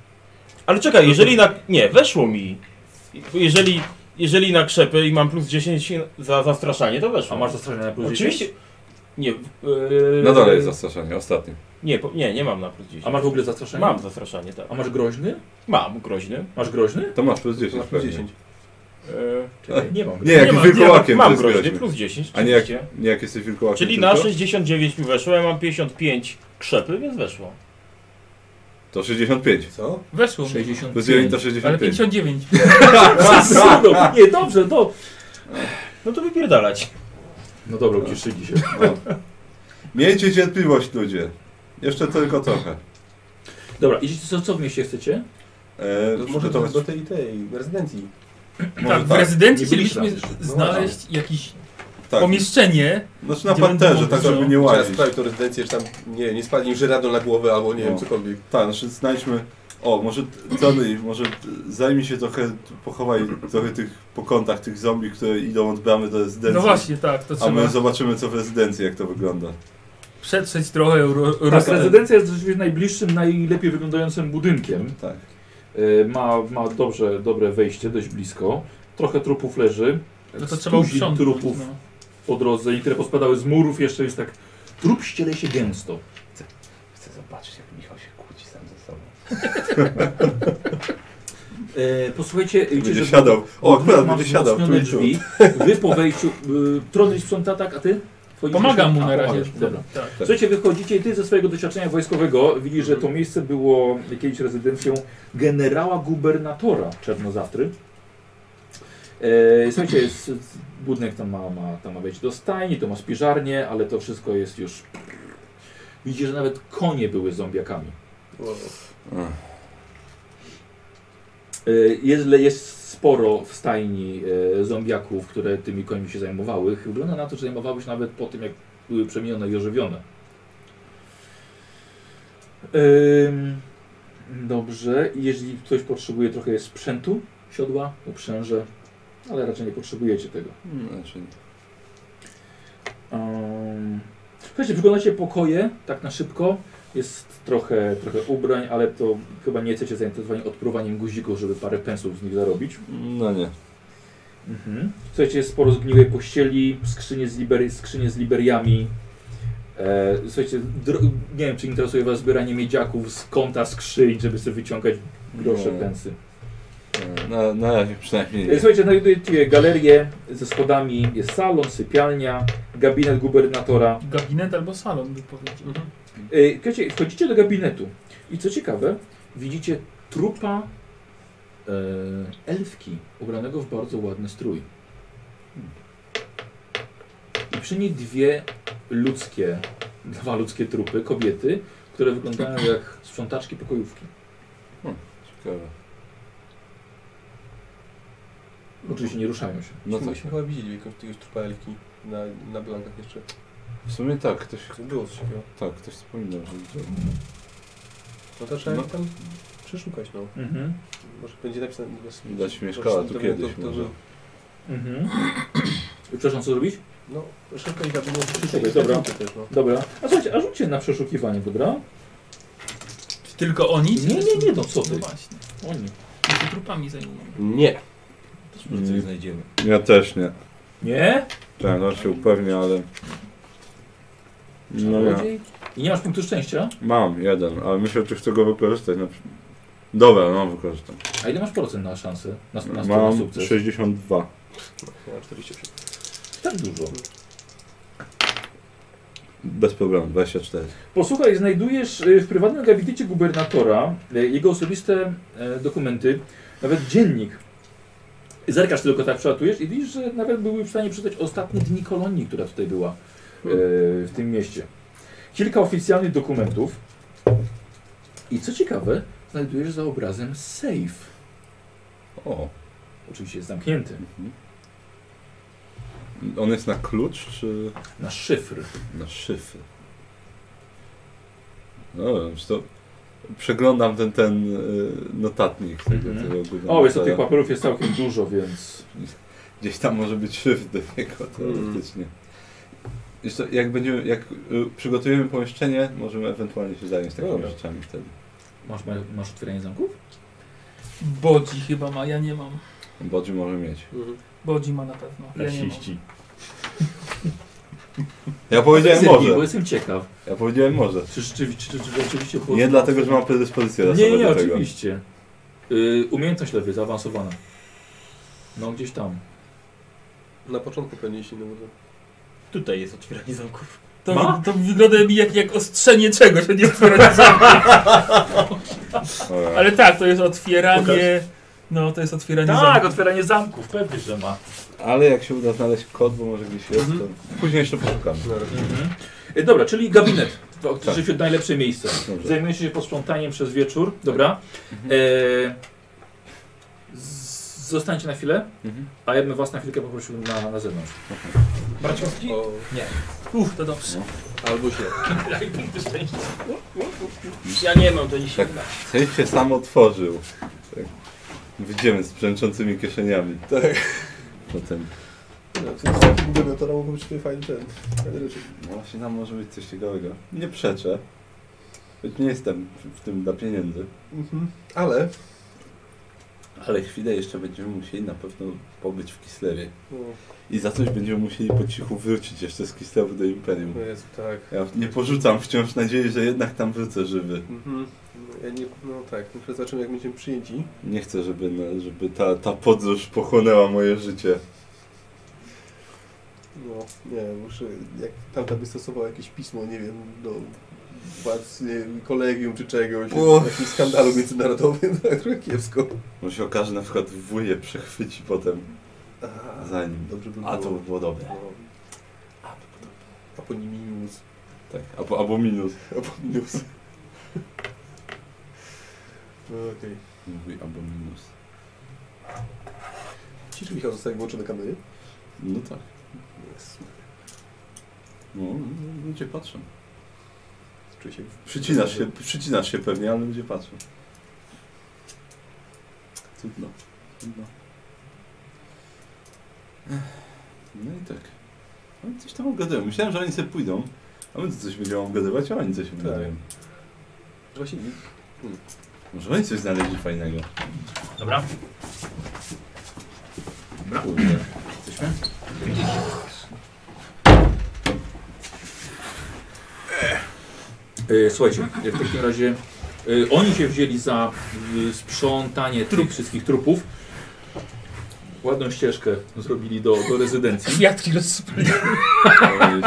Ale czekaj, jeżeli na... Nie, weszło mi. Jeżeli, jeżeli na krzepy i mam plus 10 za zastraszanie, to weszło.
A masz zastraszenia na plus
Oczywiście...
10?
Nie, yy...
No dalej jest zastraszanie, ostatnie.
Nie, po- nie, nie mam na plus 10.
A masz w ogóle zastraszenie?
Mam zastraszanie, tak.
A masz groźny?
Mam, groźny.
Masz groźny?
To masz plus
Na
10
plus
pewnie.
10.
Yy,
Czekaj, nie mam.
Nie,
groźny.
jak
ma-
wilkołakiem to
mam
jest
groźny,
groźny.
plus 10,
A nie jak,
oczywiście.
nie jak jesteś wilkołakiem
Czyli
tylko?
na 69 mi weszło, ja mam 55 krzepy, więc weszło.
To 65.
Co?
Weszło. mi.
60.
Plus 1 to
Ale
65.
59.
tak,
Nie, dobrze, no.
No to wypierdalać.
No dobra, ucieszyli się.
No. Miejcie cierpliwość ludzie. Jeszcze tylko trochę.
Dobra, idziecie, co, co w mieście chcecie?
E,
To może do,
przygotować... No
do tej, tej rezydencji.
może
Tak, w rezydencji
Nie byliśmy No,
chcielibyśmy
tam jeszcze.
znaleźć jakieś
tak.
pomieszczenie. No
Znaczy na
gdzie będą
parterze, tak
mogli-
żeby nie
Trzeba
łazić.
sprawdzić tą rezydencję, czy tam nie, nie spadnie im żeradol na głowę albo nie wiem,
No.
cokolwiek.
Tak, znaczy znajdźmy... O, może Tony, może zajmij się trochę, pochowaj trochę tych po kątach tych zombie, które idą od bramy do rezydencji.
No właśnie, tak. To
A my
trzeba
zobaczymy co w rezydencji, jak to wygląda.
przetrzeć trochę ro,
Tak,
roz-
rezydencja jest rzeczywiście najbliższym, najlepiej wyglądającym budynkiem.
Tak.
E, Ma, ma dobrze, dobre wejście, dość blisko. Trochę trupów leży.
No to
Z
trzeba
tuzin
uprzątnąć.
trupów
No.
po drodze, niektóre pospadały z murów, jeszcze jest tak... Trup ściele się gęsto.
Chcę zobaczyć, jak Michał się kłóci sam ze sobą.
E, posłuchajcie,
Będzie
że-
siadał. O, akurat
masz
będzie siadał. Tu
wzmocnione
i tu.
drzwi. Wy po wejściu... Y, Trony sprząta tak, a ty? Twoim
Pomagam mu
myślom?
na
A,
razie.
pomagasz, Dobra.
Tak.
Słuchajcie, wychodzicie i ty ze swojego doświadczenia wojskowego widzisz, że to miejsce było kiedyś rezydencją generała gubernatora Czernozawtry. E, E, słuchajcie, jest, jest- budynek tam ma, ma, tam ma wejść do stajni, to ma spiżarnię, ale to wszystko jest już... Widzicie, że nawet konie były zombiakami.
Wow.
Ech,
E, Jest, jest sporo w stajni e, zombiaków, które tymi końmi się zajmowały. Wygląda na to, że zajmowały się nawet po tym, jak były przemienione i ożywione. Ym, Dobrze, jeżeli ktoś potrzebuje trochę jest sprzętu, siodła, uprzęże, ale raczej nie potrzebujecie tego.
Znaczy,
Um, słuchajcie, przyglądacie pokoje, tak na szybko. Jest trochę, trochę ubrań, ale to chyba nie jesteście zainteresowani odpruwaniem guzików, żeby parę pensów z nich zarobić.
no nie.
Mhm. Słuchajcie, jest sporo zgniłej pościeli, skrzynie z, liber, skrzynie z liberiami. E, słuchajcie, dro, nie wiem, czy interesuje Was zbieranie miedziaków z kąta skrzyń, żeby sobie wyciągać grosze,
Nie.
pensy.
E, Na, na razie przynajmniej
E,
nie.
Słuchajcie, znajdujecie galerię ze schodami, jest salon, sypialnia, gabinet gubernatora.
Gabinet albo salon, by powiedział.
E, Słuchajcie, wchodzicie do gabinetu i co ciekawe, widzicie trupa e, elfki ubranego w bardzo ładny strój. I przy niej dwie ludzkie, dwa ludzkie trupy, kobiety, które wyglądają jak sprzątaczki pokojówki.
Ciekawe.
Oczywiście nie ruszają się.
No tak.
Myśmy chyba widzieli jakiegoś jakiegoś trupa elfki na, na blankach jeszcze.
W sumie tak, ktoś,
To było coś takiego.
tak, ktoś wspominał, że widział.
No to trzeba
No.
no. tam przeszukać, no.
Mhm.
Może będzie napisane... no,
Widać mieszkała tu
to- to-
kiedyś
to- to-
może.
Mhm. Przepraszam, co zrobić?
No, szukaj gabinetu.
Szukaj, dobra.
Też, no.
Dobra. A słuchajcie, a rzućcie na przeszukiwanie, dobra?
Czy tylko oni? czy
Nie,
też-
nie, nie, no co ty.
No właśnie.
Oni.
Ja się trupami zajmują.
Nie. Też
może
Mm.
coś
znajdziemy.
Mm. Ja też nie.
Nie?
Tak, no się upewnię, ale... No nie.
I nie masz punktu szczęścia?
Mam jeden, ale myślę, czy chcę go wykorzystać na przy- Dobra, no wykorzystam.
A ile masz procent na szansę? Na, na, na, na
Mam
sukces?
62.
Ja mam 48.
Tak dużo.
Bez problemu, 24.
Posłuchaj, znajdujesz y, w prywatnym gabinecie gubernatora y, jego osobiste e, dokumenty, nawet dziennik. Zerkasz tylko tak, przelatujesz i widzisz, że nawet były w stanie przeczytać ostatnie dni kolonii, która tutaj była e, w tym mieście. Kilka oficjalnych dokumentów. I co ciekawe, znajdujesz za obrazem safe.
O.
Oczywiście jest zamknięty.
Mhm. On jest na klucz, czy
Na szyfr.
na szyfy? No, już to... Przeglądam ten, ten y, notatnik tego,
Mhm.
tego gubernatora.
O, jest tych papierów jest całkiem dużo, więc...
Gdzieś tam może być szyf do niego teoretycznie.
Mm.
Wiesz co, jak, będziemy, jak y, przygotujemy pomieszczenie, możemy ewentualnie się zająć takimi
Dobra.
rzeczami wtedy.
Masz, masz otwieranie zamków?
Bodzi chyba ma, ja nie mam.
Bodzi może mieć.
Mhm.
Bodzi ma na pewno. Ja nie mam.
Ja powiedziałem
Bo
może.
jestem ciekaw.
Ja powiedziałem może.
Czy rzeczywiście, czy, czy, rzeczywiście było-
Nie dlatego, że mam predyspozycję do
Nie, nie,
tego.
nie oczywiście. Y, umiejętność lewy, zaawansowana. No gdzieś tam.
Na początku ponieśli, no bo to...
Tutaj jest otwieranie zamków.
To,
Ma?
to wygląda mi jak, jak ostrzenie czegoś, a nie otwieranie zamku.
Dobra.
Ale tak, to jest otwieranie... No, to jest otwieranie zamku.
Tak, otwieranie zamków, pewnie, że ma.
Ale jak się uda znaleźć kod, bo może gdzieś jest, to później jeszcze poszukamy.
No,
Mhm. Y, dobra, czyli gabinet. To
Tak.
rzeczywiście najlepsze miejsce.
Dobrze. Mhm.
Zajmujesz się posprzątaniem przez wieczór, dobra. E, z- zostańcie na chwilę,
Mhm.
a ja bym was na chwilkę poprosił na, na zewnątrz.
Brać łapki?
o,
Uff, to dobrze.
albo się.
Ja nie mam, to nie się
Tak. Sejf się sam otworzył. Tak. Wyjdziemy z brzęczącymi kieszeniami.
Tak.
Potem.
No, to jest gubernatora mógł być tutaj fajny ten. fajne rzeczy.
No właśnie tam może być coś ciekawego. Nie przeczę. Choć nie jestem w- w tym dla pieniędzy.
Mhm. Ale...
Ale chwilę jeszcze będziemy musieli na pewno pobyć w Kislewie.
No,
I za coś będziemy musieli po cichu wrócić jeszcze z Kislewu do Imperium.
no jest tak.
Ja nie porzucam wciąż nadziei, że jednak tam wrócę żywy.
Mhm. No, ja nie, no tak, teraz zobaczymy jak będziemy przyjęci.
Nie chcę, żeby, na- żeby ta, ta podróż pochłonęła moje życie.
No, nie wiem, muszę, jak tamta by stosował jakieś pismo, nie wiem, do władz, nie wiem, kolegium czy czegoś,
O.
o. jakimś skandalu międzynarodowym, tak, trochę kiepsko.
Bo się okaże na przykład wuje przechwyci potem.
Aha,
za nim.
Dobrze by było.
A to by było dobre.
No. A po nim minus.
Tak, albo, albo minus.
Albo minus. No, Okej. Okay.
Mówi albo minus.
Czy Michał zostaje włączony kamery?
No tak.
Yes.
No, ludzie patrzą.
Czuję się...
Przycinasz się, przycinasz się pewnie, ale ludzie patrzą. Cudno. Cudno. Ech, No i tak. Oni coś tam obgadują. Myślałem, że oni sobie pójdą. A my tu coś będziemy obgadywać, a oni coś
Tak.
obgadują.
Właśnie
Hmm.
Może oni coś znaleźli fajnego.
Dobra.
Kurde. Jesteśmy?
E, Słuchajcie, e, w takim razie e, oni się wzięli za e, sprzątanie tych wszystkich trupów. Ładną ścieżkę zrobili do, do rezydencji.
Kwiatki rozsypali.
Ej,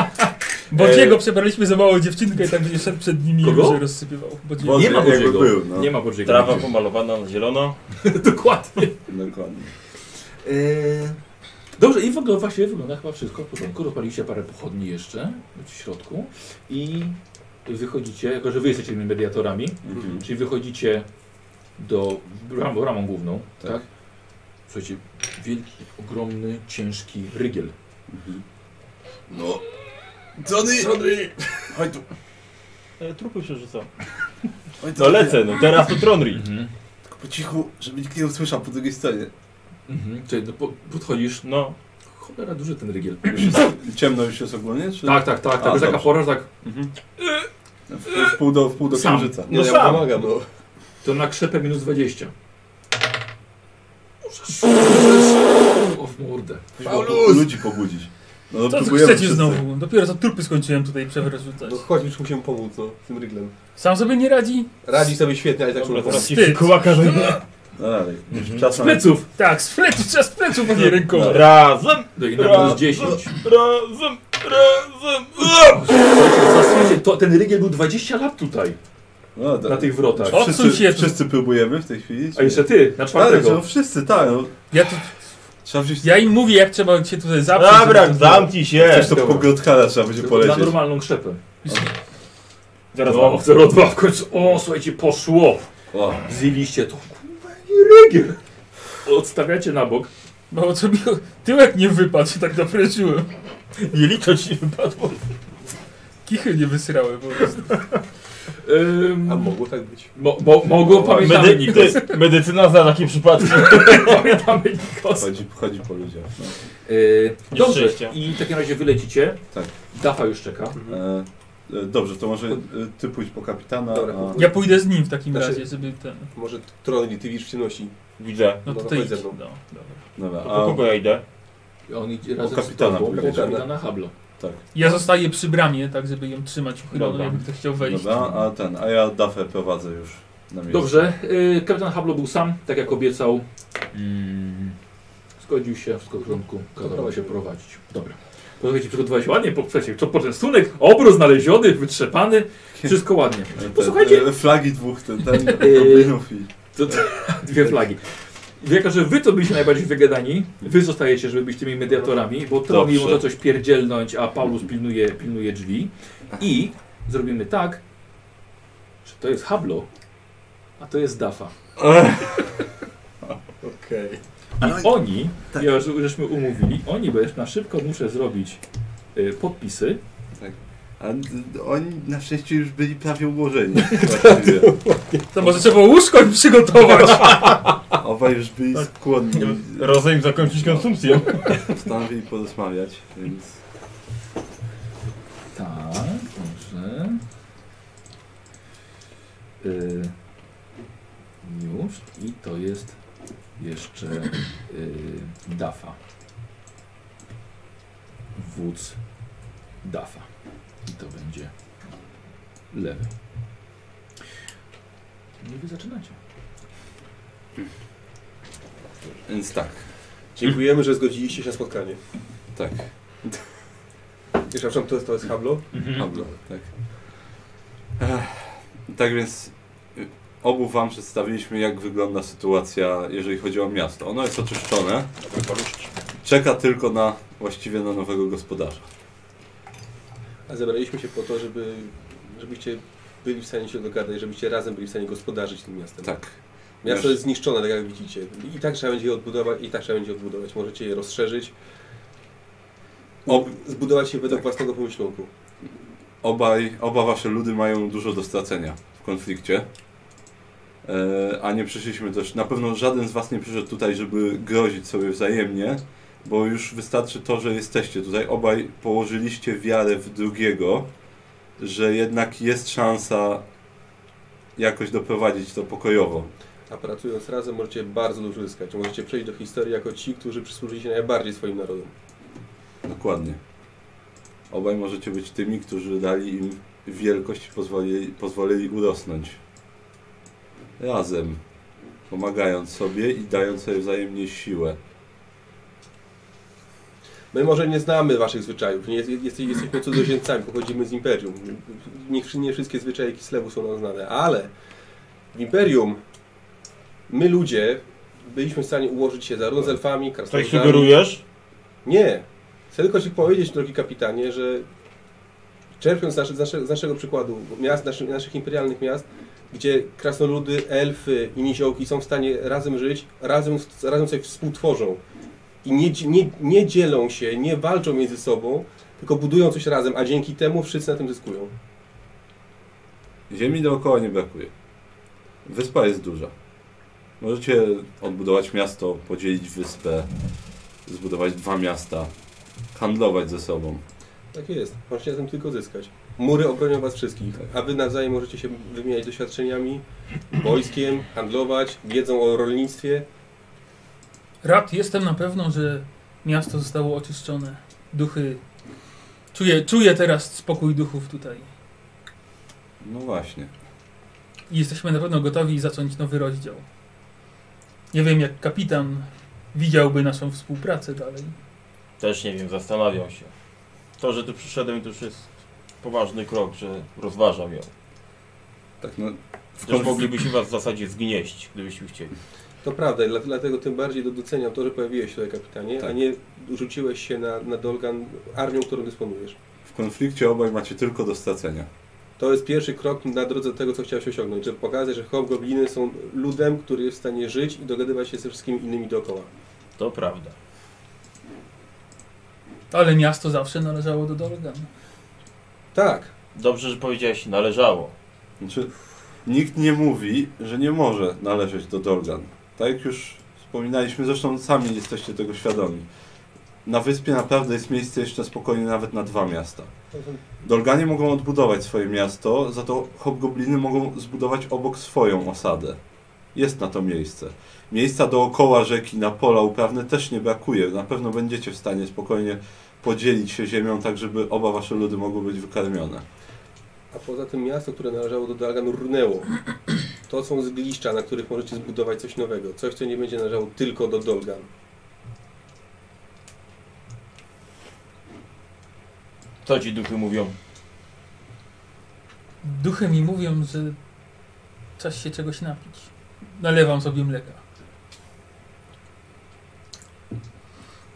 Bodziego przebraliśmy za małą dziewczynkę i tak będzie szedł przed nimi i
Kogo?
już rozsypywał. Bodziego.
Boże,
Nie ma
jakby
Bożego.
był, no.
Nie ma Bodziego.
Trawa pomalowana na zielono.
Dokładnie.
Dokładnie.
Dobrze, i w ogóle właśnie wygląda chyba wszystko w porządku. Rozpaliliście parę pochodni jeszcze w środku i wychodzicie, jako że wy jesteście tymi mediatorami,
Mhm.
czyli wychodzicie do ram, ramą główną, tak.
Tak.
Słuchajcie, wielki, ogromny, ciężki rygiel.
Mhm. No. Johnny! Johnny! Chodź tu.
E, trupy się rzucą.
Chodź tu.
No lecę, no teraz to Tronry.
Mhm.
Tylko po cichu, żeby nikt nie usłyszał po drugiej stronie.
Mhm. Czyli no, po, podchodzisz,
No.
cholera duży ten rygiel.
Już jest, ciemno już jest ogólnie? Czy...
Tak, tak, tak,
A,
tak, A, taka
dobrze.
pora, że tak,
W, w pół do, w pół do
Sam.
księżyca.
Nie,
No
no ja
sam.
mu pomagam, no.
to na krzepę minus 20. O w mordę.
Paulus! Ludzi pobudzić. No, no
Co tu
próbujemy
chcecie
wszyscy.
znowu? No Dopiero co trupy skończyłem tutaj przewrzucać.
No chodź, już musimy pomóc, no, tym ryglem.
Sam sobie nie radzi?
Radzi sobie świetnie, ale tak
Dobra,
szybko.
teraz ci
Wstyd.
kłaka
No dalej.
Mhm.
Czas
Z
na-
pleców!
Tak, z fletu, trzeba z plecu pewnie ręką.
Razem,
No i na minus 10.
razem, razem.
no Zasłuchajcie, to, ten rygiel był 20 lat tutaj,
No, da,
na tych wrotach.
O,
wszyscy,
odsuń się tu.
wszyscy próbujemy w tej chwili. czy
A jeszcze
nie?
ty, na
Ale no,
czwartego.
wszyscy, tak. No.
Ja, tu,
Trzeba wziąć
ja im mówię, jak trzeba się tutaj zabrać.
Dobra,
żeby-
zamknij się.
coś do
dobra.
pogodkala, trzeba będzie
Tylko Na
polecieć.
normalną krzepę.
Zaraz
No,
mam.
0,2 w końcu. O, słuchajcie, poszło.
O,
Zjeliście to. Kurwa, nie rygiel. Odstawiacie na bok.
No, Bo co mi tyłek nie wypadł, się tak naprężyłem.
Jelito ci wypadło.
Kichy nie wysrały po prostu.
Ym,
A mogło tak być.
mo, mo, mogło, pamiętamy
Medy-
Nikos.
ty- medycyna za takie przypadki.
Pamiętamy Nikos.
chodzi, chodzi po ludziach. No.
Yy,
Nie
dobrze,
szczęścia.
i w takim razie wylecicie.
Tak.
Dafa już czeka.
E, e, dobrze, to może e, ty pójdź po kapitana.
Dobra.
a...
Ja pójdę z nim w takim
Znaczy-
razie, żeby ten...
Może Tronli, ty widzisz w ciemności.
Widzę.
No
Dobra,
tutaj
chodź ze
idź.
mną.
No, dobra.
Dobra,
To po
a,
kogo ja idę?
On idzie razem
kapitana
z tobą,
powiedział,
po kapitana Hablo.
tak.
Ja zostaję przy bramie, tak żeby ją trzymać uchyloną,
Dobra.
jakby ktoś chciał wejść.
Dobra, a ten, a ja Dafę prowadzę już na miejsce.
Dobrze, yy, kapitan Hablo był sam, tak jak obiecał. Mm. Zgodził się, wszystko w porządku, kazał
Dobra.
się prowadzić. Dobra. Posłuchajcie, przygotowałeś ładnie, po przecież to poczęstunek, obróz znaleziony, wytrzepany, wszystko ładnie.
Te-
Posłuchajcie.
te Flagi dwóch, ten, ten, goblinów i...
To, to, dwie flagi. Jako, że wy to byliście najbardziej wygadani, wy zostajecie, żeby być tymi mediatorami, bo to
Dobrze.
mimo to coś pierdzielnąć, a Paulus pilnuje, pilnuje drzwi. I zrobimy tak, że to jest Hablo, a to jest Dafa.
Okej.
I oni, ja już żeśmy umówili, oni, bo jeszcze na szybko muszę zrobić y, podpisy.
A d- oni na szczęście już byli prawie ułożeni. Właściwie.
To może trzeba łóżko im przygotować.
Obaj już byli skłonni,
Rozejm zakończyć konsumpcję.
postanowili porozmawiać, więc...
Tak, dobrze. Y, już. I to jest jeszcze y, Dafa. Wódz Dafa. I to będzie lewy. No i wy zaczynacie.
Więc tak,
Dziękujemy, że zgodziliście się na spotkanie.
tak,
Wiesz, a to jest, to jest Hablo?
Pablo, tak. Ech, Tak więc y, obu wam przedstawiliśmy jak wygląda sytuacja, jeżeli chodzi o miasto. Ono jest oczyszczone. Czeka tylko na właściwie na nowego gospodarza.
A zebraliśmy się po to, żeby, żebyście byli w stanie się dogadać, żebyście razem byli w stanie gospodarzyć tym miastem.
Tak.
Miasto
Wiesz-
jest zniszczone, tak jak widzicie. I tak trzeba będzie je odbudować, i tak trzeba będzie odbudować. Możecie je rozszerzyć.
Ob-
Zbudować je według własnego pomyślunku.
Obaj, oba wasze ludy mają dużo do stracenia w konflikcie. E, a nie przyszliśmy też, na pewno żaden z was nie przyszedł tutaj, żeby grozić sobie wzajemnie, bo już wystarczy to, że jesteście tutaj. Obaj położyliście wiarę w drugiego, że jednak jest szansa jakoś doprowadzić to pokojowo.
A pracując razem możecie bardzo dużo zyskać. Możecie przejść do historii jako ci, którzy przysłużyli się najbardziej swoim narodom.
Dokładnie. Obaj możecie być tymi, którzy dali im wielkość i pozwolili, pozwolili urosnąć. Razem. Pomagając sobie i dając sobie wzajemnie siłę.
My może nie znamy waszych zwyczajów, nie jest, jest, jesteśmy cudzoziemcami, pochodzimy z imperium. Nie, nie wszystkie zwyczaje Kislewu są nam znane, ale w imperium my ludzie byliśmy w stanie ułożyć się zarówno z elfami,
Coś
krasnoludami...
sugerujesz?
Nie. Chcę tylko ci powiedzieć, drogi kapitanie, że czerpiąc z, nasze, z, nasze, z naszego przykładu, miast, naszych, naszych imperialnych miast, gdzie krasnoludy, elfy i niziołki są w stanie razem żyć, razem, razem coś współtworzą i nie, dzi- nie, nie dzielą się, nie walczą między sobą, tylko budują coś razem, a dzięki temu wszyscy na tym zyskują.
Ziemi dookoła nie brakuje. Wyspa jest duża. Możecie odbudować miasto, podzielić wyspę, zbudować dwa miasta, handlować ze sobą.
Tak jest. Możecie na tym tylko zyskać. Mury obronią was wszystkich, a wy nawzajem możecie się wymieniać doświadczeniami, wojskiem, handlować, wiedzą o rolnictwie.
Rad, jestem na pewno, że miasto zostało oczyszczone. Duchy. Czuję, czuję teraz spokój duchów tutaj.
No właśnie.
I jesteśmy na pewno gotowi zacząć nowy rozdział. Nie wiem, jak kapitan widziałby naszą współpracę dalej.
Też nie wiem, zastanawiam się. To, że tu przyszedłem, to już jest poważny krok, że rozważam ją.
Tak, no, w
Też
konf-
moglibyśmy was w zasadzie zgnieść, gdybyśmy chcieli.
To prawda, i dla- dlatego tym bardziej do- doceniam to, że pojawiłeś się tutaj, kapitanie, a
Tak.
nie rzuciłeś się na, na Dolgan armią, którą dysponujesz.
w konflikcie obaj macie tylko do stracenia.
To jest pierwszy krok na drodze do tego, co chciałeś osiągnąć, żeby pokazać, że hobgobliny są ludem, który jest w stanie żyć i dogadywać się ze wszystkimi innymi dookoła.
To prawda.
Ale miasto zawsze należało do Dolgan.
Tak,
Dobrze, że powiedziałeś, należało.
Znaczy, nikt nie mówi, że nie może należeć do Dorgan. Tak jak już wspominaliśmy, zresztą sami jesteście tego świadomi. Na wyspie naprawdę jest miejsce jeszcze spokojnie nawet na dwa miasta. Dorganie mogą odbudować swoje miasto, za to hobgobliny mogą zbudować obok swoją osadę. Jest na to miejsce. Miejsca dookoła rzeki, na pola uprawne też nie brakuje. Na pewno będziecie w stanie spokojnie podzielić się ziemią, tak żeby oba wasze ludy mogły być wykarmione.
a poza tym miasto, które należało do Dolgan, runęło. To są zgliszcza, na których możecie zbudować coś nowego, coś, co nie będzie należało tylko do Dolgan.
Co ci duchy mówią?
Duchy mi mówią, że czas się czegoś napić. Nalewam sobie mleka.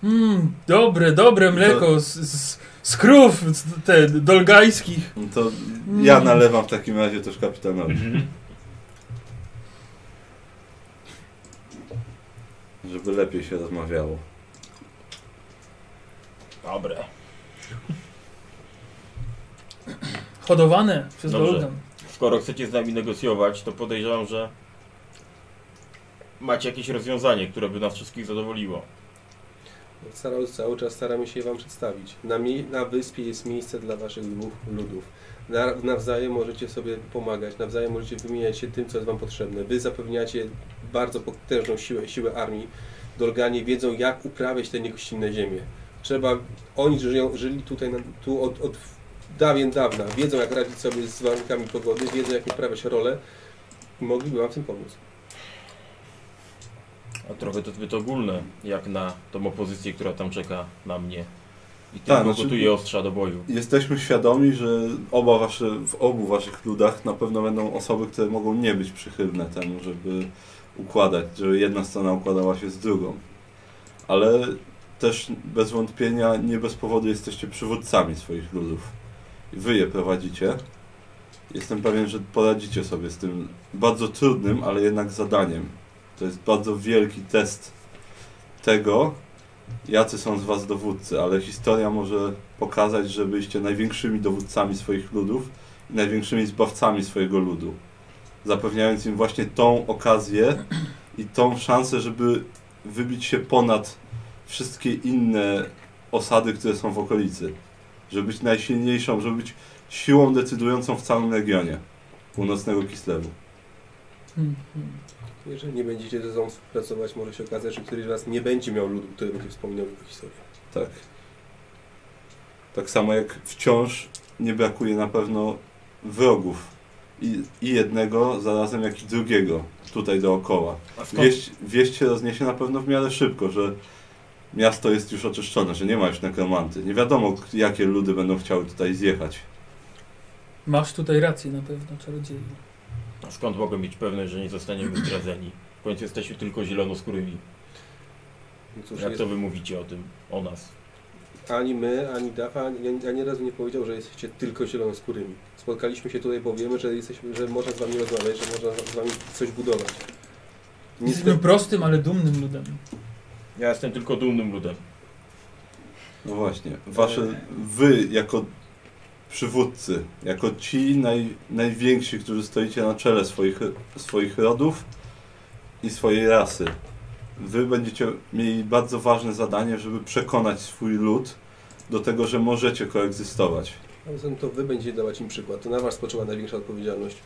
Mmm, dobre, dobre mleko z, z, z krów z, te, dolgajskich.
No to ja nalewam w takim razie też kapitanowi, żeby lepiej się rozmawiało.
Dobre.
Hodowane przez
Dobrze.
Dolgan.
Skoro chcecie z nami negocjować, to podejrzewam, że macie jakieś rozwiązanie, które by nas wszystkich zadowoliło.
Starał, cały czas staramy się je Wam przedstawić. Na, mie- na wyspie jest miejsce dla Waszych dwóch ludów. Na, nawzajem możecie sobie pomagać, nawzajem możecie wymieniać się tym, co jest Wam potrzebne. Wy zapewniacie bardzo potężną siłę, siłę armii. Dorganie wiedzą, jak uprawiać te niegościnne ziemie. Trzeba, oni żyją, żyli tutaj na, tu od, od dawien dawna. Wiedzą, jak radzić sobie z warunkami pogody, wiedzą, jak uprawiać rolę. Mogliby Wam w tym pomóc.
A trochę to zbyt ogólne, jak na tą opozycję, która tam czeka na mnie. I
Tak,
tylko
znaczy-
gotuje ostrza do boju.
Jesteśmy świadomi, że oba wasze, w obu waszych ludach na pewno będą osoby, które mogą nie być przychylne temu, żeby układać, żeby jedna strona układała się z drugą. Ale też bez wątpienia nie bez powodu jesteście przywódcami swoich ludów. I wy je prowadzicie. Jestem pewien, że poradzicie sobie z tym bardzo trudnym, ale jednak zadaniem. To jest bardzo wielki test tego, jacy są z was dowódcy, ale historia może pokazać, że byliście największymi dowódcami swoich ludów i największymi zbawcami swojego ludu. Zapewniając im właśnie tą okazję i tą szansę, żeby wybić się ponad wszystkie inne osady, które są w okolicy. Żeby być najsilniejszą, żeby być siłą decydującą w całym regionie północnego Kislewu.
Mhm.
Jeżeli nie będziecie ze sobą współpracować, może się okazać, że któryś z was nie będzie miał ludu, który będzie wspominał jego historię.
Tak. Tak samo jak wciąż nie brakuje na pewno wrogów. I, i jednego zarazem, jak i drugiego tutaj dookoła.
A skąd,
Wieść, wieść się rozniesie na pewno w miarę szybko, że miasto jest już oczyszczone, że nie ma już nekromanty. Nie wiadomo, k- jakie ludy będą chciały tutaj zjechać.
Masz tutaj rację na pewno, czarodzieju.
a skąd mogę mieć pewność, że nie zostaniemy zdradzeni? W końcu jesteśmy tylko zielonoskórymi.
No Cóż,
Jak
jest,
to wy mówicie o tym, o nas?
ani my, ani Dafa, ani, ani razu nie powiedział, że jesteście tylko zielonoskórymi. Spotkaliśmy się tutaj, bo wiemy, że, jesteśmy, że można z wami rozmawiać, że można z wami coś budować. Nic
Jesteśmy prostym, ale dumnym ludem.
Ja jestem tylko dumnym ludem.
No właśnie, wasze, wy jako przywódcy, jako ci naj, najwięksi, którzy stoicie na czele swoich, swoich rodów i swojej rasy, wy będziecie mieli bardzo ważne zadanie, żeby przekonać swój lud do tego, że możecie koegzystować.
A zatem to wy będziecie dawać im przykład. To na was spoczywa największa odpowiedzialność.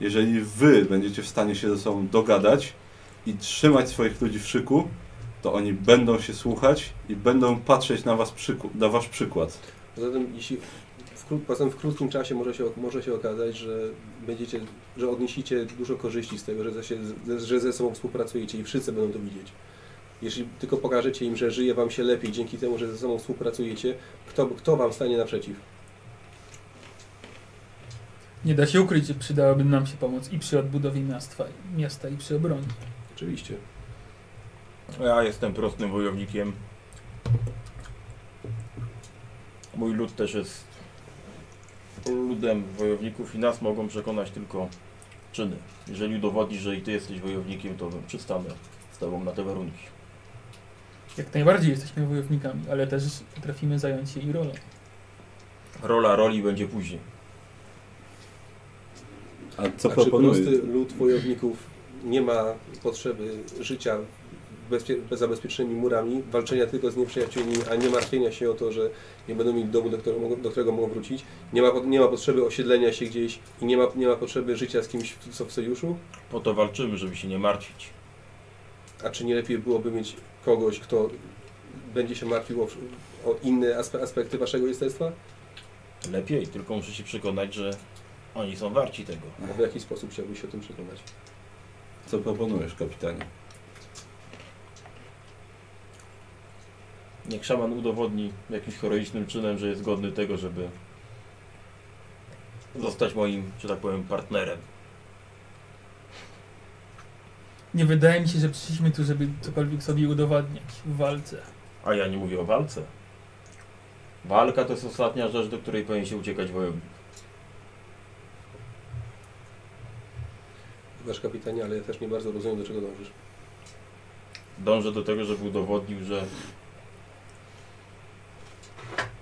Jeżeli wy będziecie w stanie się ze sobą dogadać i trzymać swoich ludzi w szyku, to oni będą się słuchać i będą patrzeć na, was przyku- na wasz przykład.
Zatem jeśli w, kró- poza tym w krótkim czasie może się, może się okazać, że będziecie, że odniesiecie dużo korzyści z tego, że, ze się, ze- że ze sobą współpracujecie i wszyscy będą to widzieć. Jeśli tylko pokażecie im, że żyje wam się lepiej dzięki temu, że ze sobą współpracujecie, kto, kto wam stanie naprzeciw?
Nie da się ukryć, że przydałaby nam się pomoc i przy odbudowie miasta, miasta i przy obronie.
Oczywiście.
Ja jestem prostym wojownikiem. Mój lud też jest ludem wojowników i nas mogą przekonać tylko czyny. Jeżeli udowodnisz, że i ty jesteś wojownikiem, to przystanę z tobą na te warunki.
Jak najbardziej jesteśmy wojownikami, ale też potrafimy zająć się i rolą.
Rola roli będzie później.
A co
A czy
proponuję?
Znaczy, prosty lud wojowników nie ma potrzeby życia bezpie- bez zabezpieczonymi murami, walczenia tylko z nieprzyjaciółmi, a nie martwienia się o to, że nie będą mieli domu, do którego mogą, do którego mogą wrócić. Nie ma, po- nie ma potrzeby osiedlenia się gdzieś i nie ma, nie ma potrzeby życia z kimś, co w sojuszu.
Po to walczymy, żeby się nie martwić.
A czy nie lepiej byłoby mieć kogoś, kto będzie się martwił o, wsz- o inne aspe, aspekty waszego jestestwa?
Lepiej, tylko muszę się przekonać, że oni są warci tego.
A w jaki sposób chciałbyś się o tym przekonać?
Co proponujesz, kapitanie?
Niech szaman udowodni jakimś heroicznym czynem, że jest godny tego, żeby zostać moim, że tak powiem, partnerem.
Nie wydaje mi się, że przyszliśmy tu, żeby cokolwiek sobie udowadniać w walce.
A ja nie mówię o walce. Walka to jest ostatnia rzecz, do której powinien się uciekać wojownik.
Wasz kapitanie, ale ja też nie bardzo rozumiem, do czego dążysz.
Dążę do tego, żeby udowodnił, że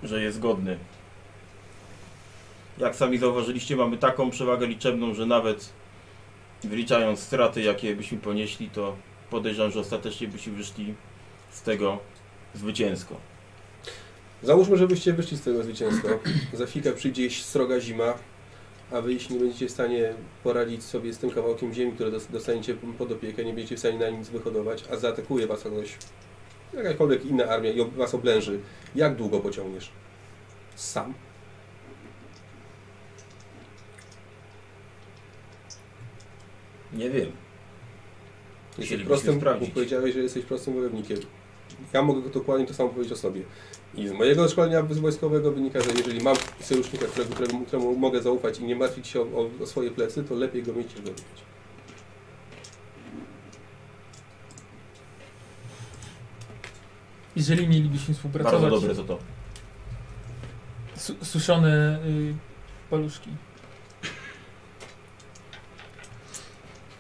że jest godny. Jak sami zauważyliście, mamy taką przewagę liczebną, że nawet wyliczając straty, jakie byśmy ponieśli, to podejrzewam, że ostatecznie byśmy wyszli z tego zwycięsko.
Załóżmy, żebyście wyszli z tego zwycięsko. Za chwilkę przyjdzie sroga zima, a wy jeśli nie będziecie w stanie poradzić sobie z tym kawałkiem ziemi, które dos- dostaniecie pod opiekę, nie będziecie w stanie na nic wyhodować, a zaatakuje was kogoś, jakakolwiek inna armia i ob- was oblęży, jak długo pociągniesz? Sam?
Nie wiem.
Jesteś
Chcielibyśmy
prostym,
sprawdzić.
powiedziałeś, że jesteś prostym wojownikiem. Ja mogę dokładnie to samo powiedzieć o sobie. I z mojego szkolenia wojskowego wynika, że jeżeli mam sojusznika, którego, któremu, któremu mogę zaufać i nie martwić się o, o, o swoje plecy, to lepiej go mieć niż go nie mieć.
Jeżeli mielibyśmy współpracować...
Bardzo dobre to to.
Su suszone y, paluszki.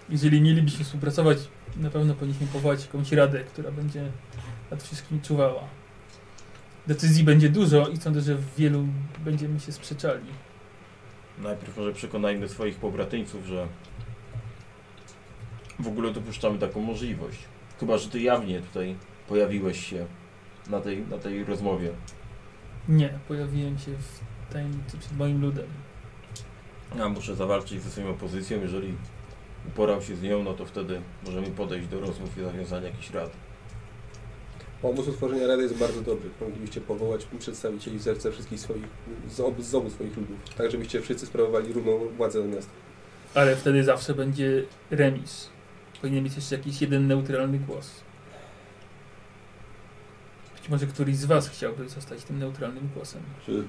Jeżeli mielibyśmy współpracować, na pewno powinniśmy powołać jakąś radę, która będzie nad wszystkim czuwała. Decyzji będzie dużo i sądzę, że w wielu będziemy się sprzeczali.
Najpierw może przekonajmy swoich pobratyńców, że w ogóle dopuszczamy taką możliwość. Chyba, że ty jawnie tutaj pojawiłeś się na tej, na tej rozmowie.
Nie, pojawiłem się w tajemnicy przed moim ludem.
Ja muszę zawalczyć ze swoją opozycją. Jeżeli uporał się z nią, no to wtedy możemy podejść do rozmów i nawiązania jakichś rad.
Pomysł utworzenia Rady jest bardzo dobry. Moglibyście powołać przedstawicieli zerce wszystkich swoich, z obu, z obu swoich ludów. Tak, żebyście wszyscy sprawowali równą władzę nad miastem.
Ale wtedy zawsze będzie remis. Powinien mieć jeszcze jakiś jeden neutralny głos. Być może któryś z Was chciałby zostać tym neutralnym głosem.
Czy,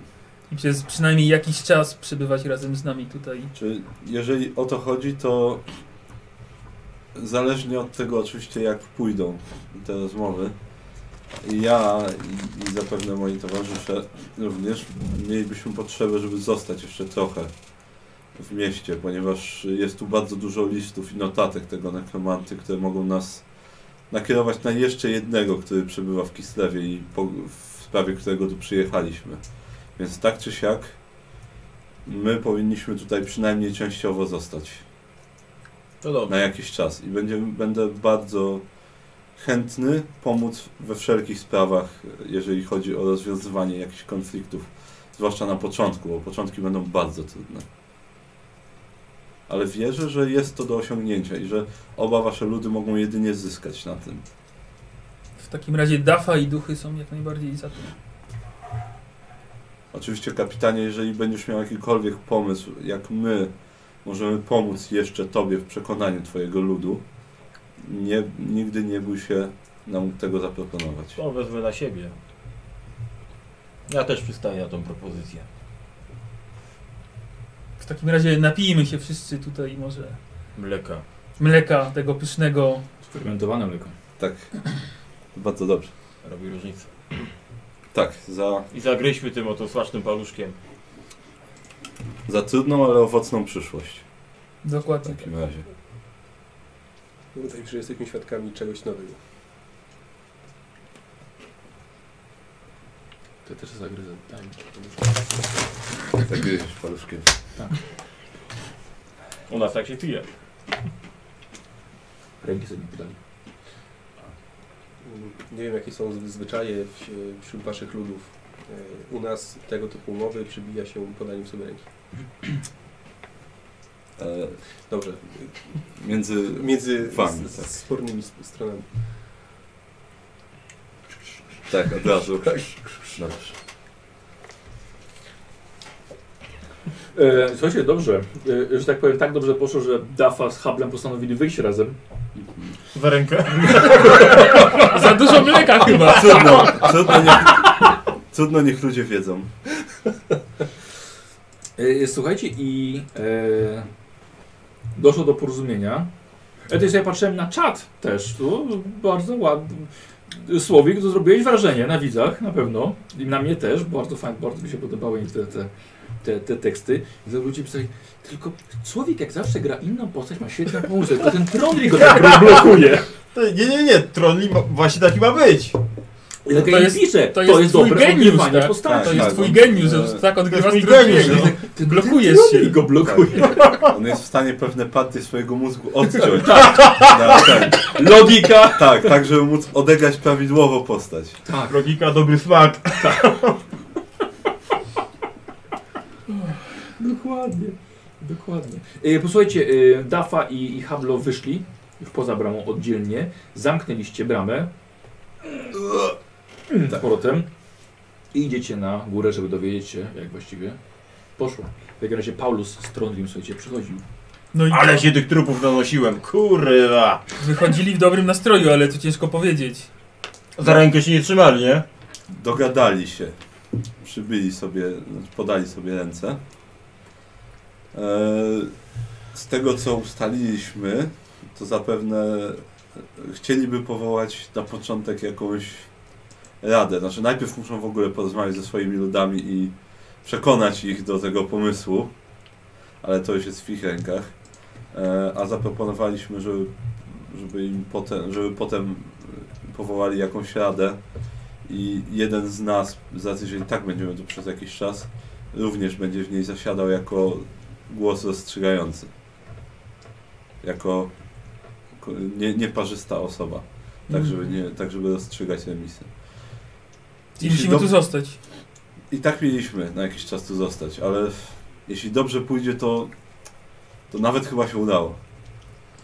I przez przynajmniej jakiś czas przebywać razem z nami tutaj.
czy jeżeli o to chodzi, to zależnie od tego oczywiście jak pójdą te rozmowy, ja i, i zapewne moi towarzysze również mielibyśmy potrzebę, żeby zostać jeszcze trochę w mieście, ponieważ jest tu bardzo dużo listów i notatek tego nekromanty, które mogą nas nakierować na jeszcze jednego, który przebywa w Kislewie i po, w sprawie którego tu przyjechaliśmy. Więc tak czy siak, my powinniśmy tutaj przynajmniej częściowo zostać
No
na
dobrze.
jakiś czas i będziemy, będę bardzo chętny pomóc we wszelkich sprawach, jeżeli chodzi o rozwiązywanie jakichś konfliktów, zwłaszcza na początku, bo początki będą bardzo trudne. Ale wierzę, że jest to do osiągnięcia i że oba wasze ludy mogą jedynie zyskać na tym.
W takim razie Dafa i duchy są jak najbardziej za tym.
Oczywiście, kapitanie, jeżeli będziesz miał jakikolwiek pomysł, jak my możemy pomóc jeszcze Tobie w przekonaniu Twojego ludu, nie, nigdy nie bój się nam tego zaproponować.
To wezmę na siebie. Ja też przystaję na tą propozycję.
W takim razie napijmy się wszyscy tutaj może
Mleka.
mleka tego pysznego.
Fermentowane mleko.
Tak, bardzo dobrze.
Robi różnicę.
Tak, za,
I zagryźmy tym oto smacznym paluszkiem.
za trudną, ale owocną przyszłość w
Dokładnie.
takim razie.
Wydaje mi się, że No jesteśmy świadkami czegoś nowego.
To też zagryzę. Daj mi.
Tak gryziesz paluszkiem.
U nas tak się pije.
Ręki sobie nie podali.
Mm, Nie wiem, jakie są zwy- zwyczaje w- wśród waszych ludów. E, U nas tego typu umowy przybija się podaniem sobie ręki.
E,
Dobrze.
między...
Między
Wami,
z,
tak.
z spornymi sp- stronami.
Tak, od razu. Dobrze.
E, słuchajcie, dobrze, e, że tak powiem, tak dobrze poszło, że Dafa z Hablem postanowili wyjść razem.
Za rękę.
Za dużo mleka chyba!
Trudno, trudno, niech, trudno niech ludzie wiedzą.
E, słuchajcie, i e, doszło do porozumienia. E, to jest, ja patrzyłem na czat też, tu bardzo ładny. Słowik, to zrobiłeś wrażenie na widzach, na pewno. I na mnie też, bardzo fajnie, bardzo mi się podobały te, te, te, te teksty. I to ludzie pisali, tylko Słowik jak zawsze gra inną postać, ma świetną pomysł, to ten Trondli go tak blokuje.
Ty, nie, nie, nie, Trolli ma, właśnie taki ma być.
tak Ja
to jest-
piszę,
to jest twój geniusz,
odgrywanie
tak?
postaci.
To jest
Tak,
twój
no.
geniusz, że
E,
tak odgrywasz
mój
drugiego.
geniusz, no.
Ty
blokujesz
blokujesz
się.
go blokuje.
On jest w stanie pewne partie swojego mózgu
tak.
odciąć. Na ten.
Logika.
Tak, tak, żeby móc odegrać prawidłowo postać.
Tak.
Logika, dobry smak.
Dokładnie. Dokładnie. E, posłuchajcie, e, Dafa i, i Hablo wyszli już poza bramą oddzielnie. Zamknęliście bramę. Z powrotem. I idziecie na górę, żeby dowiedzieć się, jak właściwie poszło. W takim razie Paulus z Trondheim, słuchajcie, przychodził.
No i
Ale się tych trupów nanosiłem. Kurwa.
wychodzili w dobrym nastroju, ale to ciężko powiedzieć.
Za rękę się nie trzymali, nie?
Dogadali się. Przybyli sobie, znaczy podali sobie ręce. Eee, Z tego co ustaliliśmy, to zapewne chcieliby powołać na początek jakąś radę. Znaczy najpierw muszą w ogóle porozmawiać ze swoimi ludami i przekonać ich do tego pomysłu, ale to już jest w ich rękach. E, A zaproponowaliśmy, żeby, żeby im potem, żeby potem e, powołali jakąś radę i jeden z nas, z racji, że i tak będziemy tu przez jakiś czas, również będzie w niej zasiadał jako głos rozstrzygający. Jako ko- nie, nieparzysta osoba. Tak, żeby, nie, tak, żeby rozstrzygać remisy.
I musimy
dob-
tu zostać.
I tak mieliśmy na jakiś czas tu zostać, ale jeśli dobrze pójdzie, to, to nawet chyba się udało.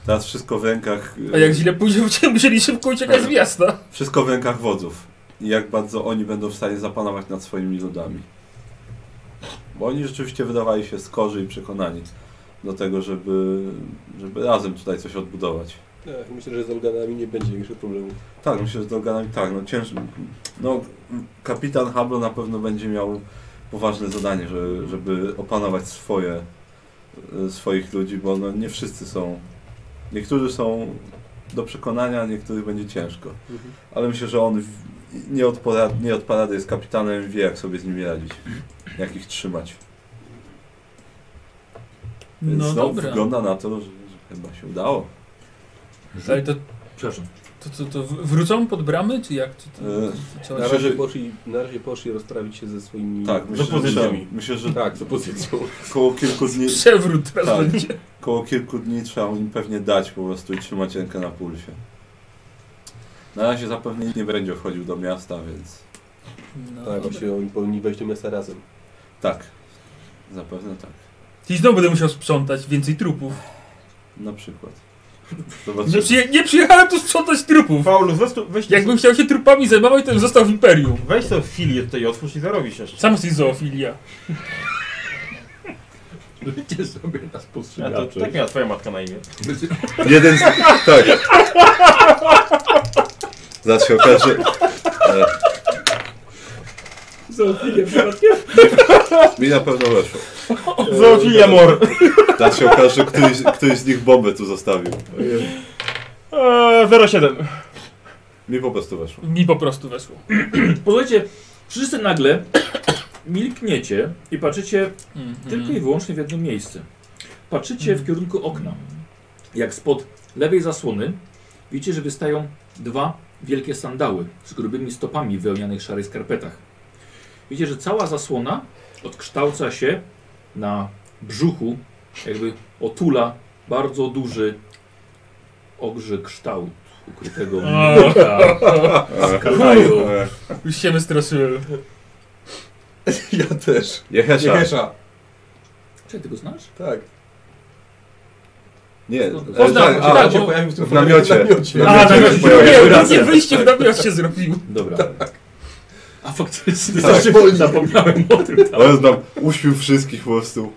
Teraz wszystko w rękach.
A
e,
jak źle pójdzie, będziemy musieli szybko uciekać z miasta.
Wszystko w rękach wodzów. I jak bardzo oni będą w stanie zapanować nad swoimi ludami. Bo oni rzeczywiście wydawali się skorzy i przekonani do tego, żeby, żeby razem tutaj coś odbudować.
Ech, Myślę, że z Dolganami nie będzie większych problemów.
Tak, myślę, że z Dolganami tak, no ciężko. No, kapitan Hablo na pewno będzie miał poważne zadanie, że, żeby opanować swoje, e, swoich ludzi, bo no, nie wszyscy są. Niektórzy są do przekonania, niektórych będzie ciężko.
Mhm.
Ale myślę, że on w- nie od, porad, nie od parady jest kapitanem, wie jak sobie z nimi radzić, jak ich trzymać. Więc
No
no,
dobra.
wygląda na to, że, że chyba się udało.
Ale to,
Przepraszam.
to, to, to w- wrócą pod bramy, czy jak? Czy to,
E,
czy
Na
Myślę,
razie,
że-
poszli, na razie poszli rozprawić się ze swoimi...
tak, myślę, że,
pozycjami.
trzeba- myślę, że
Mhm. Tak, z opozycją.
koło kilku dni,
Przewrót teraz
Tak.
będzie.
koło kilku dni trzeba im pewnie dać po prostu i trzymać rękę na pulsie. Na razie zapewne nikt nie będzie wchodził do miasta, więc
No,
Tak,
tak,
właśnie oni powinni wejść do miasta razem.
tak. Zapewne tak.
I znowu będę musiał sprzątać więcej trupów.
Na przykład.
Nie,
Zobaczymy.
przyje, nie przyjechałem tu sprzątać trupów.
Paulus, weź to, weź,
Jakbym chciał się trupami zajmować, to bym został w Imperium.
weź to filię tutaj otwórz i zarobisz jeszcze.
Sam jesteś zoofilia.
Ludzie sobie nas
A to,
postrzegacze.
tak miała twoja matka na imię.
Jeden z... Tak. Zaraz się okaże... E,
Zaufanie przypadkiem?
mi na pewno weszło.
Eee, Zoofilia mor.
Zaraz się okaże, że któryś, któryś z nich bombę tu zostawił.
Eee, 07.
Mi po prostu weszło.
Mi po prostu weszło.
Posłuchajcie, wszyscy nagle milkniecie i patrzycie
Mhm.
tylko i wyłącznie w jedno miejsce. Patrzycie w kierunku okna. Jak spod lewej zasłony widzicie, że wystają dwa wielkie sandały z grubymi stopami w wełnianych szarych skarpetach. Widzicie, że cała zasłona odkształca się na brzuchu, jakby otula bardzo duży ogrzy kształt ukrytego
A. tak.
mnicha.
E,
Kraju.
e,
Już się wystraszyłem.
Ja też.
Tak.
Jehesza.
Piesza.
Czy ty go znasz?
Tak.
Nie,
Poznam,
tak, a,
tak,
się
bo-
pojawił tym
w namiocie.
namiocie.
W
A,
namiocie.
na
się pojawił.
razie nie wyjście w nawias się zrobiło.
Dobra.
Tak.
A faktycznie
Tak.
zapomniałem o tym.
Ale znam, uśpił wszystkich po prostu.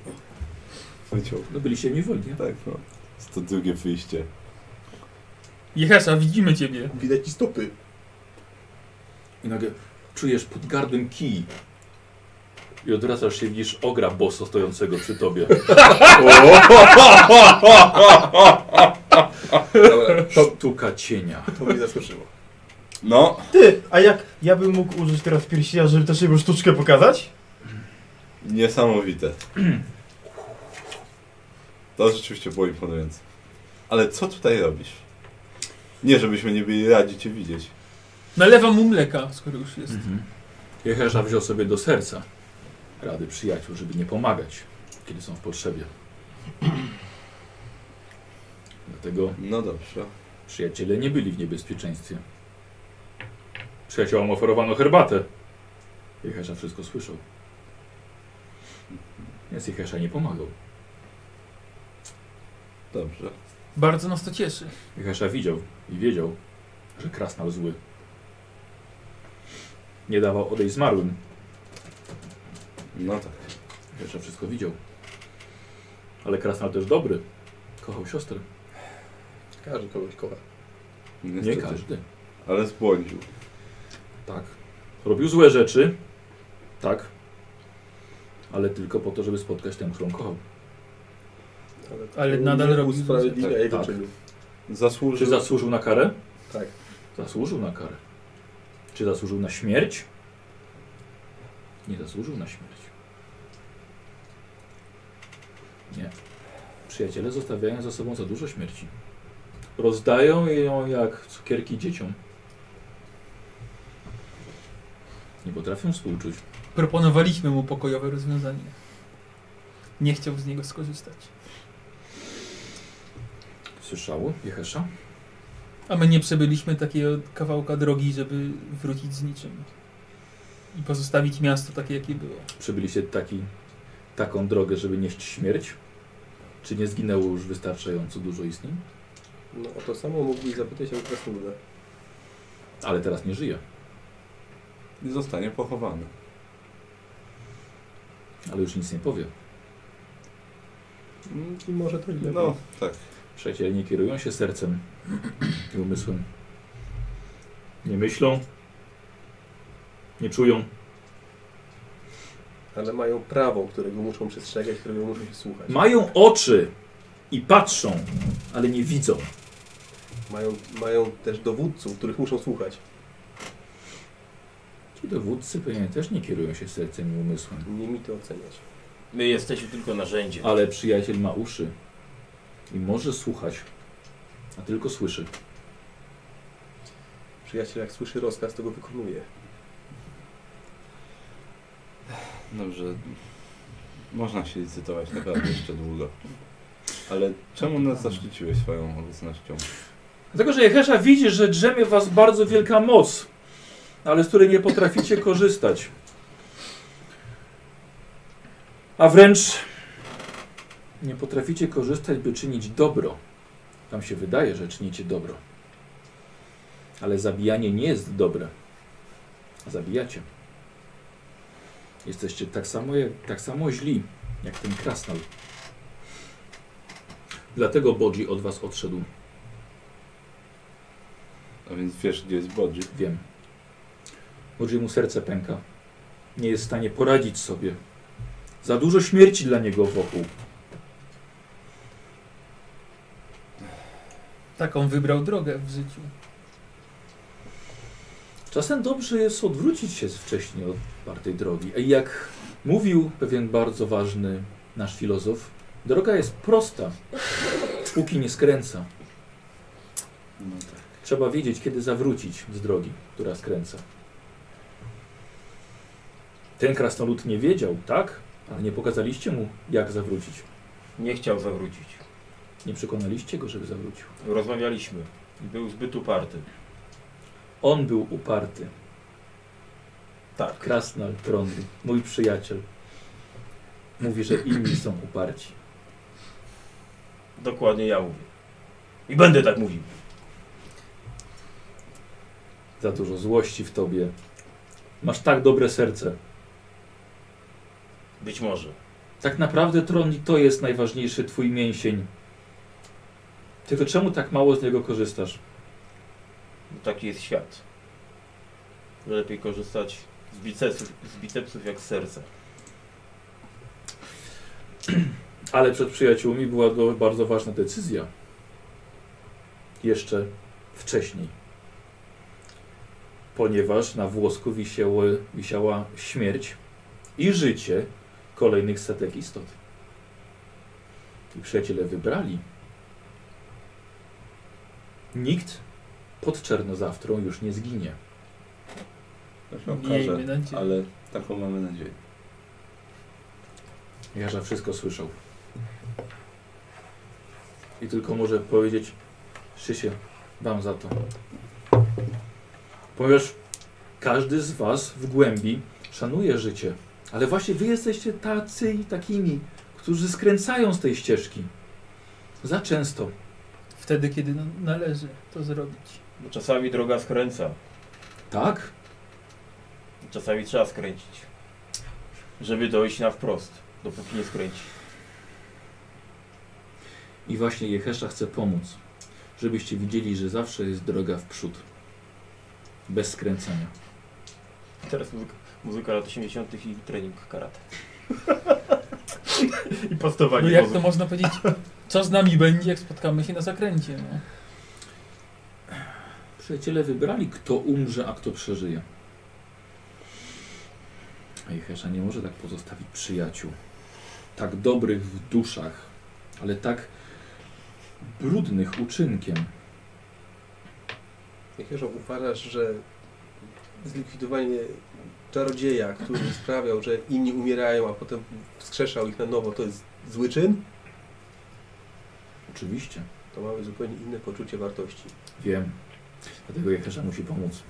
Wyciął.
No byliście mi wolni.
Tak, no. To drugie wyjście.
Jehesza, widzimy ciebie.
Widać ci stopy.
I nagle czujesz pod gardłem kij. I odwracasz się, widzisz ogra boso stojącego przy tobie.
Dobra, to,
Sztuka cienia.
to mnie zaskoczyło.
No,
Ty, a jak ja bym mógł użyć teraz pierścienia, żeby też jego sztuczkę pokazać?
niesamowite. To rzeczywiście było imponujące. Ale co tutaj robisz? Nie, żebyśmy nie byli radzi cię widzieć.
Nalewam mu mleka, skoro już jest.
Jehesza wziął sobie do serca rady przyjaciół, żeby nie pomagać, kiedy są w potrzebie. Dlatego
No dobrze.
przyjaciele nie byli w niebezpieczeństwie. Przyjaciołom oferowano herbatę. Jehesza wszystko słyszał. Więc Jehesza nie pomagał.
Dobrze.
Bardzo nas to cieszy.
Jehesza widział i wiedział, że krasnal zły. Nie dawał odejść zmarłym.
No tak.
Jehesza wszystko widział. Ale krasnal też dobry. Kochał siostrę.
Każdy kogoś kocha.
Nie
Niestety.
każdy.
Ale zbłądził.
Tak. Robił złe rzeczy. Tak. Ale tylko po to, żeby spotkać tę, którą kochał.
Ale nadal robi
Usprawiedliwia
tak,
jego
tak.
czyny.
Czy
Zasłużył.
zasłużył na karę?
Tak.
Zasłużył na karę. Czy zasłużył na śmierć? Nie zasłużył na śmierć. Nie. Przyjaciele zostawiają za sobą za dużo śmierci. Rozdają ją jak cukierki dzieciom. Nie potrafią współczuć.
Proponowaliśmy mu pokojowe rozwiązanie. Nie chciał z niego skorzystać.
Słyszało? Jehesza?
A my nie przebyliśmy takiego kawałka drogi, żeby wrócić z niczym. I pozostawić miasto takie, jakie było.
Przebyliście taki, taką drogę, żeby nieść śmierć? Czy nie zginęło już wystarczająco dużo istnień?
No o to samo mógłbyś zapytać o Krasnoluda.
Ale teraz nie żyje.
I zostanie pochowany.
Ale już nic nie powie.
Mm, I może to i lepiej.
No, tak.
Przyjaciele nie kierują się sercem i umysłem. Nie myślą. Nie czują.
Ale mają prawo, którego muszą przestrzegać, którego muszą się słuchać.
Mają oczy i patrzą, ale nie widzą.
Mają, mają też dowódców, których muszą słuchać.
Ci dowódcy pewnie też nie kierują się sercem i umysłem.
Nie mi to oceniać.
My jesteśmy tylko narzędziem.
Ale przyjaciel ma uszy i może słuchać, a tylko słyszy.
Przyjaciel jak słyszy rozkaz, to go wykonuje.
Dobrze. No, Można się licytować naprawdę jeszcze długo. Ale czemu nas zaszczyciłeś swoją obecnością?
Dlatego, że Jehesza widzi, że drzemie w was bardzo wielka moc, ale z której nie potraficie korzystać. A wręcz nie potraficie korzystać, by czynić dobro. Wam się wydaje, że czynicie dobro. Ale zabijanie nie jest dobre. A Zabijacie. Jesteście tak samo, jak, tak samo źli, jak ten krasnal. Dlatego Bodzi od was odszedł.
A więc wiesz, gdzie jest Bodzi?
Wiem. Może mu serce pęka. Nie jest w stanie poradzić sobie. Za dużo śmierci dla niego wokół.
Taką wybrał drogę w życiu.
Czasem dobrze jest odwrócić się wcześniej od partej drogi. I jak mówił pewien bardzo ważny nasz filozof, droga jest prosta, póki nie skręca.
No tak.
Trzeba wiedzieć, kiedy zawrócić z drogi, która skręca. Ten krasnolud nie wiedział, tak? Ale nie pokazaliście mu, jak zawrócić.
Nie chciał zawrócić.
Nie przekonaliście go, żeby zawrócił.
Rozmawialiśmy. I Był zbyt uparty.
On był uparty.
Tak.
Krasnal Trondry, mój przyjaciel. Mówi, że inni są uparci.
Dokładnie ja mówię. I będę tak mówił.
Za dużo złości w tobie. Masz tak dobre serce.
Być może.
Tak naprawdę Trondri to jest najważniejszy twój mięsień. Tylko czemu tak mało z niego korzystasz?
Bo taki jest świat. Lepiej korzystać z bicepsów, z bicepsów jak z serca.
Ale przed przyjaciółmi była to bardzo ważna decyzja. Jeszcze wcześniej. Ponieważ na włosku wisiały, wisiała śmierć i życie kolejnych setek istot. I przyjaciele wybrali. Nikt pod Czernozawtrą już nie zginie.
To się
Miejmy
okaże,
nadzieję.
ale taką mamy nadzieję.
Jarza wszystko słyszał. I tylko może powiedzieć Szysie, wam za to. Ponieważ każdy z was w głębi szanuje życie. Ale właśnie wy jesteście tacy i takimi, którzy skręcają z tej ścieżki. Za często.
Wtedy, kiedy no, należy to zrobić.
Bo czasami droga skręca.
Tak?
Czasami trzeba skręcić. Żeby dojść na wprost. Dopóki nie skręci.
I właśnie Jehesza chce pomóc. Żebyście widzieli, że zawsze jest droga w przód. Bez skręcania.
Teraz muzyka, muzyka lat 80. i trening karate. I postowanie
No jak
pozu.
to można powiedzieć, co z nami będzie, jak spotkamy się na zakręcie, no.
Przyjaciele wybrali, kto umrze, a kto przeżyje. A Jehesza nie może tak pozostawić przyjaciół. Tak dobrych w duszach, ale tak brudnych uczynkiem.
Jakież uważasz, że zlikwidowanie czarodzieja, który sprawiał, że inni umierają, a potem wskrzeszał ich na nowo, to jest zły czyn?
Oczywiście.
To mamy zupełnie inne poczucie wartości.
Wiem. Dlatego Jehesza musi pomóc.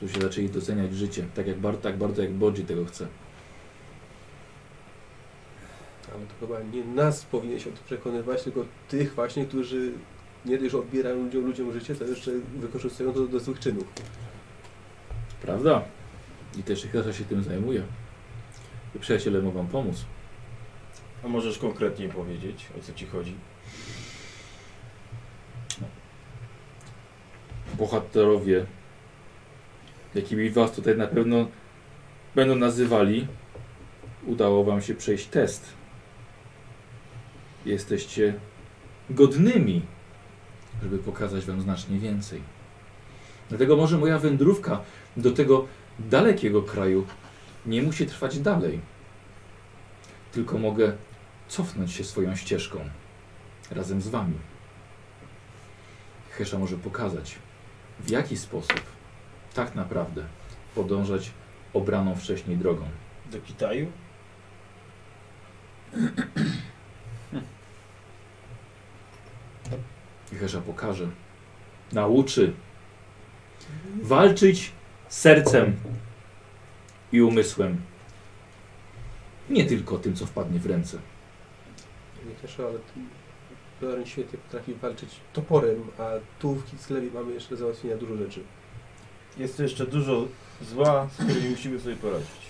Tu się zaczęli doceniać życie, tak jak bar, tak bardzo jak Bodzi tego chce.
Ale to chyba nie nas powinien się o to przekonywać, tylko tych właśnie, którzy nie tylko odbierają ludziom, ludziom życie, to jeszcze wykorzystują to do złych czynów.
Prawda? I też Jehesza się tym zajmuje. I przyjaciele mogą pomóc.
A możesz konkretniej powiedzieć, o co ci chodzi?
bohaterowie, jakimi was tutaj na pewno będą nazywali, udało wam się przejść test. Jesteście godnymi, żeby pokazać wam znacznie więcej. Dlatego może moja wędrówka do tego dalekiego kraju nie musi trwać dalej. Tylko mogę cofnąć się swoją ścieżką razem z wami. Hesza może pokazać, w jaki sposób tak naprawdę podążać obraną wcześniej drogą.
Do Kitaju?
Hesza pokaże, nauczy walczyć sercem i umysłem. Nie tylko tym, co wpadnie w ręce.
Nie też, ale Loren świetnie potrafi walczyć toporem, a tu w Kitzlewie mamy jeszcze do załatwienia dużo rzeczy.
Jest tu jeszcze dużo zła, z którymi musimy sobie poradzić.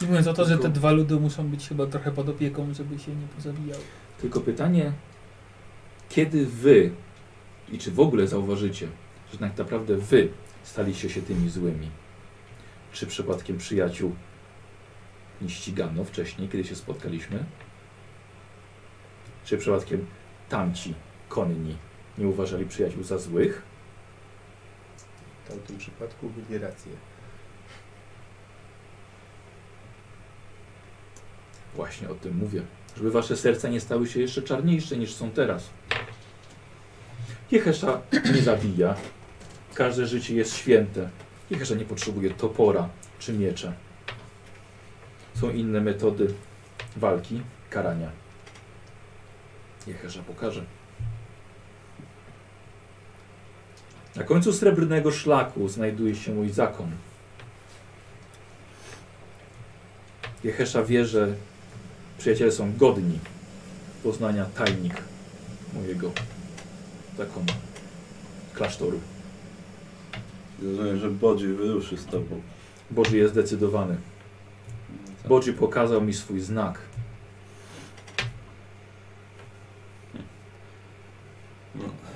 Nie mówiąc o to, że te dwa ludy muszą być chyba trochę pod opieką, żeby się nie pozabijały.
Tylko pytanie, kiedy wy i czy w ogóle zauważycie, że tak naprawdę wy staliście się tymi złymi? Czy przypadkiem przyjaciół nie ścigano wcześniej, kiedy się spotkaliśmy? Czy przypadkiem tamci, konni, nie uważali przyjaciół za złych?
W tamtym przypadku mieli rację.
Właśnie o tym mówię. Żeby wasze serca nie stały się jeszcze czarniejsze niż są teraz. Jehesza nie zabija. Każde życie jest święte. Jehesza nie potrzebuje topora czy miecza. Są inne metody walki, karania. Jehesza pokaże. Na końcu srebrnego szlaku znajduje się mój zakon. Jehesza wie, że Przyjaciele są godni poznania tajnik mojego zakonu, klasztoru.
Rozumiem, że Bodzi wyruszy z tobą.
Boży jest zdecydowany.
No tak.
Boży pokazał mi swój znak.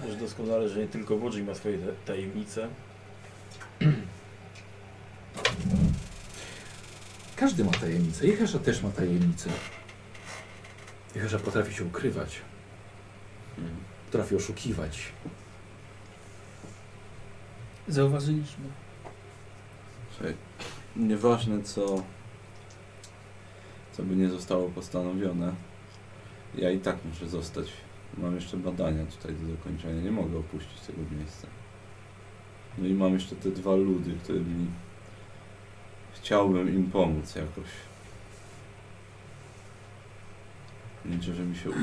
Wiesz doskonale, że nie tylko Wodzi ma swoje ta- tajemnice.
Każdy ma tajemnicę. Jehesza też ma tajemnicę. Jehesza potrafi się ukrywać,
Mhm.
potrafi oszukiwać.
Zauważyliśmy.
Słuchaj, Nieważne co, co by nie zostało postanowione, ja i tak muszę zostać. Mam jeszcze badania tutaj do zakończenia, nie mogę opuścić tego miejsca. No i mam jeszcze te dwa ludy, którymi chciałbym im pomóc jakoś. Liczę, że mi się uda.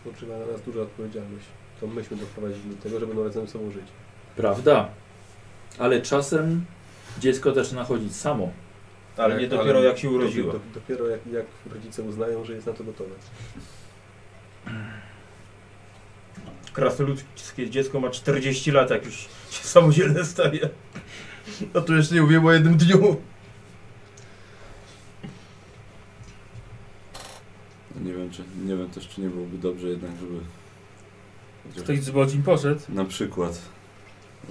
Spoczywa na nas duża odpowiedzialność. To myśmy doprowadzili do tego, że będą razem ze sobą żyć.
Prawda? Ale czasem dziecko zaczyna chodzić samo.
Ale
Tak,
nie dopiero jak się urodziła.
Do, dopiero jak, jak rodzice uznają, że jest na to gotowe.
Krasnoludzkie dziecko ma 40 lat, jak już się samodzielne staje.
A tu jeszcze nie mówię o jednym dniu.
No Nie wiem, czy, nie wiem też, czy nie byłoby dobrze jednak, żeby... chociaż
Ktoś z Bodzin poszedł.
Na przykład.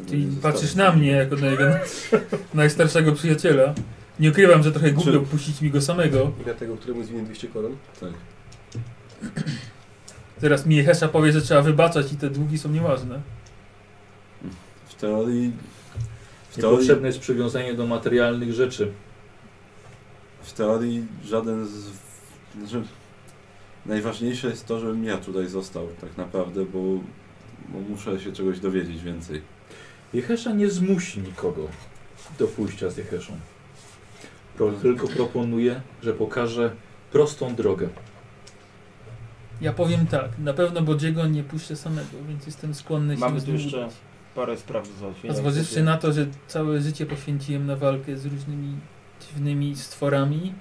Ty
Nie
patrzysz
zostawię.
na mnie jako na jego najstarszego przyjaciela. Nie ukrywam, że trochę głupio
Czy-
puścić mi go samego.
I na tego, któremu zwinię 200 koron.
Tak.
Teraz mi Hesza powie, że trzeba wybaczać i te długi są nieważne.
W teorii... W teorii,
Niepotrzebne jest przywiązanie do materialnych rzeczy.
w teorii żaden z... Znaczy, najważniejsze jest to, żebym ja tutaj został tak naprawdę, bo, bo muszę się czegoś dowiedzieć więcej.
Jehesza nie zmusi nikogo do pójścia z Jeheszą. Pro, tylko proponuje, że pokaże prostą drogę.
Ja powiem tak, na pewno Bodziego nie puszczę samego, więc jestem skłonny
Mamy
się...
tu jeszcze parę spraw do załatwienia.
A zważywszy na to, że całe życie poświęciłem na walkę z różnymi dziwnymi stworami,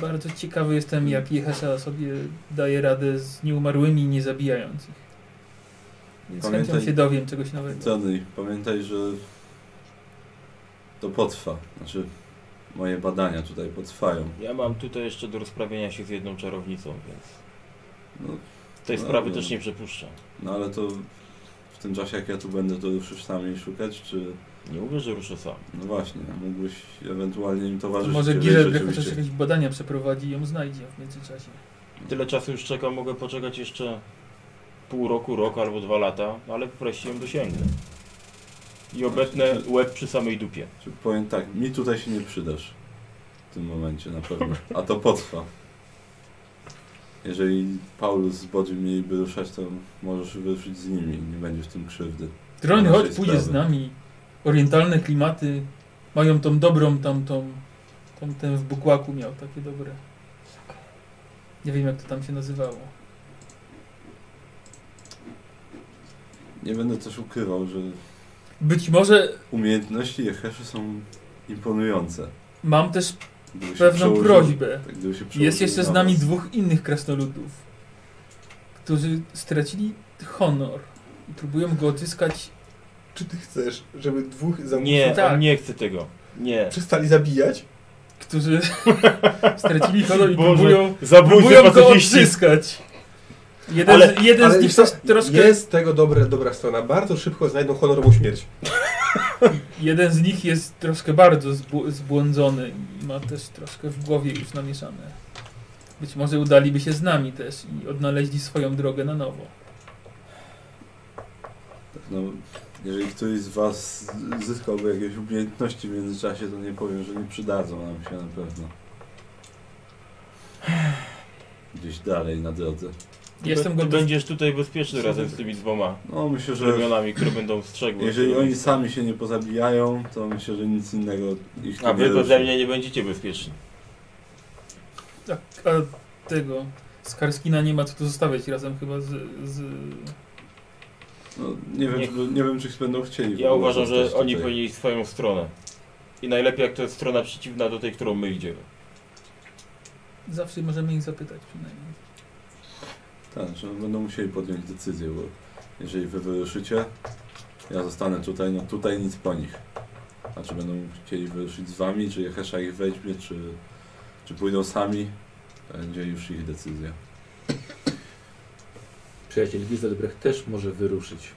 bardzo ciekawy jestem, jak Jehesza sobie daje radę z nieumarłymi, nie zabijając ich. Więc chętnie
Pamiętaj-
się dowiem czegoś nowego.
Tony, pamiętaj, że to potrwa. Znaczy, moje badania tutaj potrwają.
Ja mam tutaj jeszcze do rozprawienia się z jedną czarownicą, więc
No,
tej
No,
sprawy
no.
też nie przepuszczam.
no ale to w tym czasie, jak ja tu będę, to ruszysz sam jej szukać, czy...
Nie mówię, że ruszę sam.
No właśnie, a mógłbyś ewentualnie im
To
towarzyszyć.
może
jeżeli
Gilead chociaż
rzeczywiście-
jakieś badania przeprowadzi i ją znajdzie w międzyczasie.
Tyle czasu już czekam, mogę poczekać jeszcze pół roku, rok albo dwa lata, ale wreszcie ją dosięgnę. I obetnę łeb przy samej dupie.
Czy powiem tak, mi tutaj się nie przydasz w tym momencie na pewno, a to potrwa. Jeżeli Paulus z Bodziem mieliby ruszać, to możesz wyruszyć z nimi, nie będzie w tym krzywdy.
Drony,
Naszej
chodź, pójdziesz z
sprawy.
nami. Orientalne klimaty mają tą dobrą, tam tą, tą ten w Bukłaku miał takie dobre. Nie wiem jak to tam się nazywało.
Nie będę też ukrywał, że
Być może
umiejętności Jeheszy są imponujące.
mam też
Gdyby się
pewną
przełożył-
prośbę.
tak, gdyby się przełożył
Jest jeszcze z
na
nami
was.
dwóch innych krasnoludów, którzy stracili honor i próbują go odzyskać.
Czy ty chcesz, żeby dwóch zamówców
Nie,
Tak.
on nie chce tego. Nie.
przestali zabijać?
Którzy stracili honor i
Boże.
próbują,
Zabójcy
próbują go
pacyfiści.
odzyskać. Jeden,
Ale-
z, jeden z nich
Ale wiesz co,
też troszkę
Jest tego dobre, dobra strona. Bardzo szybko znajdą honorową śmierć.
Jeden z nich jest troszkę bardzo zbł- zbłądzony i ma też troszkę w głowie już namieszane. Być może udaliby się z nami też i odnaleźli swoją drogę na nowo.
Tak, No, jeżeli któryś z was zyskałby jakieś umiejętności w międzyczasie, to nie powiem, że nie przydadzą nam się na pewno. Gdzieś dalej na drodze.
Jestem
Ty
go
będziesz tutaj bezpieczny razem z tymi dwoma
No myślę, że
ramionami, które będą strzegły.
jeżeli oni sami się nie pozabijają, to myślę, że nic innego ich
A
nie
wy beze
ruszy.
mnie nie będziecie bezpieczni.
Tak, A, a tego. Skarskina nie ma co tu zostawiać razem chyba z. z...
No, nie, wiem,
Nie.
czy, nie wiem, czy będą chcieli. w
Ja
ogóle
uważam, że
zostać
oni
tutaj.
powinni iść w swoją stronę. I najlepiej jak to jest strona przeciwna do tej, którą my idziemy.
Zawsze możemy ich zapytać przynajmniej.
Tak, że będą musieli podjąć decyzję, bo jeżeli wy wyruszycie, ja zostanę tutaj, no tutaj nic po nich. A czy będą chcieli wyruszyć z wami, czy Jehesza ich weźmie, czy, czy pójdą sami, to będzie już ich decyzja.
Przyjaciel Gizelbrecht też może wyruszyć.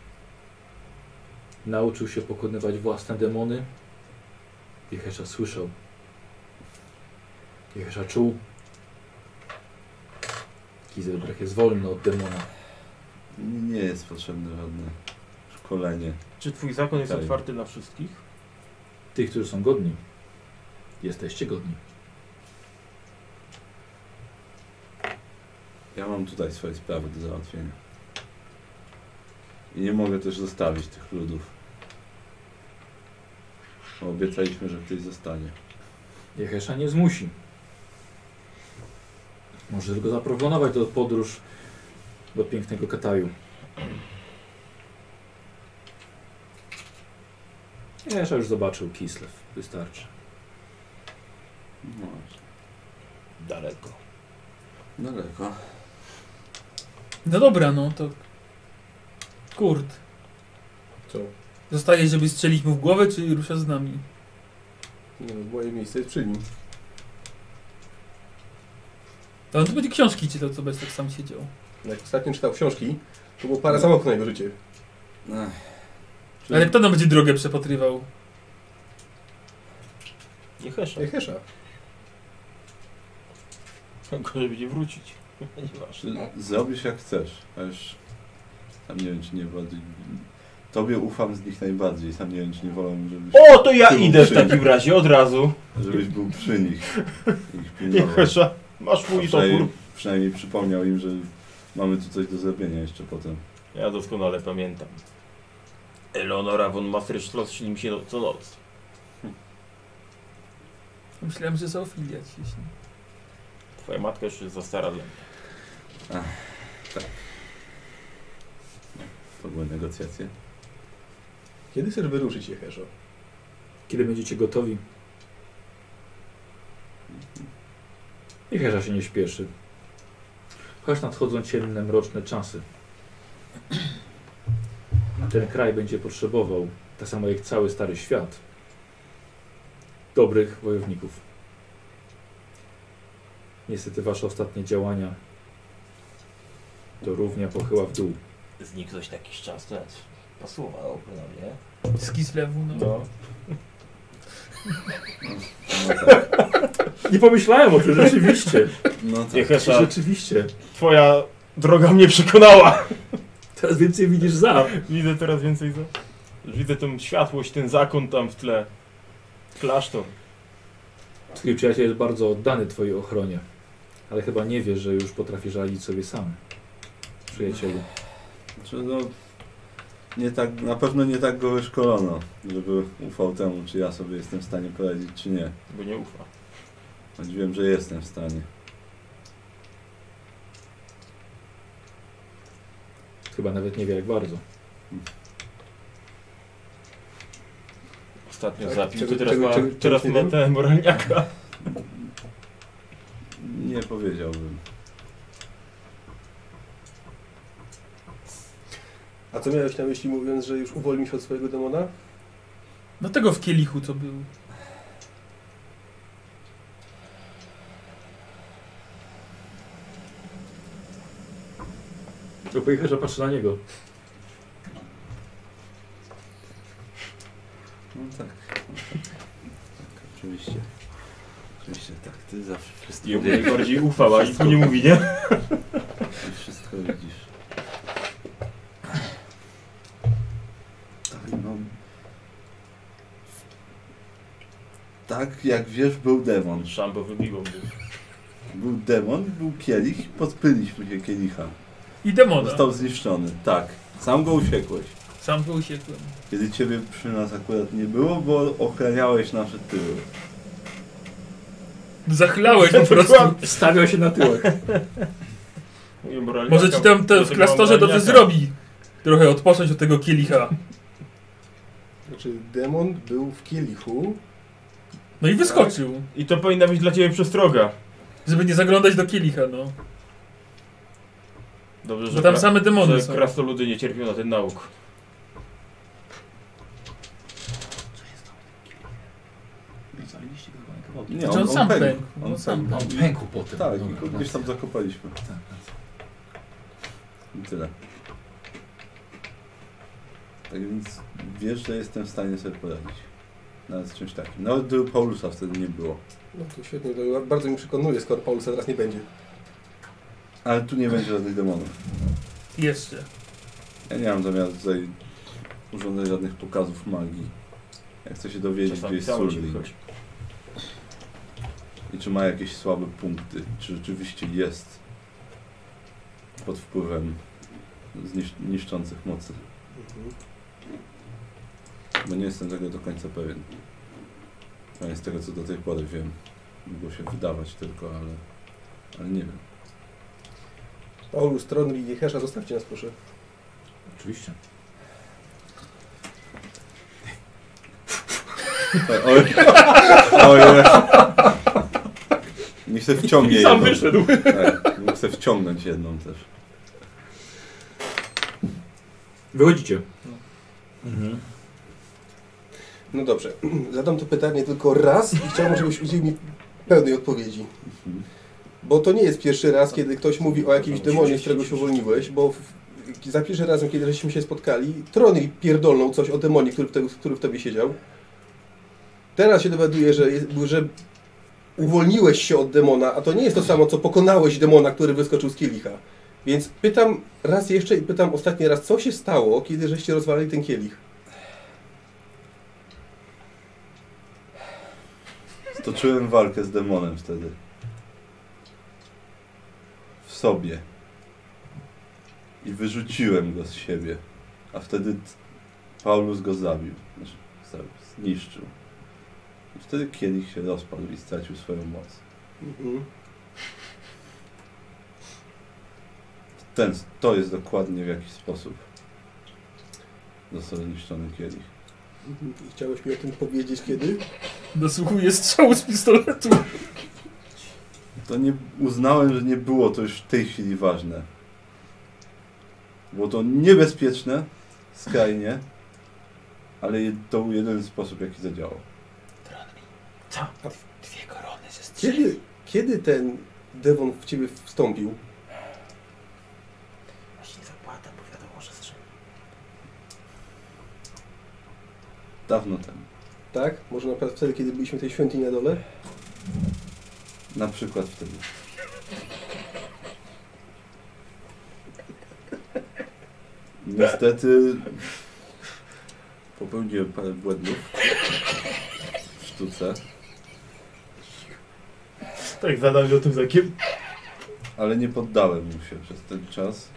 Nauczył się pokonywać własne demony. Jehesza słyszał. Jehesza czuł. Gizelbrecht jest wolny od demona.
Nie jest potrzebne żadne szkolenie.
Czy twój zakon jest
Tak.
otwarty dla wszystkich?
Tych, którzy są godni. Jesteście godni.
Ja mam tutaj swoje sprawy do załatwienia. I nie mogę też zostawić tych ludów. Bo obiecaliśmy, że ktoś zostanie.
Jehesza nie zmusi. Może tylko zaproponować do podróż do pięknego Kataju. Jehesza już zobaczył Kislev. Wystarczy.
No,
Daleko.
daleko.
No dobra, no to. Kurt.
Co?
Zostaje, żeby strzelić mu w głowę, czy rusza z nami?
Nie no, moje miejsce jest przy nim.
To on tu będzie książki czytał, co bez tak sam siedział.
Jak ostatnio czytał książki, to było
No.
parę samochodów na jego życie.
Ech.
Ale kto nam będzie drogę przepatrywał?
Nie hesza.
Jehesza.
Gorzej będzie wrócić. Nieważne.
Zrobisz jak chcesz, a już sam nie wiem, czy nie bardziej... Tobie ufam z nich najbardziej, sam nie wiem, czy nie wolę, żebyś,
O, to ja
Ty
idę w
uczyń.
takim razie od razu.
żebyś był przy nich. i Ich
Nie
pilnował.
chłysza.
Masz
A
mój topór.
przynajmniej, przynajmniej przypomniał im, że mamy tu coś do zrobienia jeszcze potem.
Ja doskonale pamiętam. Eleonora von Masterschloss śni mi się no- co noc.
Myślałem, że zoofilia ci się.
Twoja matka już jest za stara dla mnie.
To były negocjacje.
Kiedy chcesz wyruszyć, Jeheszo?
Kiedy będziecie gotowi? I Hesza się nie śpieszy. Choć nadchodzą ciemne, mroczne czasy. A ten kraj będzie potrzebował, tak samo jak cały stary świat, dobrych wojowników. Niestety wasze ostatnie działania to równia pochyła w dół.
Znikłeś jakiś czas, to jest pasowałoby na mnie.
Z Kislewu, no.
No.
No tak.
Nie pomyślałem o tym, rzeczywiście.
No tak.
Jehesza,
Rzeczywiście.
Twoja droga mnie przekonała.
Teraz więcej widzisz za.
Widzę teraz więcej za.
widzę tą światłość, ten zakon tam w tle. Klasztor.
Twój przyjaciel jest bardzo oddany Twojej ochronie, ale chyba nie wie, że już potrafisz radzić sobie sam. Przyjacielu.
Znaczy, no, nie tak, na pewno nie tak go wyszkolono, żeby ufał temu, czy ja sobie jestem w stanie poradzić, czy nie.
Bo nie ufa.
Choć wiem, że jestem w stanie.
Chyba nawet nie wie jak bardzo.
Ostatnio
Tak,
zapił,
czego-
to teraz
czego-
ma,
czego- czego
teraz
nie
ma
wiem?
ten moralniaka.
Nie powiedziałbym.
A co miałeś na myśli mówiąc, że już uwolnił się od swojego demona?
No tego w kielichu, co był.
Bo pojechać, że patrzy na niego.
No tak. No tak. tak oczywiście. Oczywiście tak, ty zawsze wszystko,
I on
wiesz,
najbardziej ufał, a nic mu nie mówi, nie?
ty wszystko widzisz. Tak, no. Tak, jak wiesz, był demon.
Szambo wybiło mnie.
Był demon, był kielich, podpyliśmy się kielicha.
I demona.
Został zniszczony, tak. Sam go usiekłeś.
Sam go usiekłem.
Kiedy ciebie przy nas akurat nie było, bo ochraniałeś nasze tyły.
Zachlałeś po prostu.
Stawiał się na tyłek.
Mówię, moralniaka,
Może ci tam te,
do
w
tego
klasztorze dobrze
moralniaka.
zrobi. Trochę odpocząć od tego kielicha.
Znaczy, demon był w kielichu.
No i wyskoczył.
I to powinna być dla ciebie przestroga.
Żeby nie zaglądać do kielicha, no.
Dobrze,
Bo
że,
tam
kra-
same demony
że
są.
krasnoludy nie cierpią na ten nauk.
Nie,
Znaczy on sam
pękł.
pękł. On sam
pękł.
pękł.
Pękł potem.
Tak,
Dobra,
i go gdzieś tam
racja.
zakopaliśmy.
Tak,
I tyle. Tak więc wiesz, że jestem w stanie sobie poradzić. Nawet z czymś takim. Nawet gdyby Paulusa wtedy nie było.
No to świetnie, to bardzo mi przekonuje, skoro Paulusa teraz nie będzie.
Ale tu nie będzie żadnych demonów.
Jeszcze.
Ja nie mam zamiaru tutaj urządzać żadnych pokazów magii. Ja chcę się dowiedzieć, gdzie
Czasami
jest
samo ci
Surly.
wychodzi.
I czy ma jakieś słabe punkty? Czy rzeczywiście jest pod wpływem znisz- niszczących mocy? Bo nie jestem tego do końca pewien. Przynajmniej z tego, co do tej pory wiem. Mogło się wydawać tylko, ale, ale nie wiem.
Paulus, Tronli i Jehesza, zostawcie nas proszę.
Oczywiście.
Oj, oj, Niech se wciągnie
I sam
jedną.
wyszedł.
Tak, niech se wciągnąć jedną też.
Wychodzicie.
No.
Mhm.
No dobrze, zadam to pytanie tylko raz i chciałbym, żebyś udzielił mi pełnej odpowiedzi.
Mhm.
Bo to nie jest pierwszy raz, kiedy ktoś mówi o jakimś demonie, z którego się uwolniłeś, bo w, za pierwszym razem, kiedy żeśmy się spotkali, Tronli pierdolnął coś o demonie, który w, te, który w tobie siedział. Teraz się dowiaduję, że, jest, że uwolniłeś się od demona, a to nie jest to samo, co pokonałeś demona, który wyskoczył z kielicha. Więc pytam raz jeszcze i pytam ostatni raz, co się stało, kiedy żeście rozwalili ten kielich?
Stoczyłem walkę z demonem wtedy. W sobie. I wyrzuciłem go z siebie. A wtedy t- Paulus go zabił. Znaczy, zabił, zniszczył. I wtedy kielich się rozpadł i stracił swoją moc.
Mhm.
Ten, to jest dokładnie w jaki sposób został zniszczony kielich.
Mhm. I Chciałeś mi o tym powiedzieć kiedy?
Dosłuchuję strzału z pistoletu.
To nie uznałem, że nie było to już w tej chwili ważne. Było to niebezpieczne, skrajnie, ale je- to był jeden sposób, jaki zadziałał.
Dwie korony ze
Kiedy, kiedy ten demon w ciebie wstąpił?
Właśnie zapłata, bo wiadomo, że strzeli.
Dawno temu.
Tak? Może na przykład wtedy, kiedy byliśmy w tej świątyni na dole?
Na przykład wtedy. Niestety popełniłem parę błędów w sztuce,
Tak, zadam go tym zakiem.
ale nie poddałem mu się przez ten czas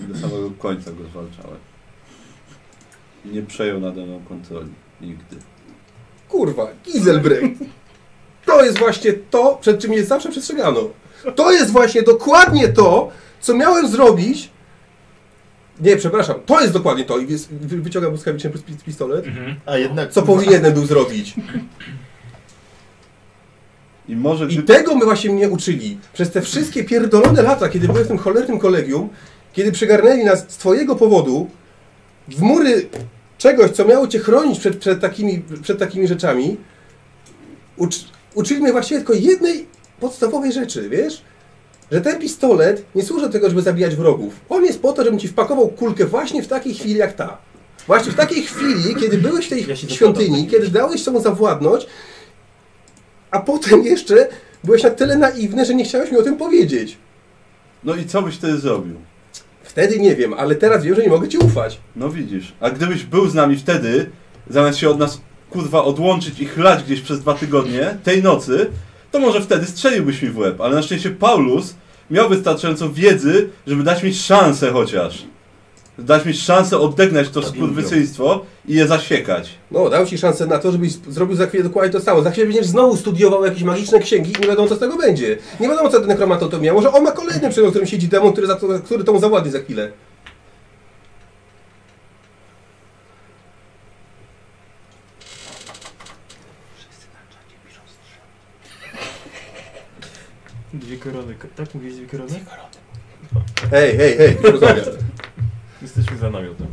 i do samego końca go zwalczałem. I nie przejął nade mną kontroli. Nigdy.
Kurwa, Giselbrecht! To jest właśnie to, przed czym mnie zawsze przestrzegano. To jest właśnie dokładnie to, co miałem zrobić. Nie, przepraszam, to jest dokładnie to. I jest- wy- wyciągam błyskawicznie pis- pistolet.
A jednak...
Co powinienem był zrobić.
I może
I
gdy...
tego my właśnie mnie uczyli. Przez te wszystkie pierdolone lata, kiedy byłem w tym cholernym kolegium, kiedy przygarnęli nas z twojego powodu w mury czegoś, co miało cię chronić przed, przed, takimi, przed takimi rzeczami, uczy, uczyli mnie właściwie tylko jednej podstawowej rzeczy, wiesz? Że ten pistolet nie służy do tego, żeby zabijać wrogów. On jest po to, żebym ci wpakował kulkę właśnie w takiej chwili jak ta. Właśnie w takiej chwili, kiedy byłeś w tej
Ja się
świątyni,
zgadzam.
kiedy dałeś sobą zawładnąć, a potem jeszcze byłeś na tyle naiwny, że nie chciałeś mi o tym powiedzieć.
No i co byś wtedy zrobił?
Wtedy nie wiem, ale teraz wiem, że nie mogę ci ufać.
No widzisz. A gdybyś był z nami wtedy, zamiast się od nas kurwa odłączyć i chlać gdzieś przez dwa tygodnie, tej nocy, to może wtedy strzeliłbyś mi w łeb. Ale na szczęście Paulus miał wystarczająco wiedzy, żeby dać mi szansę chociaż. Dać mi szansę odegnać to skurwysyństwo i je zasiekać.
No, dał ci szansę na to, żebyś sp- zrobił za chwilę dokładnie to samo. Za chwilę będziesz znowu studiował jakieś magiczne księgi i nie wiadomo, co z tego będzie. Nie wiadomo, co ten nekromanton to miał. Może on ma kolejny przedmiot, którym siedzi demon, który, za to, który tą zawładnie za chwilę.
Dwie korony. ko- Tak mówisz, dwie korony?
Hej, hej, hej, nie rozmawiam.
Jesteśmy za namiotem.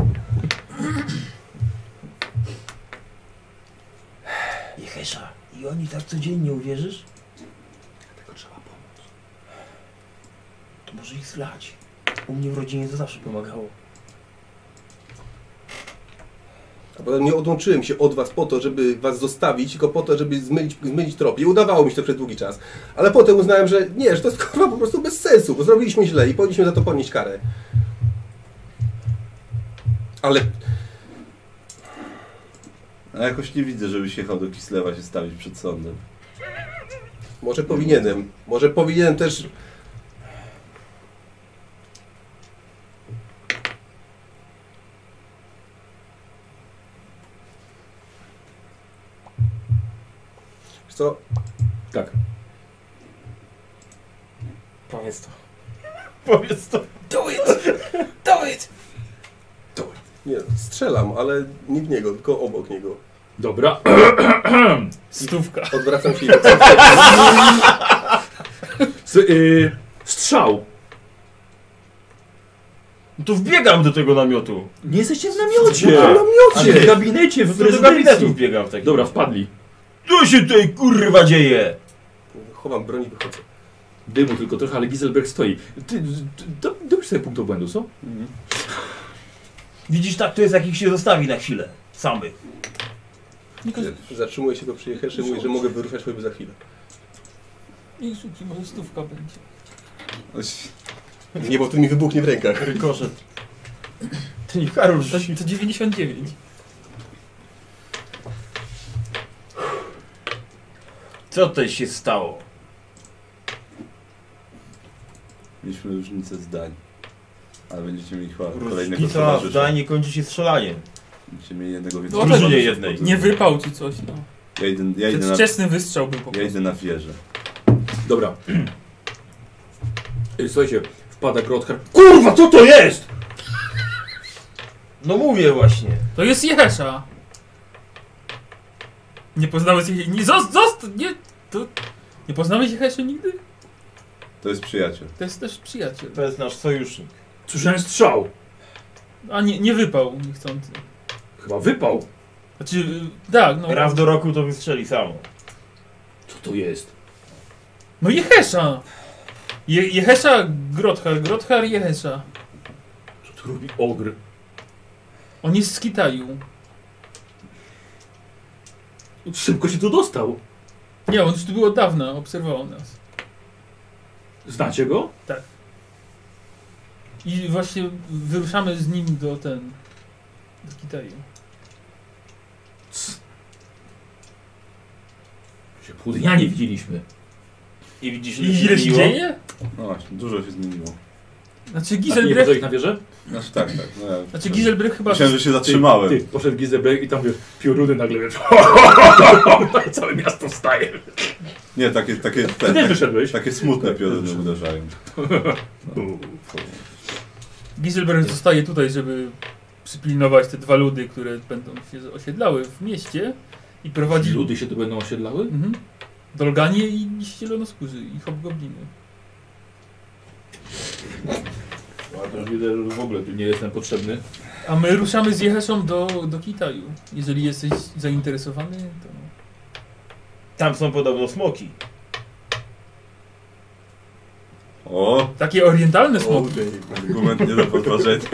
Jehesza, i oni tak codziennie, uwierzysz? Dlatego trzeba pomóc. To może ich zlać. U mnie w rodzinie to zawsze pomagało.
A potem nie odłączyłem się od was po to, żeby was zostawić, tylko po to, żeby zmylić, zmylić trop. I udawało mi się to przez długi czas. Ale potem uznałem, że nie, że to jest kurwa po prostu bez sensu, bo zrobiliśmy źle i powinniśmy za to ponieść karę. Ale
A jakoś nie widzę, żebyś jechał do Kislewa się stawić przed sądem.
Może powinienem. Może powinienem też. Wiesz Co?
Tak.
Powiedz to.
Powiedz to.
Do it! Do it!
Nie, strzelam, ale nie w niego, tylko obok niego.
Dobra.
Stówka.
Odwracam się i go
S y strzał.
No to wbiegam do tego namiotu.
Nie jesteście w
No
namiocie.
to w
W
namiocie!
gabinecie,
No
w
to do gabinetu
prezydencji.
wbiegam w takim.
Dobra, wpadli.
Co się tutaj kurwa dzieje?
Chowam broń i wychodzę.
Dymu tylko trochę, ale Giselberg stoi. Ty, ty, do- dobisz sobie punkt obłędu, co?
Widzisz, tak to jest, jak ich się zostawi na chwilę. Samych.
Zatrzymuję się go przy Jehesze i mówię, że mogę wyruszać choćby za chwilę.
I szuki, może stówka będzie.
Nie, bo tu mi wybuchnie w rękach.
Rykoszet.
Ty nie Karol,
To, to 99.
Co to się stało?
Mieliśmy różnicę zdań. Ale będziecie mieli chyba kolejnego
Różnica w
towarzysza.
Danii kończy się strzelaniem.
Będziecie mieli jednego
No,
więcej.
Drużynie
tak,
jednej.
Nie wypał ci coś, no.
Ja idę, ja idę,
Ten
na,
wczesny wystrzał był po
ja
prostu.
idę na wieżę.
Dobra. Y, Słuchajcie, wpada Grothar. Kurwa, co to jest?
No mówię właśnie.
To jest Jehesza. Nie poznałeś jej... Nie, zost, zost, nie, to... Nie poznałeś Jehesza nigdy?
To jest przyjaciel.
To jest też przyjaciel.
To jest nasz sojusznik.
Słyszałem strzał.
A nie, nie wypał niechcący.
Chyba wypał.
Znaczy, y, tak, no.
Raz do roku to wystrzeli samo.
Co to jest?
No Jehesza! Je, Jehesza Grothar, Grothar Jehesza.
Co tu robi ogr?
On jest z Kitaju.
Szybko się tu dostał.
Nie, on już tu był od dawna, obserwował nas.
Znacie go?
I właśnie wyruszamy z nim do ten... do Kitaju.
Się pół dnia nie widzieliśmy.
I widzisz,
I ile się dzieje?
No właśnie, dużo się zmieniło.
A
Znaczy
ty Tak, nie
Giselbrecht...
poszedłeś na wieżę?
Znaczy tak, tak. No ja
Znaczy Giselbrecht chyba...
Myślałem, że się zatrzymałem.
Ty, poszedł Gizebrek i tam wiesz, pioruny nagle wiesz. I całe miasto wstaje.
Nie, takie, takie,
Ty
te,
też
te,
wyszedłeś.
takie smutne pioruny uderzają.
Giselbrecht zostaje tutaj, żeby przypilnować te dwa ludy, które będą się osiedlały w mieście i prowadzi...
Ludy się tu będą osiedlały?
Mhm. Dolganie i zielonoskórzy i hobgobliny.
A to już widzę, że w ogóle tu nie jestem potrzebny.
A my ruszamy z Jeheszą do, do Kitaju. Jeżeli jesteś zainteresowany, to...
Tam są podobno smoki.
O,
Takie orientalne smoki.
argument nie do podważenia.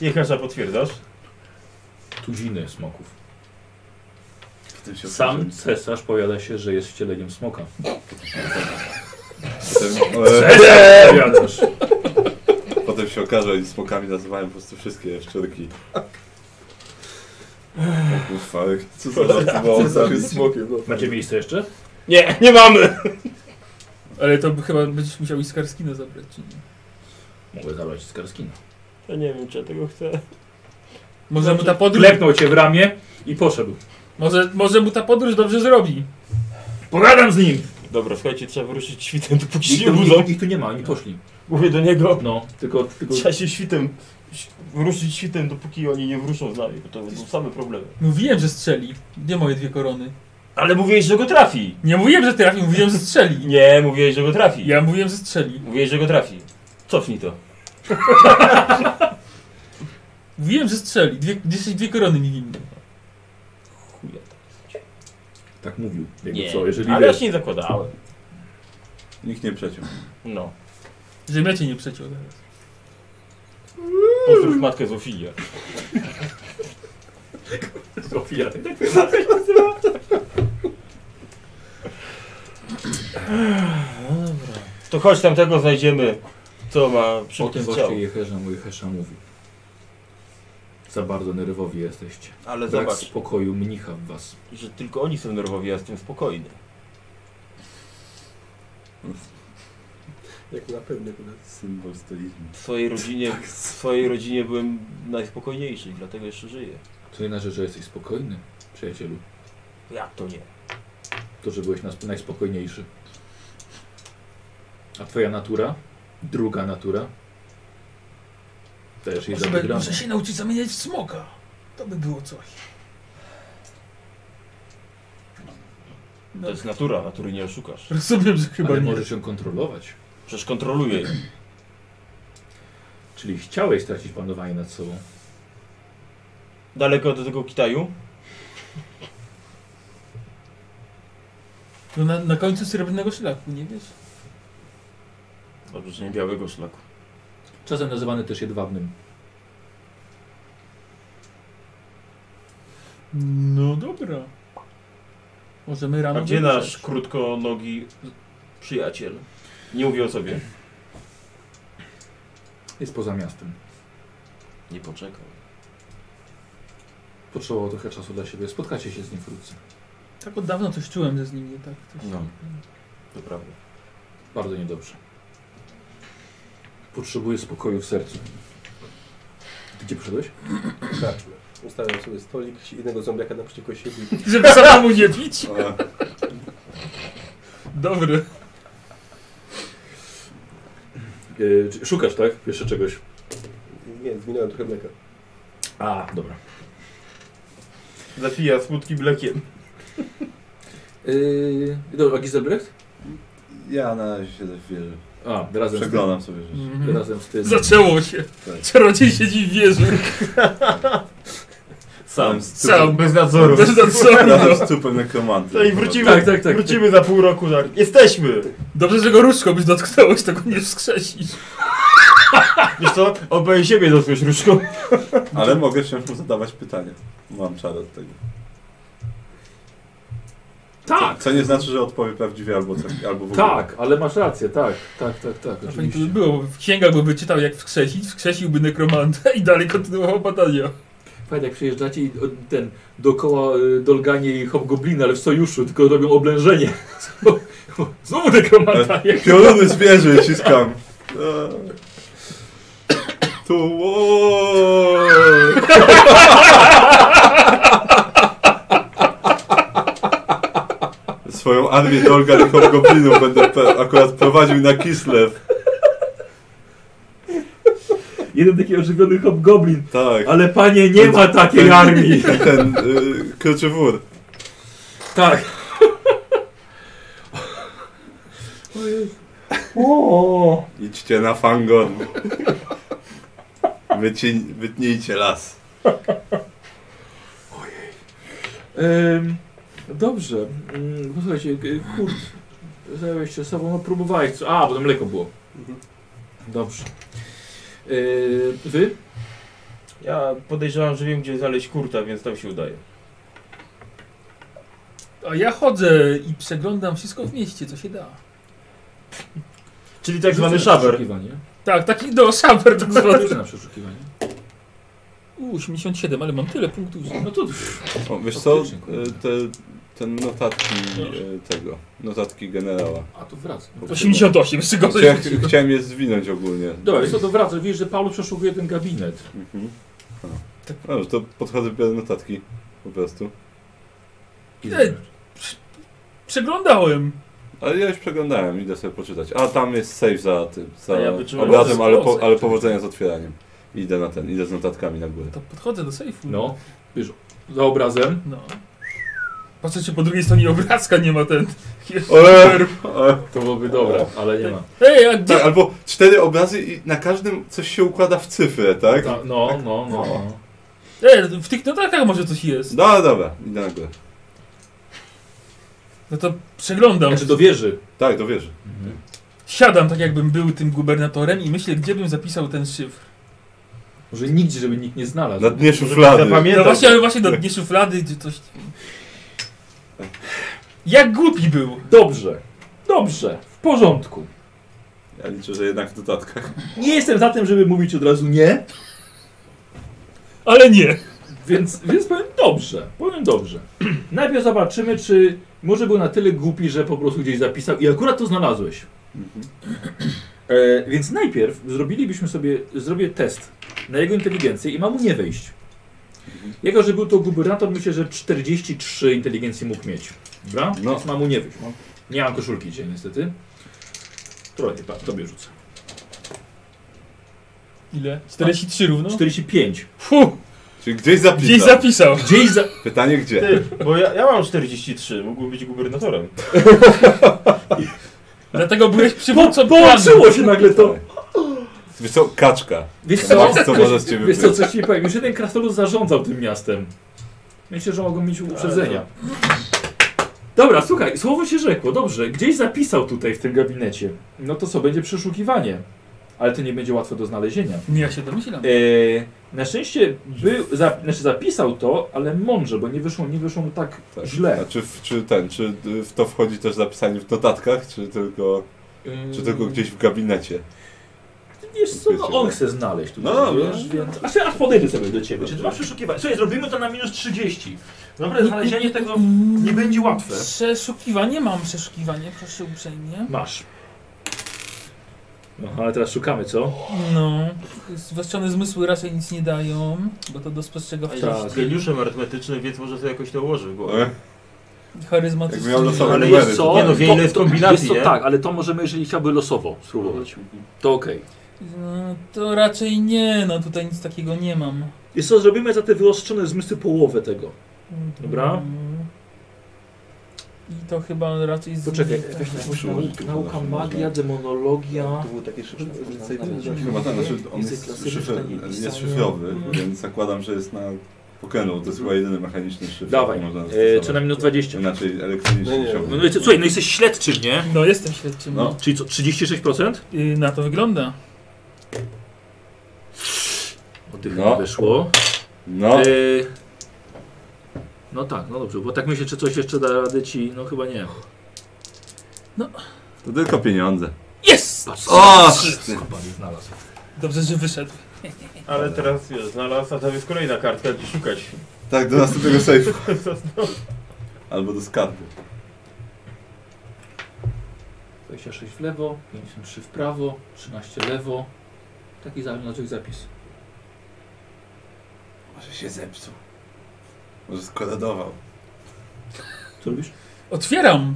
Jechasza potwierdzasz?
Tuziny smoków.
W tym się
Sam
obrażę.
cesarz powiada się, że jest wcieleniem smoka.
Potem, e,
Powiadasz.
potem się okaże, i smokami nazywałem po prostu wszystkie szczurki. O Kurwa, ale co za żartowało
Cezar
sami
jest smokiem, no.
Macie miejsce jeszcze?
Nie, nie mamy!
Ale to by chyba będziesz musiał i Skarskina zabrać, czy nie?
Mogę zabrać z Karskina.
Ja nie wiem, czy ja tego chcę.
Może
Znaczy,
mu ta podróż,
Klepnął cię w ramię i poszedł.
może, może mu ta podróż dobrze zrobi.
Pogadam z nim!
Dobra, słuchajcie, trzeba wyruszyć świtem, dopóki się
Ich
nie
tu,
budzą.
ich, ich tu nie ma, oni poszli.
Mówię do niego,
No, tylko... tylko
trzeba się świtem, wyruszyć świtem, dopóki oni nie wrócą z nami, bo to będą same problemy.
Mówiłem, że strzeli. Nie moje dwie korony.
Ale mówiłeś, że go trafi.
Nie mówiłem, że trafi, mówiłem, że strzeli.
Nie, mówiłeś, że go trafi.
Ja mówiłem, że strzeli.
Mówiłeś, że go trafi. Cofnij to.
Mówiłem, że strzeli. Dwie, jesteś dwie korony mi winny.
Chuja.
Tak mówił. Jakby
Nie,
co, jeżeli
ale ja
wiesz,
się nie zakładałem.
Nikt nie przeciął.
No.
Że ja cię nie przeciął teraz.
Pozdrów matkę Zofilia.
Sofia, ty tak
To chodź tamtego znajdziemy, co ma
O tym
szybki strzał.
właśnie Jeherza, mój Hesza mówi. Za bardzo nerwowi jesteście.
Ale
Brak
zobacz,
spokoju mnicha w was.
że tylko oni są nerwowi, ja jestem spokojny.
Jak na pewno akurat.
Symbol stolizmu.
W swojej rodzinie, w swojej rodzinie byłem najspokojniejszy i dlatego jeszcze żyję.
To jedna rzecz, że jesteś spokojny, przyjacielu.
Jak to nie?
To, że byłeś nas- najspokojniejszy. A twoja natura? Druga natura? Też
Znaczy,
jest
Może,
zabigrana.
może Znaczy, się nauczyć zamieniać w smoka. To by było coś. No,
To jest natura, natury nie oszukasz.
rozumiem, że chyba
Ale
nie.
możesz ją kontrolować.
Przecież kontroluję. ją.
Czyli chciałeś stracić panowanie nad sobą.
Daleko do tego Kitaju?
No na, na końcu srebrnego szlaku, nie wiesz?
Dobrze, że nie białego szlaku.
Czasem nazywany też jedwabnym.
No dobra. Możemy rano
A gdzie
wyruszać.
nasz krótkonogi przyjaciel? Nie mówię o sobie.
Jest poza miastem.
Nie poczekał.
Potrzebował trochę czasu dla siebie. Spotkacie się z nim wkrótce.
Tak od dawna coś czułem, że z nim nie tak. Coś...
No. To prawda.
Bardzo niedobrze. Potrzebuje spokoju w sercu. Gdzie przyszedłeś?
Zobaczmy. Ustawiam sobie stolik, jednego zombiaka naprzeciwko siebie.
Żeby samemu nie pić.
A,
Dobry.
E, czy- szukasz, tak? Jeszcze czegoś.
Nie, zminąłem trochę mleka.
A, dobra.
Zafija smutki blekiem.
Yy, dobra, a Giselbrecht?
ja na razie się zawierzę.
A, razem z,
Przeglądam sobie rzeczy.
tym, razem z tym.
Zaczęło się.
Tak.
Czarodziej siedzi w wieży.
Sam.
Sam.
Bez nadzoru.
Bez nadzoru.
Razem z tupem nekromanty.
No i wrócimy,
Tak, tak, tak.
wrócimy za pół roku, tak. Jesteśmy!
Dobrze, że go różdżką byś dotknąłeś, to go nie wskrzesisz.
Wiesz co? Oboje siebie dotknąć różką.
Ale mogę wciąż mu zadawać pytania. Mam czar od tego.
Tak,
Co, co nie znaczy, że odpowie prawdziwie albo, co, albo w ogóle.
tak, ale masz rację, tak, tak, tak, tak,
No fajnie to by
oczywiście.
było, bo w księgach by wyczytał jak wskrzesić, wskrzesiłby nekromanta i dalej kontynuował badania.
Fajnie, jak przyjeżdżacie i o, ten, dookoła y, Dolganie i Hobgobliny, ale w sojuszu, tylko robią oblężenie. Znowu nekromanta, jak
Pioruny zwierzę ciskam. Tu. Swoją armię Dolga i Hobgoblinów będę pe- akurat prowadził na Kislev.
jeden taki ożywiony Hobgoblin.
Tak.
Ale panie, nie ma takiej
Ten-
armii.
I ten y, Kroczywór.
Tak. O,
Idźcie na Fangon. Wyciń, wytnijcie las.
Ym, dobrze. Ym, Posłuchajcie, y, kurt, zająłeś się sobą, no próbowałeś. Co? A, bo to mleko było.
Mhm.
Dobrze. Yy, wy?
Ja podejrzewam, że wiem gdzie znaleźć kurta, więc tam się udaje.
A ja chodzę i przeglądam wszystko w mieście, co się da.
Czyli tak zwany
Rzucę na
szaber.
przeszukiwanie.
Tak, taki do szaber tak zwany.
Rzucę na przeszukiwanie.
U, 87, ale mam tyle punktów, że...
No to
O, wiesz co,
Faktycznie,
y, te, ten notatki y, tego, notatki generała.
A to wraca.
Bo
88, jeszcze
Znaczy, ja
gorzej.
ch- chciałem je zwinąć ogólnie.
Dobra, jest to to wraca. Widzisz, że Paulus przeszukuje ten gabinet.
Mhm. A. Dobrze, to podchodzę, biorę notatki po prostu.
I
Ej. Przeglądałem.
Ale ja już przeglądałem, idę sobie poczytać. A tam jest safe za tym, za
A ja wyczułem,
obrazem,
że
ale, po,
sposób.
ale powodzenia z otwieraniem. Idę na ten, idę z notatkami na górę.
To podchodzę do sejfu.
No, wiesz, za obrazem.
No. Patrzę, czy po drugiej stronie obrazka nie ma ten...
Ale, ale,
To byłoby dobre, ale nie ma.
Ej, a
tak,
gdzie...
albo cztery obrazy i na każdym coś się układa w cyfrę, tak?
Ta, no, no, no. no.
Ej, w tych notatkach może coś jest.
No dobra, idę na górę.
No to przeglądam.
Znaczy do wieży.
Tak, do wieży.
Siadam tak, jakbym był tym gubernatorem i myślę, gdzie bym zapisał ten No szyfr.
Może nigdzie, żeby nikt nie znalazł.
Na dnie szuflady.
No
Zapamiętam.
właśnie, ale właśnie do dnie szuflady, gdzie coś... Jak głupi był!
Dobrze, dobrze, w porządku.
Ja liczę, że jednak w notatkach.
Nie jestem za tym, żeby mówić od razu nie,
Ale nie!
więc, więc powiem dobrze, powiem dobrze. Najpierw zobaczymy, czy może był na tyle głupi, że po prostu gdzieś zapisał i akurat to znalazłeś.
Mhm.
E, więc najpierw zrobilibyśmy sobie, zrobię test na jego inteligencję i ma mu nie wejść.
Mhm.
Jako, że był to gubernator, myślę, że 43 inteligencji mógł mieć. Dobra?
No.
Więc ma mu nie wyjść. Nie mam koszulki dzisiaj niestety. Trochę, pa, tobie rzucę.
Ile? 43 równo?
45.
Fuh!
Czyli gdzieś zapisał.
tak.
Gdzieś zapisał.
Gdzieś za...
Pytanie gdzie?
Ty, bo ja, ja mam 43, mógłbym być gubernatorem.
Dlatego byłeś przywódcą
Po,
planu.
połączyło się nagle to.
Wiesz co, kaczka.
Wiesz co?
Max, Tak. co może z ciebie
Wiesz co,
być?
coś ci powiem. Już jeden krasnolud zarządzał tym miastem. Myślę, że mogą mieć uprzedzenia. Dobra, słuchaj, słowo się rzekło. Dobrze, gdzieś zapisał tutaj w tym gabinecie. No to co, będzie przeszukiwanie. ale to nie będzie łatwe do znalezienia.
Nie, No ja się domyślam.
E, na szczęście był, za, znaczy zapisał to, ale mądrze, bo nie wyszło, nie wyszło mu tak,
Tak. A
źle.
czy, w- czy ten, czy y, w to wchodzi też zapisanie w dodatkach, czy tylko, czy tylko gdzieś w gabinecie?
Wiesz co, no on chce znaleźć tutaj,
No,
wiesz, więc... A teraz podejdę sobie do ciebie. Czy ty
Dobrze.
masz przeszukiwać? Słuchaj, zrobimy to na minus 30. Dobre, znalezienie tego nie będzie łatwe.
Przeszukiwanie mam, przeszukiwanie, proszę uprzejmie.
Masz. Aha, ale teraz szukamy, co?
No, zwłaszczone zmysły raczej nic nie dają, bo to do spostrzegawczości.
Tak.
Jest geniuszem arytmetycznym, więc może sobie jakoś to ułoży w głowie.
E,
Charymatyczny.
Jak miał losowe
Ale
Ale
jest
jest
co?
co?
Nie no, wie ile jest kombinacji,
Jest to
nie?
tak, ale to możemy, jeżeli chciałby losowo spróbować. To okej.
No, to raczej nie, no tutaj nic takiego nie mam.
Jest co, zrobimy za te wyostrzone zmysły połowę tego. Dobra.
I to chyba raczej z...
Poczekaj,
tak.
weź na-
Przyłożyć
nauka,
można.
magia, demonologia.
To było takie szybsze.
No.
Chyba ten, znaczy on
Język
jest,
klasyczny,
szyfr,
nie pisany.
jest szyfrowy,
Mhm.
więc zakładam, że jest na pokenu. To jest chyba jedyny mechaniczny szyfr.
Mhm. Dawaj,
jaki można
e, czy na
zastosować.
minus 20.
Inaczej elektronicznie
No nie.
No,
chciałbym.
wiecie, słuchaj, no jesteś śledczym, nie?
No, jestem świadczym.
No.
Czyli co, 36%?
Y, na to wygląda.
Oddycha
No.
no. weszło.
No,
E, no tak, no dobrze, bo tak myślę, czy coś jeszcze da rady ci, no chyba nie.
to tylko pieniądze.
Jest!
Patrz,
O, ty.
chyba nie znalazł.
Dobrze, że wyszedł.
Ale teraz wiesz, znalazł, a tam jest kolejna kartka, gdzie szukać.
Tak, do następnego sejfu. Albo do skarbu.
26 w lewo, 53 w prawo, 13 lewo. Taki zaznaczek zapis.
Może się zepsuł. Może skoladował.
Co robisz?
Otwieram.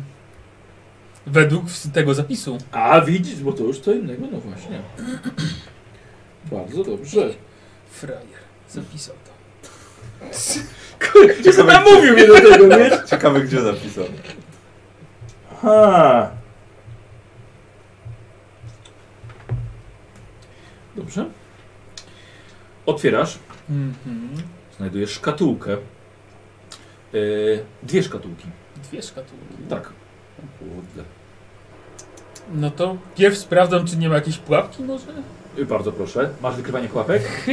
Według w- tego zapisu.
A widzisz, bo to już co innego, no właśnie. Bardzo dobrze.
Frajer. Zapisał to.
Cię co namówił mnie do tego, wiesz?
Ciekawe gdzie zapisał.
Ha. Dobrze. Otwierasz,
Mhm.
znajdujesz szkatułkę. Yy, dwie szkatułki.
Dwie szkatułki.
Tak.
Kurde.
No to pierw sprawdzam, czy nie ma jakiejś pułapki może?
Yy, Bardzo proszę. Masz wykrywanie pułapek?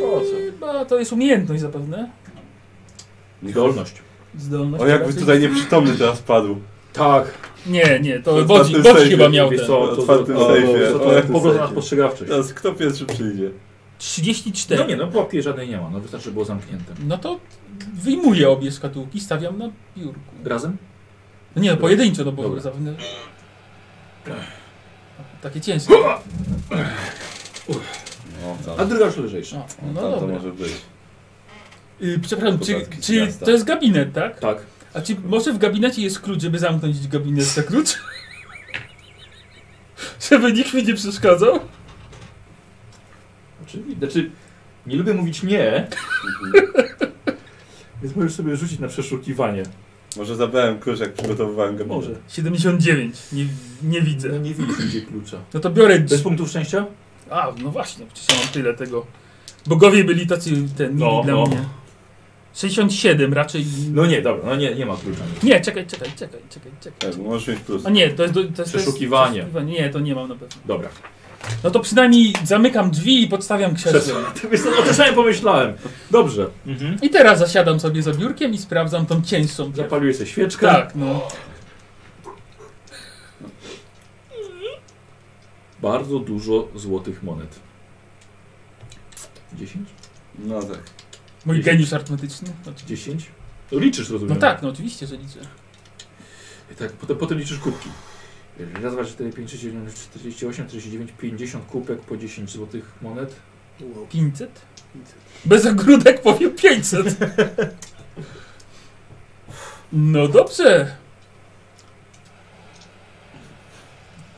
Po co?
Chyba to jest umiejętność zapewne.
Zdolność.
Zdolność.
O jakby
raczej.
tutaj nieprzytomny teraz padł.
Tak.
Nie, nie, to
To
Bodzi,
na tym
Bodzi
sejfie,
chyba miał
wiesz
ten.
co, to- to-
Otwartym
to-
sejfie,
to- to-
otwartym
Po prostu na
sejfie.
spostrzegawczość.
Teraz kto pierwszy przyjdzie?
34.
No nie, no pułapki żadnej nie ma, no wystarczy, że było zamknięte.
No to wyjmuję obie szkatułki, stawiam na biurku.
Razem?
No nie, no pojedynczo, no bo
Dobra.
zapewne... Takie ciężkie.
No, tam,
A druga już lżejsza.
No,
no,
no
tam to
dobra.
może być.
Y, przepraszam, czy,
Podatki z
czy
miasta.
to jest gabinet, tak?
Tak.
A czy może w gabinecie jest klucz, żeby zamknąć gabinet za klucz? żeby nikt mi nie przeszkadzał?
Oczywiście. Znaczy, nie lubię mówić nie, więc możesz sobie rzucić na przeszukiwanie.
Może zabrałem klucz, jak przygotowywałem go.
Może.
79. Nie, nie
No
widzę.
nie widzisz gdzie klucza.
No to biorę... drzwi-
Bez punktów szczęścia?
A, no właśnie, przecież ja mam tyle tego. Bogowie byli tacy ten mili
No,
dla
no.
mnie. 67 raczej.
No nie, dobra, no nie, nie ma klucza.
Nie, czekaj, czekaj, czekaj, czekaj, czekaj.
Tak, możesz mieć plus.
A nie, to jest, do, to jest to jest
Przeszukiwanie.
przeszukiwanie. Nie, to nie mam na pewno.
Dobra.
No to przynajmniej zamykam drzwi i podstawiam krzesło.
To wiesz co, O tym samym pomyślałem. Dobrze. Mhm.
I teraz zasiadam sobie za biurkiem i sprawdzam tą cieńszą. pierw.
Zapaliłeś sobie świeczkę.
Tak, no.
Bardzo dużo złotych monet. 10?
No tak.
Mój
Dziesięć.
geniusz arytmetyczny. Oczywiście.
10? To liczysz, rozumiem.
No tak, no oczywiście, że liczę.
I tak, potem, potem liczysz kubki. Raz, dwa, cztery, pięć, sześć, siedem, 48, 49, 50 kubek po 10 złotych monet.
500? Bez ogródek powiem 500. No dobrze.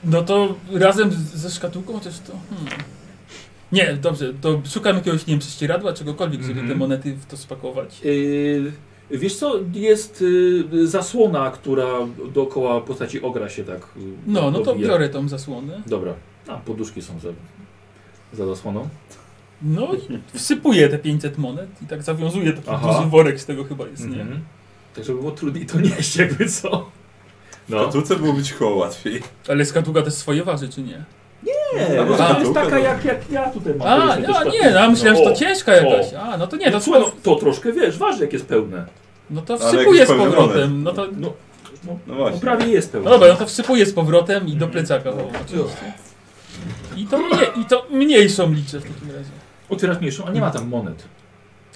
No to razem z- ze szkatułką też to. Hmm. Nie, dobrze, to szukam jakiegoś, nie wiem, prześcieradła, czegokolwiek, żeby
Mhm.
te monety w to spakować.
Yy, wiesz co, jest yy, zasłona, która dookoła postaci ogra się tak. yy,
No, no to
dowija.
biorę tą zasłonę.
Dobra, a poduszki są za, za zasłoną.
No i wsypuję te 500 monet i tak zawiązuję taki
Aha.
duży worek z tego chyba jest, nie?
Mhm. Tak, żeby było trudniej to nieść, jakby co.
W
No.
katułce byłoby ci koło łatwiej.
Ale skatuga też swoje waży, czy nie?
Nie,
A
no,
bo to jest
Szkatułka,
taka
no.
jak, jak ja tutaj mam.
A,
powiedzmy,
no,
też
nie, no, a myślałem, że
No, o,
to ciężka jakaś. A, no to nie,
No
no
słuchaj,
to,
no, to troszkę wiesz, waży jak jest pełne.
no to
ale jak
wsypuję
jest
z powrotem.
pełnoletni.
No to,
No, no,
No
no,
właśnie.
prawie jest
no
pełne.
dobra, no to wsypuję z powrotem i do plecaka.
No,
O, oczywiście. I to, mnie, I to mniejszą liczę w takim razie.
Otwierasz mniejszą, a nie ma tam monet.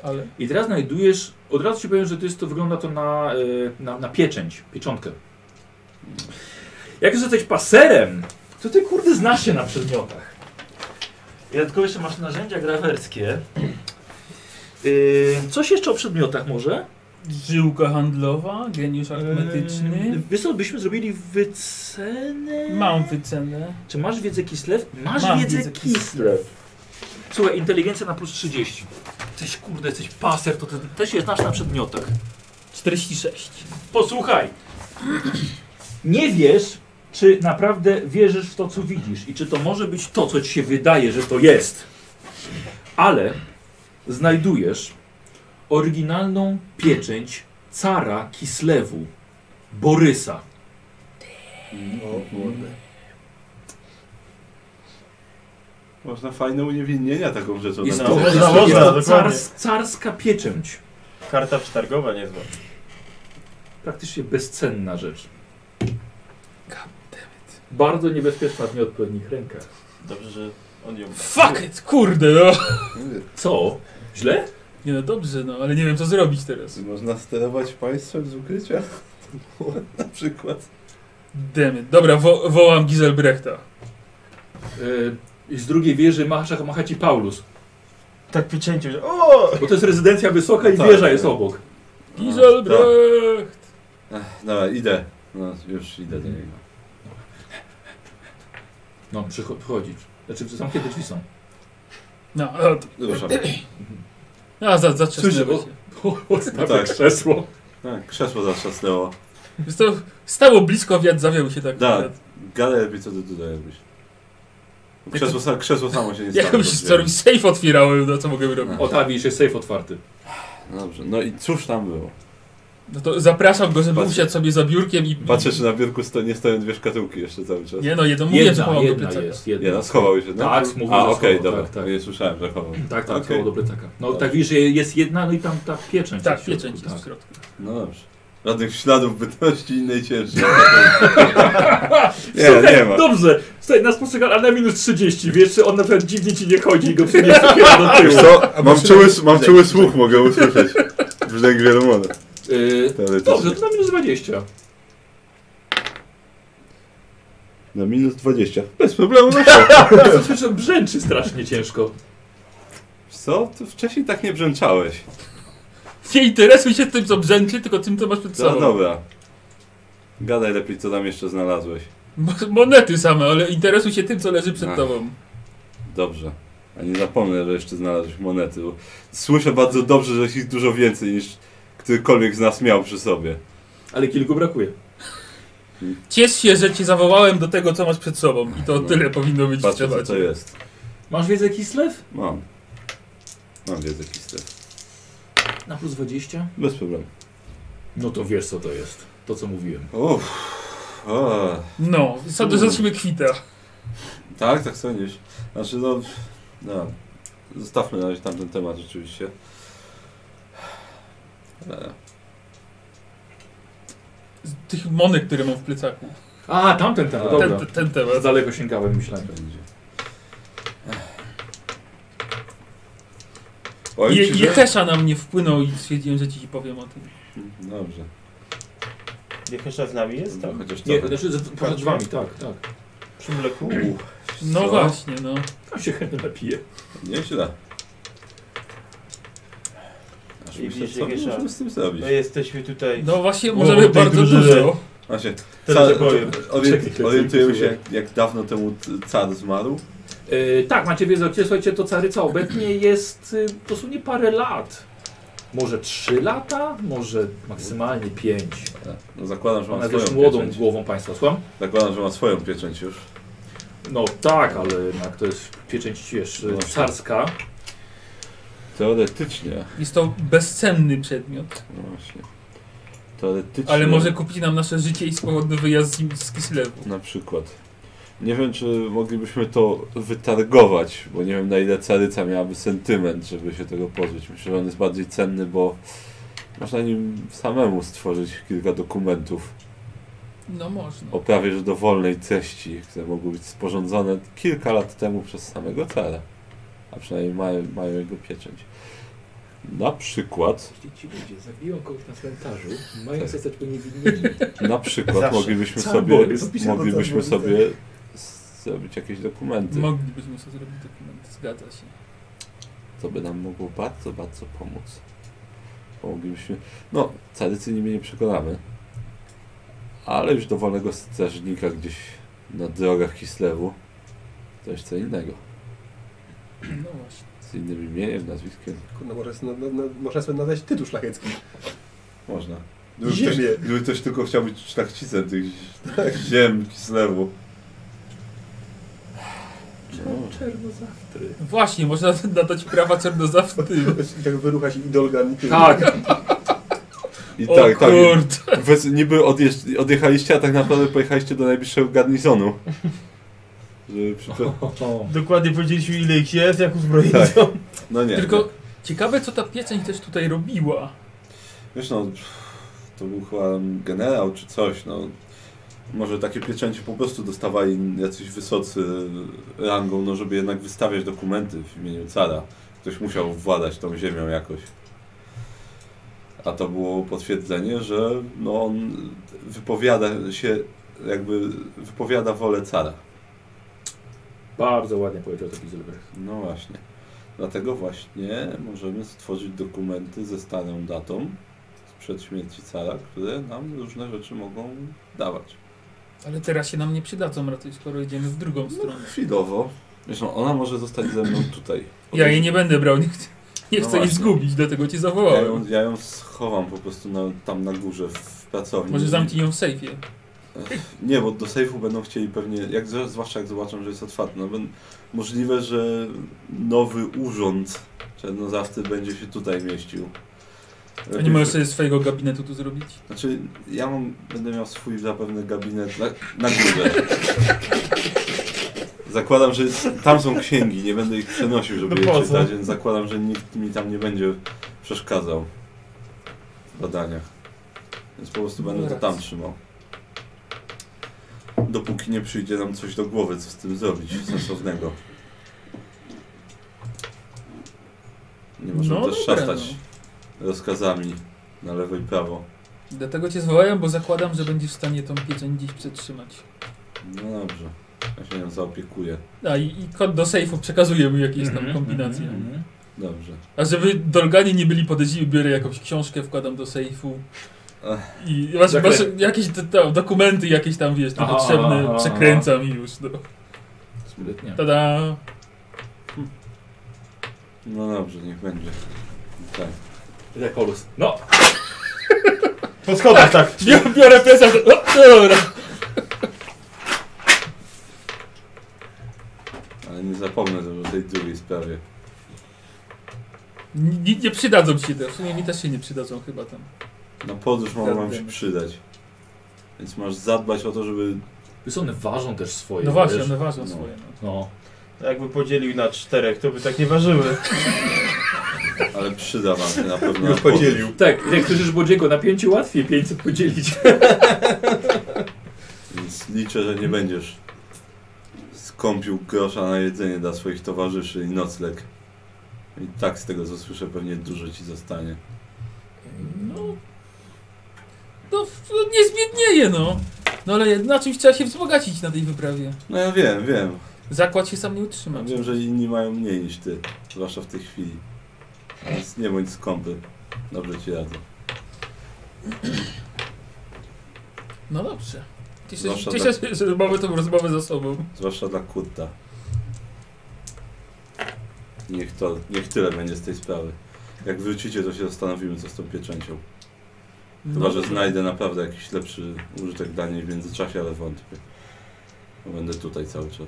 Ale
I teraz znajdujesz, od razu ci powiem, że to, jest, to wygląda to na, y, na, na pieczęć, pieczątkę. Jak już jesteś paserem, to ty kurde znasz się na przedmiotach. I dodatkowo jeszcze masz narzędzia grawerskie. Y, coś jeszcze o przedmiotach może?
żyłka handlowa, geniusz
Yy,
arytmetyczny.
wiesz co, byśmy zrobili wycenę?
Mam wycenę.
Czy masz wiedzę Kislew? Masz
Mam
wiedzę,
wiedzę
Kislew. Słuchaj, inteligencja na plus 30. Tyś kurde, jesteś paser, to ty też się znasz na przedmiotach.
46.
Posłuchaj. Nie wiesz, czy naprawdę wierzysz w to, co widzisz i czy to może być to, co ci się wydaje, że to jest. Ale znajdujesz oryginalną pieczęć cara Kislewu, Borysa.
O kurde.
Można fajne uniewinnienia taką rzeczą
Jest
napisać.
to,
można,
jest to,
można,
jest to
dokładnie.
cars, carska pieczęć.
Karta przetargowa niezła.
Praktycznie bezcenna rzecz. Bardzo niebezpieczna w nieodpowiednich rękach.
Dobrze, że on ją...
Fuck it, kurde no.
Co? Źle?
Nie no dobrze, no, ale nie wiem co zrobić teraz.
Czy Można sterować państwem z ukrycia? Na przykład.
Demy. Dobra, wo wołam Giselbrechta.
Y, z drugiej wieży macha, macha ci Paulus.
Tak pieczęcią, że o!
Bo to jest rezydencja wysoka i
Tak,
wieża
tak.
jest obok. tak.
Giselbrecht!
Ech, Dobra, idę. No, już idę do niego.
No, przycho- przychodzić. Znaczy, zamknięte drzwi są.
No, a, to-
Ruszam.
a No, za, za
Słyszę,
Słyszę,
bo- Odstawię
tak.
krzesło.
Tak, krzesło zaszczasnęło.
to Stało blisko, wiatr zawiał się tak.
Da, galę lepiej co ty tutaj robisz. Krzesło, sa- krzesło samo się nie stało.
Ja już co robić, safe otwierałem, no co mogę robić.
No.
O, tam widzisz, jest safe otwarty.
Dobrze, no i cóż tam było?
No to zapraszam go, żeby
Patrzę.
usiadł sobie za biurkiem i...
Patrzę, czy na biurku sto, nie stoją dwie szkatułki jeszcze cały czas.
Nie no, jedno mówię, że
Jedna,
chowam do
jedna
plecaka.
jest, jedna.
Nie, no, schował się.
Tak, mówił,
A,
że
okej,
schował,
dobra. No,
tak, tak.
Nie słyszałem, że chował.
Tak, tak,
Okej.
okay. do plecaka. No, tak widzisz, że jest jedna, no i tam ta pieczęć.
Tak,
w środku,
pieczęć jest w
tak.
środku.
No dobrze. Żadnych śladów bytności innej ciężkiej. nie,
Słuchaj, no-
nie ma.
Dobrze, słuchaj, nas postrzega, ale na minus 30, wiesz, czy on na przykład dziwnie ci nie chodzi i go przyniesie do
Wiesz
tyłu.
co,
A
mam
bo-
czuły, mam czuły słuch, mogę usłyszeć. Brzeg wielu monet.
Yy,
teoretycznie.
dobrze, to na minus 20.
Na minus 20. Bez problemu na
Ja słyszę, brzęczy strasznie ciężko.
Co? Ty wcześniej tak nie brzęczałeś.
Nie interesuj się tym, co brzęczy, tylko tym, co masz przed
No
sobą.
dobra. Gadaj lepiej, co tam jeszcze znalazłeś.
Mo- Monety same, ale interesuj się tym, co leży przed
Ach.
tobą.
Dobrze. A nie zapomnę, że jeszcze znalazłeś monety. Bo słyszę bardzo dobrze, że jest ich dużo więcej niż którykolwiek z nas miał przy sobie.
Ale kilku brakuje.
Ciesz się, że cię zawołałem do tego, co masz przed sobą. I to
No.
tyle powinno być w
Patrzę, co
temacie.
to jest.
Masz wiedzę Kislew?
Mam. Mam wiedzę historii.
Na plus 20?
Bez problemu.
No to wiesz, co to jest. To, co mówiłem.
Uff. O,
No, za- zacznijmy kwita.
tak, tak sądzisz. Znaczy no, no. Zostawmy na razie tamten temat rzeczywiście. E,
Z Tych monet, które mam w plecaku.
A, tamten temat,
Ten-
dobra.
Ten, ten
Za
temat.
daleko sięgałem, myślałem.
będzie. Ech. Powiem
Je,
ci, że-
Jehesza na mnie wpłynął i stwierdziłem, że ci powiem o tym.
Dobrze.
Jak jeszcze z nami jest
No,
tam?
chociaż
Nie,
trochę.
znaczy, z- poza drzwiami, tak, tak.
Przy mleku?
No
Co?
właśnie, no.
Tam się chętnie napije.
Nieźle. Aż
I
myślę,
bliżej
co
wiesza.
możemy z tym zrobić.
No jesteśmy tutaj.
No właśnie,
O,
możemy
tej
bardzo
drużyny.
dużo.
Właśnie,
Teraz
car-
ja powiem.
orient, orientujemy się, jak, jak dawno temu t- car zmarł.
E, tak, macie wiedzę o Kislew. Słuchajcie, to caryca obecnie jest y, dosłownie parę lat. Może trzy lata? Może maksymalnie pięć.
No, zakładam, że ma
Ona
swoją
też młodą
pieczęć.
głową państwa, słucham?
Zakładam, że ma swoją pieczęć już.
No tak, ale jednak to jest pieczęć wiesz, y,
No.
carska.
Teoretycznie.
Jest to bezcenny przedmiot.
No właśnie. Teoretycznie.
Ale może kupić nam nasze życie i swobodny wyjazd z, z Kislewu.
Na przykład. Nie wiem, czy moglibyśmy to wytargować, bo nie wiem na ile caryca miałaby sentyment, żeby się tego pozbyć. Myślę, że on jest bardziej cenny, bo można nim samemu stworzyć kilka dokumentów
No można.
o prawie że dowolnej treści, które mogły być sporządzone kilka lat temu przez samego cara. A przynajmniej mają, mają jego pieczęć. Na przykład,
Jeśli ci ludzie zabiją kogoś na cmentarzu, mają zostać uniewinnieni.
na przykład
Zawsze.
moglibyśmy
Cały
sobie,
Borys, opisano
moglibyśmy
cały Borys.
sobie zrobić jakieś dokumenty.
Moglibyśmy sobie zrobić dokument, zgadza się.
To by nam mogło bardzo, bardzo pomóc. Moglibyśmy. No, tradycji niby nie przekonamy. Ale już dowolnego strażnika gdzieś na drogach Kislewu to jest co innego.
No właśnie.
Z innym imieniem, nazwiskiem.
Kurna, może, sobie- no, no, można sobie nadać tytuł szlachecki.
Można.
Gdyby ktoś- Ziemie.
gdyby no, ktoś tylko chciał być szlachcicem tych ziem Kislewu.
Czernozawtry.
Właśnie, można nadać prawa czernozawty.
I tak wyruchać i Dolgan i ty.
Tak,
I
O
tak, tak.
kurde.
Wez, niby odjeżdż, odjechaliście, a tak naprawdę pojechaliście do najbliższego garnizonu. Żeby przype...
Dokładnie powiedzieliśmy ile ich jest, jak uzbrojeni są.
No nie.
Tylko ciekawe, co ta pieczęć też tutaj robiła.
Wiesz no, to był chyba generał czy coś, no. Może takie pieczęcie po prostu dostawali jacyś wysocy rangą, no żeby jednak wystawiać dokumenty w imieniu cara. Ktoś musiał władać tą ziemią jakoś. A to było potwierdzenie, że no on wypowiada się, jakby wypowiada wolę cara.
Bardzo ładnie powiedział to Gizelbrecht.
No właśnie. Dlatego właśnie możemy stworzyć dokumenty ze starą datą sprzed śmierci cara, które nam różne rzeczy mogą dawać.
Ale teraz się nam nie przydadzą raczej, skoro idziemy w
No.
drugą stronę.
Chwilowo. Zresztą ona może zostać ze mną tutaj.
Ja jej nie będę brał, nie chcę, nie
No
chcę jej
właśnie.
zgubić, dlatego cię
ja
zawołałem.
ją, ja ją schowam po prostu na, tam na górze w pracowni.
Może zamknij ją w sejfie.
Nie, bo do sejfu będą chcieli pewnie, jak, zwłaszcza jak zobaczą, że jest otwarty, no ben, możliwe, że nowy urząd czernozawcy będzie się tutaj mieścił.
A nie możesz sobie swojego gabinetu tu zrobić?
Znaczy, ja mam, będę miał swój zapewne gabinet na, na górze. Zakładam, że jest, tam są księgi, nie będę ich przenosił, żeby
No po co?
je czytać, więc zakładam, że nikt mi tam nie będzie przeszkadzał w badaniach. Więc po prostu
No
będę to
racja.
tam trzymał. Dopóki nie przyjdzie nam coś do głowy, co z tym zrobić sensownego. Nie możemy
No
też
dobra,
szastać
no.
rozkazami na lewo i prawo.
Dlatego cię zwołałem, bo zakładam, że będziesz w stanie tą pieczęć gdzieś przetrzymać.
No dobrze, ja się nią zaopiekuję.
A i, i kod do sejfu przekazuje mu jakieś tam
Mhm,
kombinacje.
mhm, mhm.
Dobrze.
A żeby Dolganie nie byli podejrzliwi, biorę jakąś książkę, wkładam do sejfu. I masz,
Zakle-
masz jakieś te, tam, dokumenty jakieś tam, wiesz, tam
Aha,
potrzebne,
aha, aha.
przekręcam i już, no.
Sprytnie.
Tada!
No dobrze, niech będzie. Tak.
Jak Olus. No,
Po schodach tak.
Biorę, biorę piesa, no, dobra.
Ale nie zapomnę też o tej drugiej sprawie.
Nie, nie przydadzą ci się te, w sumie mi też się nie przydadzą chyba tam.
Na podróż mogą wam się
Zadbamy.
przydać. Więc masz zadbać o to, żeby...
wiesz, one ważą też swoje.
No właśnie,
wiesz?
one ważą
no.
swoje. No.
No.
Jakby podzielił na czterech, to by tak
Nie ważyły.
Ale przyda wam się na pewno. na
Już
podróż.
podzielił.
Tak, jak krzyczysz Bodziego, na pięciu łatwiej 500 podzielić.
Więc liczę, że nie będziesz skąpił grosza na jedzenie dla swoich towarzyszy i nocleg. I tak z tego co słyszę pewnie dużo ci zostanie.
No, no, f- no nie zbiednieje, no. No ale na czymś trzeba się wzbogacić na tej wyprawie.
No ja wiem, wiem.
Zakład się sam nie
Ja
utrzyma.
wiem, że inni mają mniej niż ty. Zwłaszcza w tej chwili. Więc nie bądź skąpy. Dobrze ci radzę.
No dobrze. Cieszę,
Zwłaszcza
się- cieszę się, że mamy tą rozmowę za sobą.
Zwłaszcza dla Kurta. Niech, to, niech tyle będzie z tej sprawy. Jak wrócicie, to się zastanowimy, co z tą pieczęcią. Chyba,
No,
że znajdę naprawdę jakiś lepszy użytek dla niej w międzyczasie, ale wątpię. Bo Będę tutaj cały czas.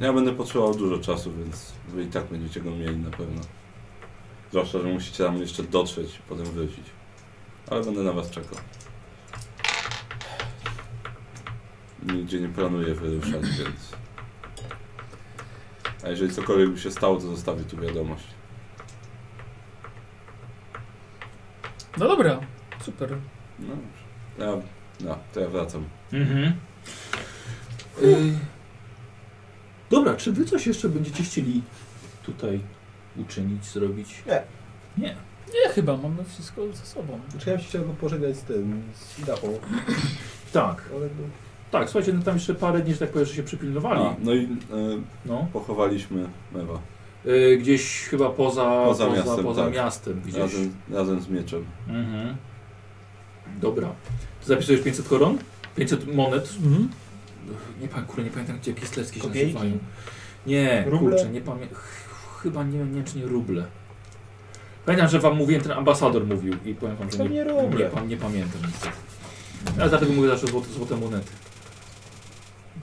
Ja będę potrzebował dużo czasu, więc wy i tak będziecie go mieli na pewno. Zwłaszcza, że musicie tam jeszcze dotrzeć, potem wrócić. Ale będę na was czekał. nigdzie nie planuję wyruszać, więc... A jeżeli cokolwiek by się stało, to zostawię tu wiadomość.
No dobra, super.
No, to ja, no, to ja wracam.
Mhm. Y, Dobra, czy wy coś jeszcze będziecie chcieli tutaj uczynić, zrobić?
Nie.
Nie.
Nie, chyba mamy wszystko ze sobą.
Znaczy ja bym się chciał go pożegnać z tym, z Dapą,
Tak,
ale no,
tak, słuchajcie, no tam jeszcze parę dni, że tak powiem, że się przypilnowali.
A, no i
No.
e, pochowaliśmy Mewa
Y, Gdzieś chyba poza,
Poza
poza, poza miastem,
miastem, tak.
gdzieś.
razem, razem z mieczem.
Mhm. Dobra. Zapisujesz 500 koron? 500 monet?
Mhm.
Nie, pan, kurę, nie pamiętam, gdzie jakieś sleckie się
Kopiejki?
nazywają. Nie,
Ruble?
kurczę, nie pamiętam. Chyba nie, nie, czy nie ruble. Pamiętam, że wam mówiłem, ten ambasador mówił i powiem wam, że
To
nie,
nie ruble.
Nie, pan, nie pamiętam niestety. Ja dlatego mówię zawsze złote, złote monety.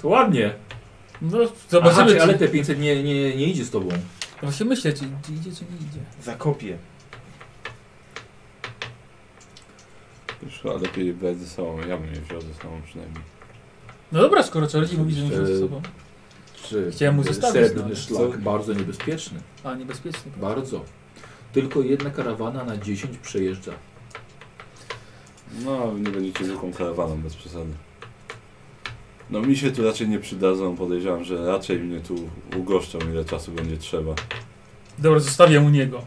To ładnie.
No,
Aha,
zobaczymy,
czy, ale
ale...
te 500 nie, nie, nie idzie z tobą.
Właśnie myślę, czy, czy idzie, czy nie idzie.
Zakopię.
Już chyba lepiej brać ze sobą, ja bym je wziął ze sobą przynajmniej.
No dobra, skoro Charlie mówi, że nie wziął
Yy.
ze
Oczywiście.
sobą.
Czy
Chciałem mu zostawić,
Srebrny
no.
szlak, bardzo niebezpieczny.
A, niebezpieczny.
Bardzo. Tylko jedna karawana na 10 przejeżdża.
No, nie będziecie zwykłą karawaną bez przesady. No mi się tu raczej nie przydadzą, podejrzewam, że raczej mnie tu ugoszczą ile czasu będzie trzeba.
Dobra, zostawiam u niego.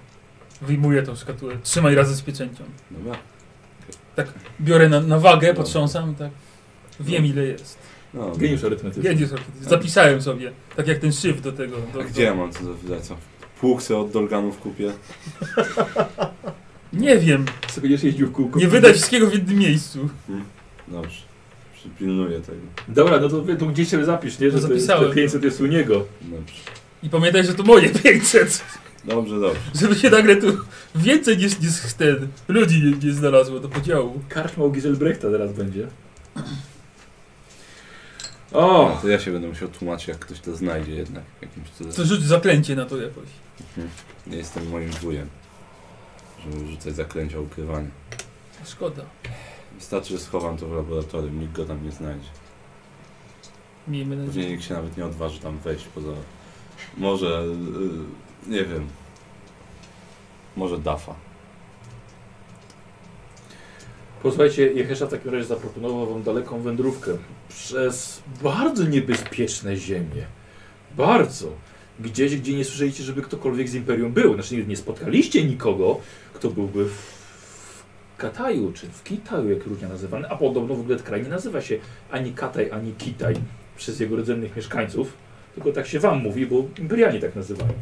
Wyjmuję tą szkatułę. Trzymaj razem z pieczęcią.
Dobra.
Biorę na, na wagę,
Dobra.
potrząsam i tak. Wiem ile jest.
No,
Geniusz arytmetyczny.
Wiedziesz, zapisałem sobie. Tak jak ten szyf do tego. Do,
A
do...
gdzie ja mam co zapisać? Co? Płukse od Dolganów kupię.
Nie wiem.
Co będziesz jeździł w kółko?
Nie wydać wszystkiego w jednym miejscu.
Dobrze. Przypilnuję tego.
Dobra, no to, to gdzieś sobie zapisz, nie?
No
Że to jest,
zapisałem.
te 500 jest u niego.
Dobrze.
I pamiętaj, że to moje 500.
Dobrze, dobrze.
Żeby się nagle tu więcej niż, niż ten ludzi nie, nie znalazło do podziału.
Karczma u Giselbrechta teraz będzie. O!
No, to ja się będę musiał tłumaczyć, jak ktoś to znajdzie jednak. Jakimś
To
cudem.
rzuć zaklęcie na to jakoś.
Nie jestem moim wujem, żeby rzucać zaklęcia ukrywania.
Szkoda.
Wystarczy, że schowam to w laboratorium, nikt go tam nie znajdzie.
Miejmy nadzieję.
Później nikt się nawet nie odważy tam wejść poza... Może... y, nie wiem. Może Dafa.
Posłuchajcie, Jehesza w takim razie zaproponował wam daleką wędrówkę przez bardzo niebezpieczne ziemie. Bardzo. Gdzieś, gdzie nie słyszeliście, żeby ktokolwiek z Imperium był. Znaczy nie, nie spotkaliście nikogo, kto byłby w, w Kataju, czy w Kitaju, jak różnie nazywany. A podobno w ogóle kraj nie nazywa się ani Kataj, ani Kitaj przez jego rdzennych mieszkańców. Tylko tak się wam mówi, bo Imperianie tak nazywają.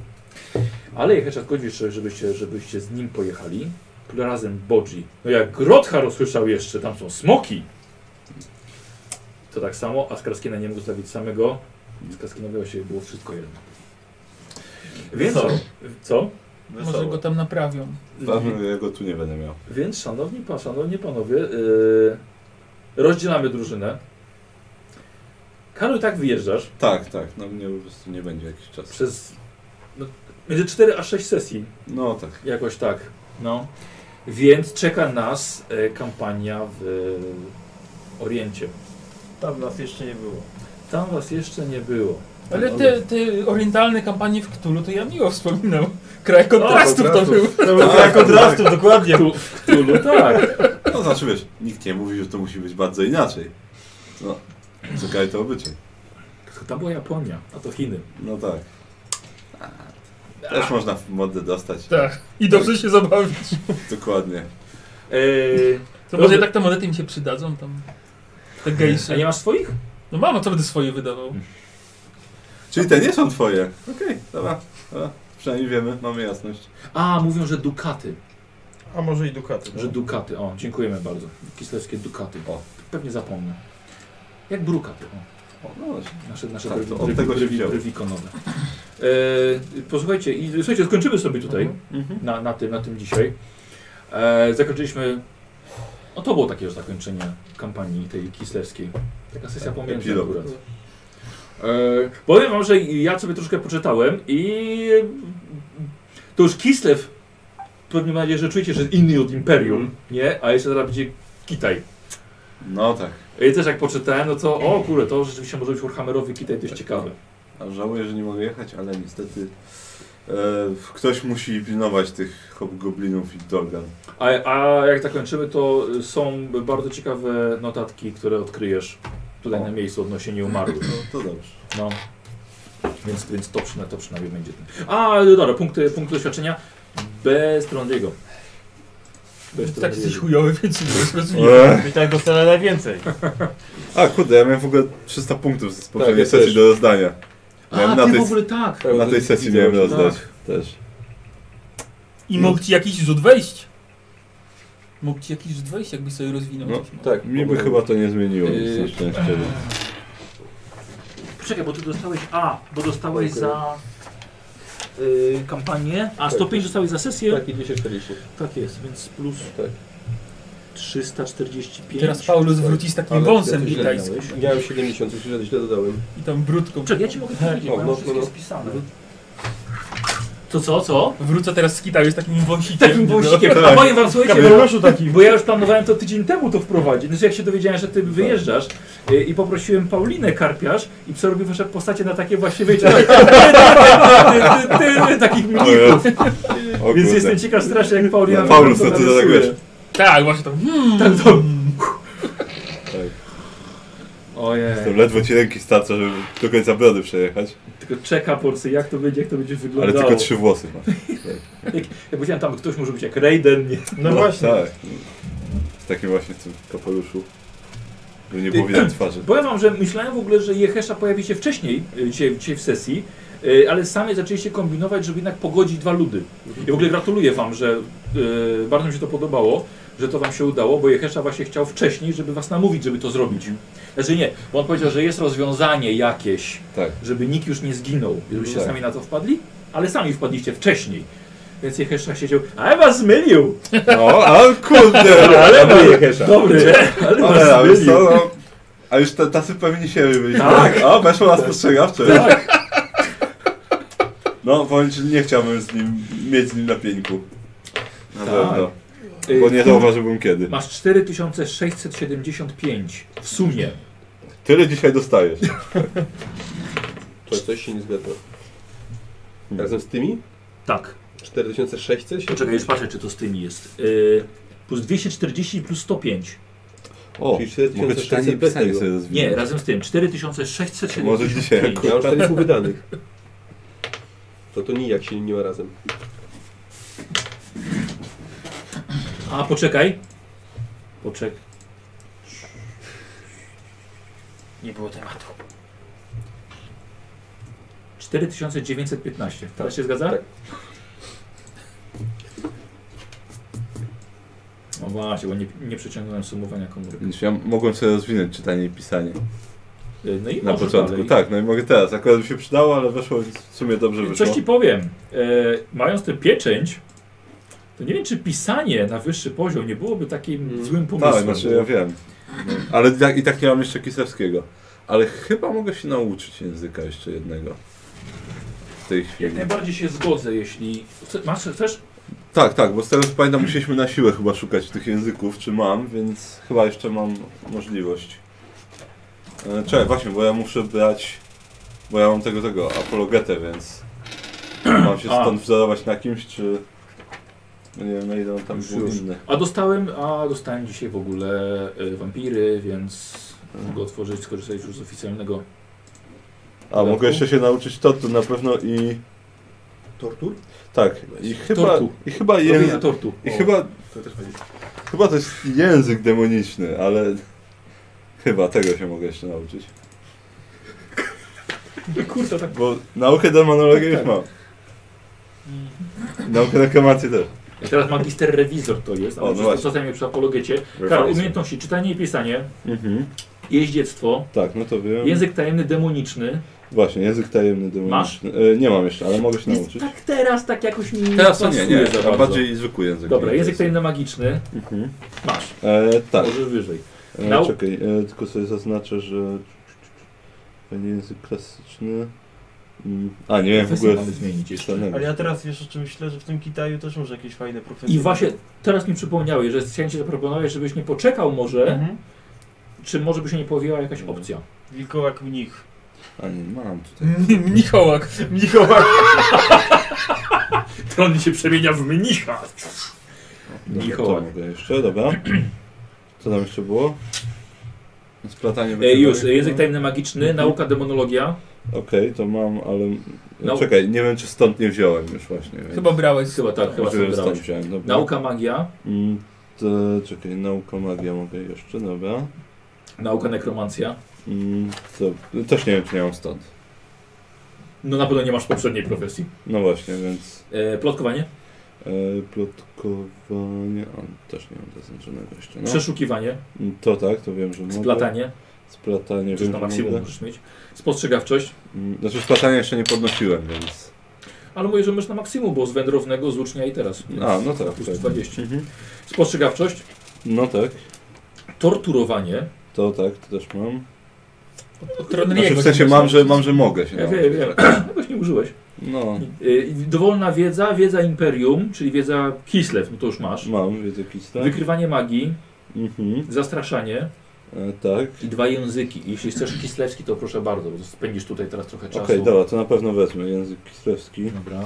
Ale Jehesza zgodził się, żebyście, żebyście z nim pojechali razem Bodzi. No jak Grotha rozsłyszał jeszcze, tam są smoki. To tak samo, a Skarskina nie mógł zostawić samego. Skarskinowi się było wszystko jedno. Więc
Co?
Co?
Może go tam naprawią.
No, Pewnie ja go tu nie będę miał.
Więc szanowni, pa, szanowni panowie, yy, rozdzielamy drużynę. Karol, tak wyjeżdżasz
Tak, tak. No mnie po prostu nie będzie jakiś czas.
przez no, między 4 a 6 sesji.
No tak.
Jakoś tak. No. Więc czeka nas e, kampania w e, Oriencie.
Tam nas jeszcze nie było.
Tam was jeszcze nie było.
no
Ale te, te orientalne kampanie w Cthulhu to ja miło wspominam. Kraj kontrastów to
kontrastów.
był.
Tak, od razu, dokładnie.
Tu, w Cthulhu, tak.
No znaczy wiesz, nikt nie mówi, że to musi być bardzo inaczej. No. Czekaj to obyczaj.
Tylko Tam była Japonia, a to Chiny.
No tak. Też można w modę dostać.
Tak. I dobrze się zabawić.
Dokładnie.
Eee,
To może jednak te monety im się przydadzą tam. Te
a
gejsze.
nie masz swoich?
No mam, a co będę swoje wydawał?
Czyli te nie są twoje. Okej, dobra, dobra. Przynajmniej wiemy, mamy jasność.
A, mówią, że dukaty.
A może i dukaty.
No.
Że dukaty. O, dziękujemy bardzo. Kislewskie dukaty.
O.
Pewnie zapomnę. Jak brukaty. O.
O, no właśnie.
Nasze, nasze
Tak,
tak,
to od tego się wzięło.
brywikonowe. E, posłuchajcie, i, słuchajcie, skończymy sobie tutaj
Mhm.
Mhm.
na, na, tym, na tym dzisiaj. E, zakończyliśmy. No to było takie już zakończenie kampanii tej kislewskiej. Taka sesja
Tak,
pomiędzy
epilog.
akurat. E, powiem wam, że ja sobie troszkę poczytałem i to już Kislew pewnie mam nadzieję, że czujecie, że jest inny od Imperium, nie? A jeszcze teraz będzie Kitaj.
No tak.
I też jak poczytałem, no to o kurde, to rzeczywiście może być Warhammerowy Kitaj dość ciekawy.
A Żałuję, że nie mogę jechać, ale niestety e, ktoś musi pilnować tych hobgoblinów i dolgan.
A, a jak zakończymy, to są bardzo ciekawe notatki, które odkryjesz tutaj
O.
na miejscu odnośnie nieumarłych.
No to dobrze.
No. Więc, więc to, przyna- to przynajmniej będzie ten. A, dobra, punkty, punkty doświadczenia bez Trondiego. Bez
Tak jesteś
Trondiego.
chujowy, więc nie zrozumiałem.
Eee.
I tak dostanę najwięcej.
A kurde, ja miałem w ogóle 300 punktów z poprzedniej
Tak, ja
sesji
też.
do rozdania. Miałem
A,
na
ty
tej,
w ogóle tak.
na tej sesji miałem rozdać też.
I mógł ci jakiś rzut wejść. Mógł ci jakiś rzut wejść, jakbyś sobie rozwinął.
No,
coś,
Tak,
Mi by chyba to nie zmieniło, nic na
Yy.
szczęście.
Poczekaj, bo ty dostałeś A, bo dostałeś
Okej.
za y, kampanię, a 105 dostałeś za sesję.
Taki 240.
Tak jest, więc plus
Tak.
345.
Teraz Paulus wróci z takim
Ale
wąsem
ja też
witajskim.
Miałem 70, już źle- źle dodałem.
I tam brudką.
Czekaj, ja ci mogę powiedzieć, bo ja
O,
mam
no,
wszystkie
no, no.
spisane.
Mhm.
To co, co?
Wrócę teraz z Kitaju z takim wąsikiem.
Takim
no.
wąsikiem. A
Tak.
powiem wam, słuchajcie, bo,
Kapeluszu taki.
bo ja już planowałem to tydzień temu to wprowadzić. Znaczy jak się dowiedziałem, że ty wyjeżdżasz y, i poprosiłem Paulinę Karpiarz i przerobił wasze postacie na takie właśnie, wiecie, ty, ty, ty, ty, ty, takich mnichów.
O
Więc
kurde.
jestem ciekaw strasznie, jak Paulina...
Paulus,
to
co ty tak wiesz?
Tak, właśnie tam. Hmm.
Tak to...
Tak.
Ojej.
To ledwo ci ręki starcza, żeby do końca brody przejechać.
Tylko czeka porcy, jak to będzie, jak to będzie
Ale
wyglądało.
tylko trzy włosy masz.
Ja powiedziałem tam, ktoś może być jak Raiden, nie?
No właśnie.
Tak. W takim właśnie tym kapeluszu. Żeby nie było widać twarzy.
Powiem wam, że myślałem w ogóle, że Jehesza pojawi się wcześniej, y, dzisiaj, dzisiaj w sesji, y, ale sami zaczęliście kombinować, żeby jednak pogodzić dwa ludy. I w ogóle gratuluję wam, że y, bardzo mi się to podobało, że to wam się udało, bo Jehesza właśnie chciał wcześniej, żeby was namówić, żeby to zrobić. Znaczy nie, bo on powiedział, że jest rozwiązanie jakieś,
Tak.
żeby nikt już nie zginął, żebyście
Tak.
sami na to wpadli, ale sami wpadliście wcześniej. Więc Jehesza siedział, a ja was zmylił!
No, a kurde!
Ale
no,
Dobry, ale was
Ale, a wiesz
zmylił!
co, no, a już ta, tacy pewni siebie byli.
Tak.
Tak. O, weszło na spostrzegawcze.
Tak.
No, powiem ci, nie chciałbym z nim, mieć z nim na pieńku. Na
Tak.
pewno.
Y,
Bo nie zauważyłbym kiedy.
Masz 4675 w sumie.
Tyle dzisiaj dostajesz.
To coś się nie zgadza. Razem z tymi?
Tak.
4600? się-
Poczekaj, już patrzę, czy to z tymi jest. Yy, plus 240 i plus 105.
O,
Czyli 4600
mogę czytanie i
bez
pisanie
tego.
sobie
Nie,
rozwinąć.
razem z tym.
To może dzisiaj
4675.
Ja mam 4 pół wydanych. To to nijak się nie ma razem.
A poczekaj. Poczekaj.
Nie było tematu.
4915. Teraz się zgadza?
Tak.
No właśnie, bo nie, nie przeciągnąłem sumowania komórek.
Więc ja mogłem sobie rozwinąć czytanie i pisanie
Yy, No i
na
możesz
początku.
dalej.
Tak, no i mogę teraz. Akurat mi się przydało, ale weszło więc w sumie dobrze wyszło.
Coś ci powiem. E, mając tę pieczęć, to nie wiem, czy pisanie na wyższy poziom nie byłoby takim
Mm.
złym pomysłem.
Tak, znaczy ja wiem. No. Ale tak, i tak nie mam jeszcze Kisewskiego. Ale chyba mogę się nauczyć języka jeszcze jednego. W tej chwili.
Jak najbardziej się zgodzę, jeśli. Chce- Masz, chcesz?
Tak, tak, bo z tego co pamiętam musieliśmy na siłę chyba szukać tych języków, czy mam, więc chyba jeszcze mam możliwość. E, Czekaj, właśnie, bo ja muszę brać, bo ja mam tego, tego, apologetę, więc mam się
A.
stąd wzorować na kimś, czy... bo Nie wiem, na ile on tam
Już,
był
już.
inny.
A dostałem, a dostałem dzisiaj w ogóle y, wampiry, więc mogę otworzyć, skorzystać już z oficjalnego.
A, mogę jeszcze się nauczyć tortu na pewno i...
Tortur?
Tak, i chyba,
Tortu.
i chyba
Robienia
język...
tortu.
I chyba,
To też chodzi.
chyba to jest język demoniczny, ale... Chyba tego się mogę jeszcze nauczyć.
Kurczę, tak.
Bo naukę demonologii już mam. Naukę reklamację też.
Teraz magister rewizor to jest,
O, no
ale
właśnie.
co przy apologecie. Karol, umiejętności czytanie i pisanie,
Mhm.
jeździectwo,
Tak, no to wiem.
język tajemny demoniczny.
Właśnie, język tajemny demoniczny. E, nie mam jeszcze, ale mogę się
Jest
nauczyć.
tak teraz, tak jakoś mi
Teraz to nie,
pasuje
nie,
za
a
bardzo.
bardziej zwykły język.
Dobra,
mnie
język
interesuje.
tajemny magiczny.
Mhm.
Masz,
E, tak,
może wyżej.
e,
Nau-
czekaj, e, tylko sobie zaznaczę, że... Będzie język klasyczny. Mm. A, nie wiem w
Profesję
ogóle...
mamy zmienić jeszcze.
Zastanawiam
Ale
się.
ja teraz wiesz o czym myślę, że w tym Kitaju też może jakieś fajne profesje.
I właśnie teraz mi przypomniałeś, że chciałem Ci zaproponować, żebyś nie poczekał może,
Mhm.
czy może by się nie pojawiła jakaś opcja?
Wilkołak mnich.
A nie, mam tutaj.
Hmm.
Mnichołak.
Mnichołak!
To on się przemienia w mnicha.
Dobra,
Mikołaj.
To mogę jeszcze, dobra. Co tam jeszcze było? Splatanie
E, już, e,
wykrywania.
język tajemny
Mhm.
magiczny, nauka demonologia.
Okej, to mam, ale...
Nau-
Czekaj, nie wiem czy stąd nie wziąłem już właśnie. więc-
Chyba brałeś.
Chyba tak, chyba
Możliwe,
sobie
że stąd
brałeś.
wziąłem, dobra.
Nauka magia,
Mm, to, czekaj, nauka magia mogę jeszcze, dobra.
nauka nekromancja.
Mm, to, też nie wiem czy nie mam stąd.
No na pewno nie masz poprzedniej profesji.
No właśnie, więc...
E, plotkowanie,
E, plotkowanie... A, też nie mam zaznaczonego jeszcze, no.
przeszukiwanie,
Mm, To tak, to wiem, że mogę.
splatanie,
Splatanie
przecież
wiem,
na
że
maksimum
mogę.
możesz mieć, spostrzegawczość,
Mm, Znaczy splatanie jeszcze nie podnosiłem, więc...
ale mówię, że masz na maksimum, bo z wędrownego, z ucznia i teraz.
A, no tak.
Plus
tak.
20.
Mhm.
Spostrzegawczość,
No tak,
torturowanie.
to tak, to też mam.
No
Tronriego
Znaczy, w
się
sensie
nazywa.
mam, że, mam, że mogę się
Ja
nauczyć,
wiem, wiem.
tak.
Jakoś nie użyłeś.
No,
E, dowolna wiedza, wiedza imperium, czyli wiedza Kislev, no to już masz.
mam wiedzę kista.
Wykrywanie magii,
Mhm.
zastraszanie
E, tak.
i dwa języki. Jeśli chcesz kislewski, to proszę bardzo, bo spędzisz tutaj teraz trochę czasu.
Okej, dobra, to na pewno wezmę język kislewski.
Dobra.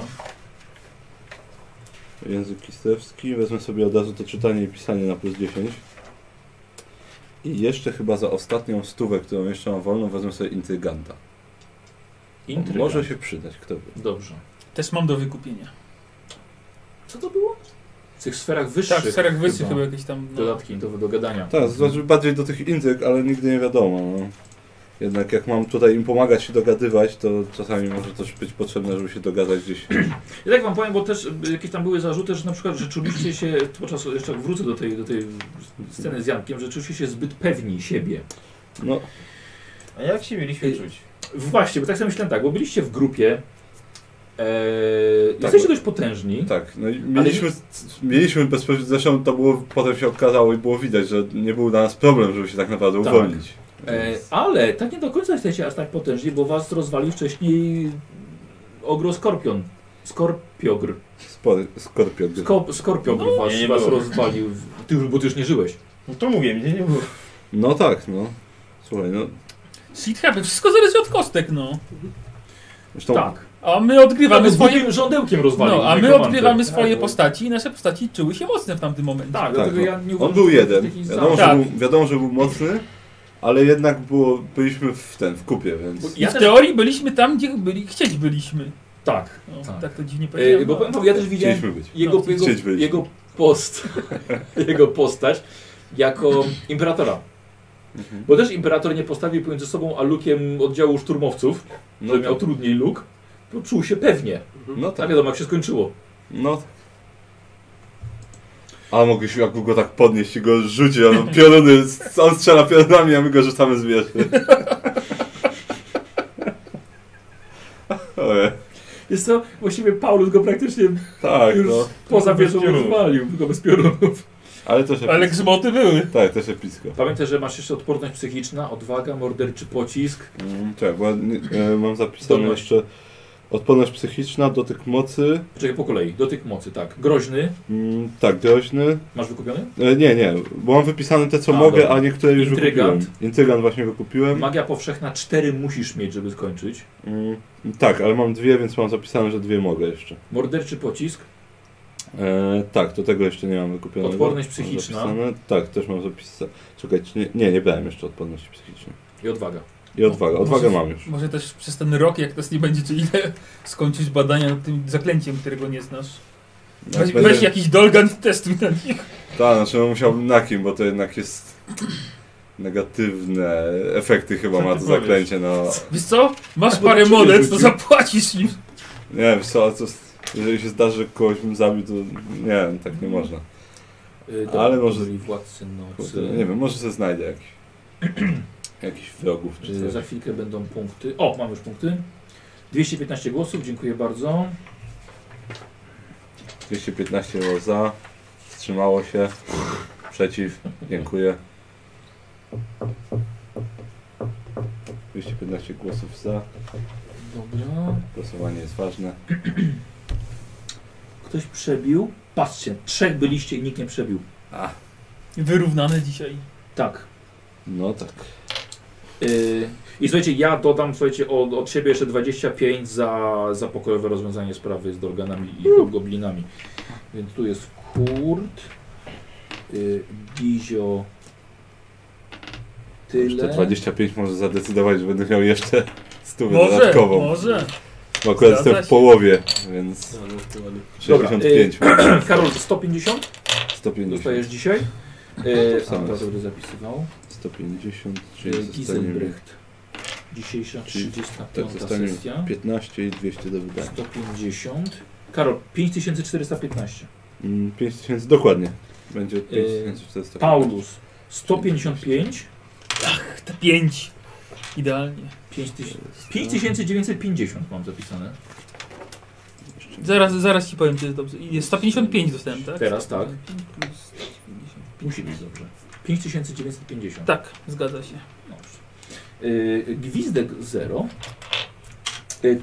Język kislewski, wezmę sobie od razu to czytanie i pisanie na plus 10. I jeszcze chyba za ostatnią stówę, którą jeszcze mam wolną, wezmę sobie intryganta.
Intryga.
Może się przydać, kto wie.
Dobrze.
Też mam do wykupienia.
Co to było? W tych sferach wyższych.
Tak, w serach wysy chyba
chyba.
jakieś tam. No.
Dodatki do, do gadania.
Tak, znaczy bardziej do tych intryg, ale nigdy nie wiadomo. No. Jednak jak mam tutaj im pomagać się dogadywać, to czasami może też być potrzebne, żeby się dogadać gdzieś.
Ja tak wam powiem, bo też y, jakieś tam były zarzuty, że na przykład że czuliście się, podczas, jeszcze jak wrócę do tej, do tej sceny z Jankiem, że czuliście się zbyt pewni siebie.
No,
A jak się mieliśmy czuć?
Właśnie, bo tak sobie myślałem tak, bo byliście w grupie, e,
Tak,
jesteście
bo-
dość potężni,
tak. No, i mieliśmy, mieliśmy bezpośrednio, zresztą to było, potem się okazało i było widać, że nie był dla nas problem, żeby się tak naprawdę
Tak.
uwolnić.
e, ale tak nie do końca jesteście aż tak potężni, bo was rozwalił wcześniej ogro Skorpion. Skorpiogr.
Spory, skorpion.
Skop, skorpiogr was,
nie
was
było.
rozwalił, w- ty, już- bo ty już nie żyłeś.
No to mówię, mnie nie było.
No tak, no. Słuchaj, no.
Shit happens. Wszystko zależy od kostek, no.
Zresztą,
tak.
A my odgrywamy
Mamy
swoje.
swoim żądełkiem rozwalił.
No, a my
nekromantę.
odgrywamy swoje
bo-
postaci i nasze postaci czuły się mocne w tamtym momencie.
Tak, dlatego ja nie
no. On
uważam,
był
że to jest
jeden.
jakiś
Wiadomo,
zarzut.
że
Tak.
był, wiadomo, że był mocny, ale jednak było, byliśmy w ten, w kupie,
Bo
więc.
I
Ja
w
też-
teorii byliśmy tam, gdzie byli, chcieć byliśmy.
Tak.
No,
Tak.
tak. to dziwnie powiedziałem.
E, bo powiem
ale-
wam, ja też widziałem
Chcieliśmy być.
jego,
No,
jego,
chcieć być.
jego post, jego postać jako imperatora.
Mhm.
Bo też imperator nie postawił pomiędzy sobą a Luke'iem oddziału szturmowców,
No,
że miał trudniej Luke, to czuł się pewnie.
no
Tak
tak.
wiadomo, jak się skończyło.
No tak. Ale mogę się jakby go tak podnieść i go rzucić, a on pioruny, on strzela piorunami, a my go rzucamy z wieży. Ojej,
Jest to właściwie Paulus go praktycznie
tak,
już
no.
poza
Tylko bez
wieżą
piorunów.
rozwalił, tylko bez piorunów.
Ale też
Ale
epicko.
grzmoty były.
Tak, też epicko.
Pamiętaj, że masz jeszcze odporność psychiczna, odwaga, morderczy pocisk.
Mm, Tak, bo nie- e, mam zapisane
Zdolność. jeszcze
jeszcze odporność psychiczna, dotyk mocy,
Czekaj po kolei, dotyk mocy, tak. Groźny,
mm, tak, groźny.
masz wykupiony?
E, Nie, nie, bo mam wypisane te, co
A,
mogę,
dobra.
a niektóre już
Intrygant.
wykupiłem. Intrygant właśnie wykupiłem.
Magia powszechna 4 musisz mieć, żeby skończyć.
Mm, tak, ale mam dwie, więc mam zapisane, że dwie mogę jeszcze.
Morderczy pocisk,
E, tak, to tego jeszcze nie mam wykupionego.
Odporność
Mam
psychiczna.
zapisane. Tak, też mam zapisane. Czekaj, czy nie, nie, nie brałem jeszcze odporności psychicznej.
I odwaga.
I
No,
odwaga, odwagę mam już.
Może też przez ten rok, jak nas nie będzie, czy ile, skończyć badania nad tym zaklęciem, którego nie znasz. Weź,
Tak, będę-
weź jakiś dolgan testuj na nich.
Tak, znaczy no, musiałbym na kim, bo to jednak jest negatywne efekty chyba
Co
ma
ty
to
powiesz?
zaklęcie, no.
Wiesz co? Masz
Albo
parę
do ciebie
monet,
rzuci.
to zapłacisz im.
Nie wiem, co, co, jeżeli się zdarzy, że kogoś bym zabił, to nie wiem, tak nie można.
Y,
Ale może-
byli Władcy nocy.
Kurde, no nie wiem, może sobie znajdę jakiś, jakichś wrogów
Y,
czy
Za
coś.
chwilkę będą punkty. O, mam już punkty. 215 głosów, dziękuję bardzo.
215 było za, wstrzymało się, przeciw, dziękuję. 215 głosów za,
Dobra.
głosowanie jest ważne.
Ktoś przebił. Patrzcie, trzech byliście i nikt nie przebił.
A,
Wyrównane dzisiaj.
Tak.
No tak.
Y, I słuchajcie, ja dodam słuchajcie, od, od siebie jeszcze 25 za, za pokojowe rozwiązanie sprawy z Dorganami i Hobgoblinami. Więc tu jest Kurt, y, Gizio,
Jeszcze
tyle.
25 może zadecydować, że będę miał jeszcze stówę
Może,
dodatkową.
może.
Bo akurat
Zgadza
jestem w
się.
połowie, więc
No, no, to ładnie.
65.
y, Karol, 150 dostajesz
150.
dzisiaj. Y,
to
a,
Tak, samo
teraz
jest.
będę zapisywał.
150,
Y,
czyli zostanie mi
Giselbrecht. Dzisiejsza
Czyli-
35
tak, zostanie-
sesja.
15 i 200 do wydania.
150. Karol, 5415.
Mm, 5000 dokładnie.
Y,
Będzie 5400.
Paulus, 155.
Te pięć. Idealnie.
5000 5950 mam zapisane.
Zaraz, zaraz ci powiem, czy jest dobrze. Jest 155 dostałem, tak?
Teraz tak.
155 plus 155.
Musi być dobrze. 5950.
Tak, zgadza się.
No, Dobrze. Yy, gwizdek 0. Yy,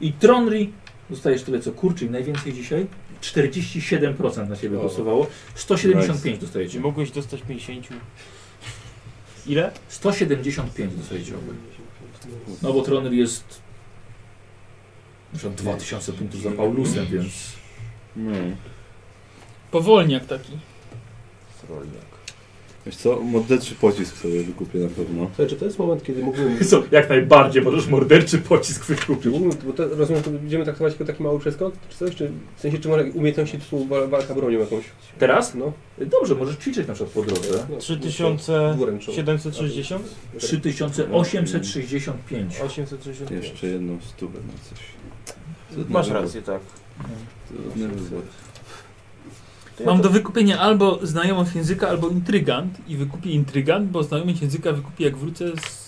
I Tronry dostajesz tyle co kurczy i najwięcej dzisiaj. 47% na siebie
O.
głosowało. 175 dostajecie.
Czy mogłeś dostać 50? Ile?
175 dostajecie obaj. No bo Tronry jest na przykład 2000 punktów za Paulusem, więc
No.
Powolniak taki.
Wiesz co, modleczny pocisk sobie wykupię na pewno.
Słuchaj, czy to jest moment, kiedy mógłbym...
Co, jak najbardziej możesz morderczy pocisk
Czy
wykupić.
mógłbym bo to, rozumiem, to będziemy traktować jako taki mały przeskok, czy coś? Czy, w sensie, czy może umiejętności typu wa- walka bronią jakąś?
Teraz?
No,
Dobrze, możesz ćwiczyć na przykład po
Tak.
drodze.
no
3760?
dwuręczną.
3865.
860.
Jeszcze jedną stówę na coś.
No.
Masz rację, tak.
Trudny wybór.
Mam do wykupienia albo znajomość języka, albo intrygant. I wykupię intrygant, bo znajomość języka wykupię jak wrócę z...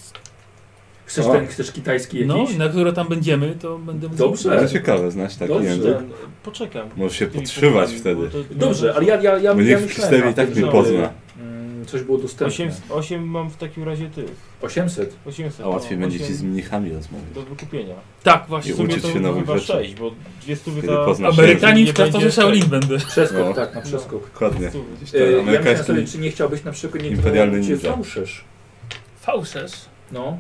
Chcesz,
O.
ten, chcesz kitajski
No,
jakiś?
na które tam będziemy, to będę mógł...
Dobrze.
Ale ciekawe, znasz taki
Dobrze.
język.
Poczekam.
Możesz się podszywać wtedy.
Dobrze, ale ja, ja, ja,
Bo
ja
niech w
myślałem
historii
na
i tak
tym,
mnie
że,
pozna.
mm, Coś było dostępne.
8, mam w takim razie ty.
800.
800.
A łatwiej
no,
będzie ci
osiem
z mnichami rozmawiać.
Do wykupienia.
Tak,
I
właśnie.
W sumie
uczyć
to
się nowych
chyba
rzeczy.
6, bo dwie stówy
Kiedy
ta...
poznasz
Amerykanin
Nie
w klasztorze
będzie-
Shaolin będę.
Przeskok,
No.
tak, na przeskok.
Dokładnie.
stówy.
Gdzieś
E,
tam
ja myślałem
amerykański
sobie, czy nie chciałbyś na przykład nie
imperialny
cię
ninja.
fałszerz.
Fałszerz.
No.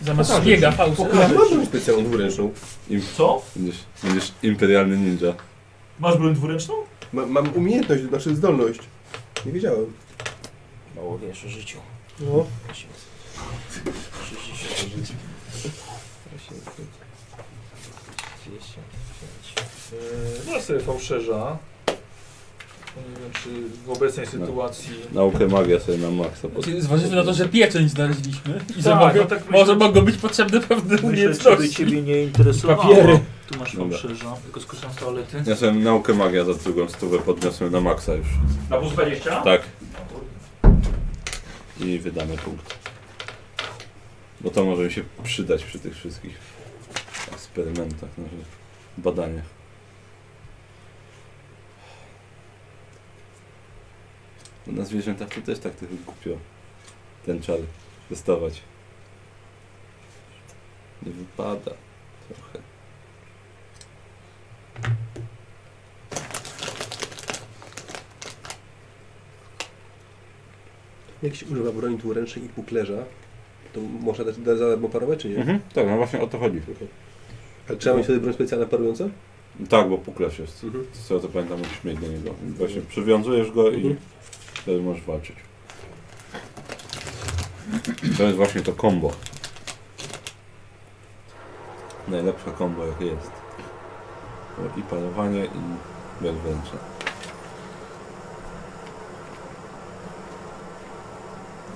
Zamiast
tak, Pokażę
szpiega
ci.
Ja
fałszerz.
mam tą specjalną dwuręczną.
Co?
będziesz, będziesz imperialny ninja.
Masz broń dwuręczną?
Ma, mam umiejętność, to znaczy zdolność. Nie wiedziałem.
Mało wiesz o życiu.
No.
60 o życiu. 800. 200.
Eee, Ja sobie fałszerza. Nie wiem, czy w
No.
obecnej sytuacji...
Naukę magia sobie na maksa. pod-
Zważywszy na to, że pieczęć znaleźliśmy i że
Tak,
mogę,
no tak
może
myślę.
mogą być potrzebne pewne umiejętności.
nie
Papiery.
Tu masz
Dobra.
fałszerza. Tylko skorzystam z toalety.
Ja sobie naukę magia za drugą stówę podniosłem na maksa już.
Na plus 20?
Tak. I wydamy punkt. Bo to może mi się przydać przy tych wszystkich eksperymentach, no, na rzecz badaniach. Bo na zwierzętach to też tak trochę głupio ten czar dostawać. Nie wypada trochę.
Jak się używa broni dwuręcznej i puklerza, to można dać dać za darmo parować, czy nie?
Tak, no właśnie o to chodzi.
Ale trzeba mieć wtedy broń specjalna parująca?
Tak, bo puklerz jest.
Mhm.
Z tego co pamiętam, musisz mieć do niego. Właśnie przywiązujesz go i
Mhm.
wtedy możesz walczyć. To jest właśnie to combo. Najlepsze combo jakie jest. Bo I palowanie, i bezwręcze.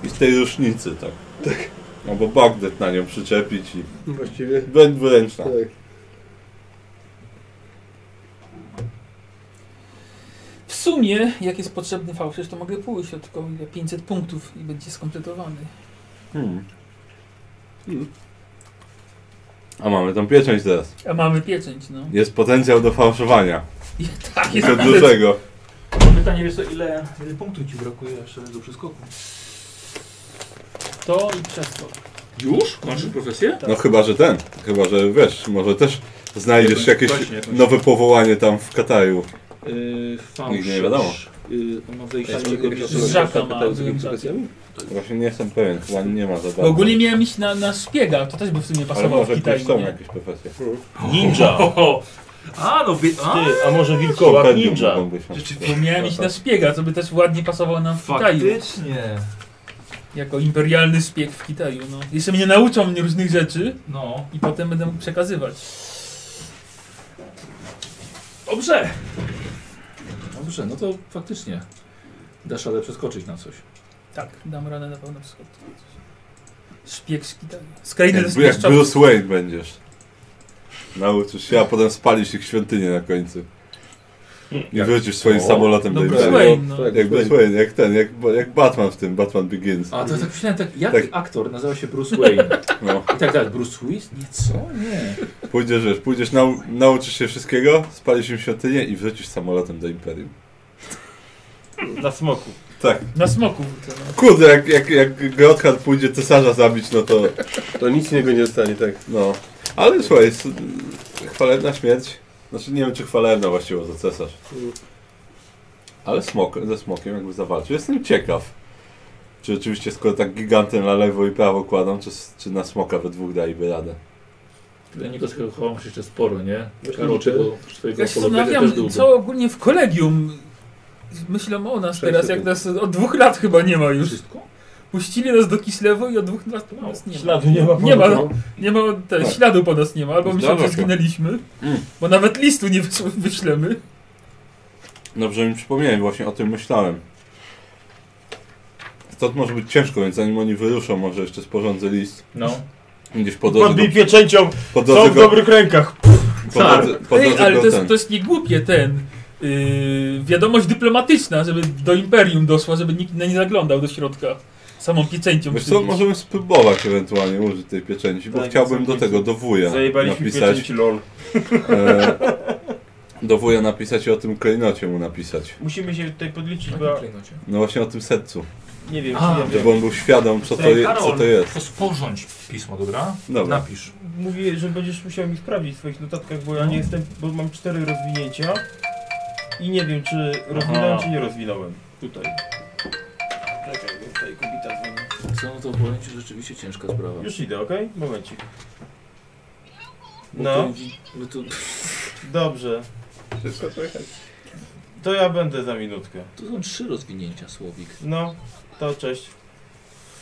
I z tej różnicy, tak. Tak. No bo Bagdet na nią przyczepić i
Właściwie.
bezwręczna.
Tak.
W sumie, jak jest potrzebny fałszerz, to mogę pójść o tylko ile? 500 punktów i będzie skompletowany.
Hmm. A mamy tą pieczęć teraz.
A mamy pieczęć, no.
Jest potencjał do fałszowania.
I tak
I
jest.
to dużego.
Pytanie, wiesz co, ile, ile punktów ci brakuje jeszcze do przeskoku?
To i przez to.
Już? Kończysz profesję?
No chyba, że ten. Chyba, że wiesz, może też
Jakąś-
znajdziesz jakieś
właśnie, jakąś-
nowe połowanie tam w Kataju.
Yy, fałsz.
Nigdy nie wiadomo.
Yy, on ma wejście
Ale
do
nie wiem,
jego
jak to
z
się
żaka
nazywa,
ma,
pytałem, z
byłem
jakimi
żakiem.
specjalnymi?
Właśnie nie jestem pewien, chyba nie ma za
Bo
bardzo.
ogólnie miałem iść na, na szpiega, to też by w sumie
Ale
pasowało w
może
Kitaj.
też są
nie?
jakieś profesje.
Ninja!
A, no wie, a,
Ty, a może wilkołak
Kompendium
ninja?
mogą być no. na przykład.
Bo miałem iść na szpiega, co by też ładnie pasowało nam w Kitaju.
faktycznie.
Jako imperialny szpieg w Kitaju, no. Jeszcze mnie nauczą różnych rzeczy
No,
i potem będę mógł przekazywać.
dobrze. Dobrze, no to faktycznie. Dasz radę przeskoczyć na coś.
Tak, dam radę na pewno wszystko. Szpieg z Kitaju. Z krainy
Jak, jak
ze
Bruce Wayne będziesz. Nauczysz się, a potem spalisz ich świątynię na końcu. I wrócisz swoim
O,
samolotem do
Dobra,
Tak,
Imperium.
no.
tak,
Jak Bruce Wayne, jak ten, jak, jak Batman w tym, Batman Begins.
A to tak myślałem, tak, jak
Tak.
aktor nazywał się Bruce Wayne?
No.
I tak dalej, Bruce Willis? Nie, co? Nie.
Pójdziesz, wiesz, pójdziesz, nau nauczysz się wszystkiego, spalisz im świątynię i wrócisz samolotem do Imperium.
Na smoku.
Tak.
Na smoku. To, no.
Kurde, jak, jak, jak Grothard pójdzie cesarza zabić, no to
To nic niego nie dostanie, tak.
no. Ale słuchaj, s- chwalebna śmierć. Znaczy nie wiem, czy chwalebna właściwie za cesarz. Ale smok, ze smokiem jakby zawalczył. Jestem ciekaw, czy rzeczywiście skoro tak gigantem na lewo i prawo kładą, czy, s- czy na smoka we dwóch daliby radę.
Dla niego z chowam się jeszcze sporo, nie?
Myślę,
Karol,
że-
czego swojego
Ja się
apologetę też
zastanawiam,
długo.
co ogólnie w kolegium myślą o nas
Sześć
teraz, jak
sekund.
nas od dwóch lat chyba nie ma już.
Wszystko? No.
Puścili nas do Kislewu i od dwóch lat po nas nie ma.
Śladu nie ma. no.
Nie ma, nie ma te,
Tak.
śladu po nas nie ma, albo myślą,
Zdarza
że
się.
zginęliśmy,
Mm.
bo nawet listu nie wys- wyślemy.
Dobrze mi przypomniałeś, właśnie o tym myślałem. Stąd może być ciężko, więc zanim oni wyruszą, może jeszcze sporządzę list.
No.
Gdzieś po drodze go,
Podbij pieczęcią,
po drodze
są w
go,
dobrych rękach.
po drodze, po
Ej,
drodze
ale
go
to jest,
ten.
to jest niegłupie ten, yy, wiadomość dyplomatyczna, żeby do Imperium doszła, żeby nikt na nie zaglądał do środka. Samą pieczęcią
Wiesz co,
przywieźć.
możemy spróbować ewentualnie użyć tej pieczęci, bo
Tak,
chciałbym do
zamknięcie.
tego, do wuja
Zajebaliśmy
napisać.
pieczęci, lol.
E, do wuja napisać i o tym klejnocie mu napisać.
Musimy się tutaj podliczyć, bo
Na
ja
klejnocie.
No właśnie o tym sercu,
nie wiem,
A.
czy nie wiem.
żeby on był świadom, co to, je, co to jest.
to sporządź pismo, dobra?
Dobra.
Napisz.
Mówię, że będziesz musiał mi sprawdzić w swoich notatkach, bo ja nie jestem, bo mam cztery rozwinięcia i nie wiem, czy rozwinąłem, czy nie rozwinąłem. Tutaj. Czekaj, bo tutaj kubita dzwoni.
Co no to powiem ci, rzeczywiście ciężka sprawa.
Już idę, okej? Momencik.
Bo
No.
to wi- bo to,
Dobrze. To ja będę za minutkę.
to są trzy rozwinięcia, Słowik.
No, to cześć.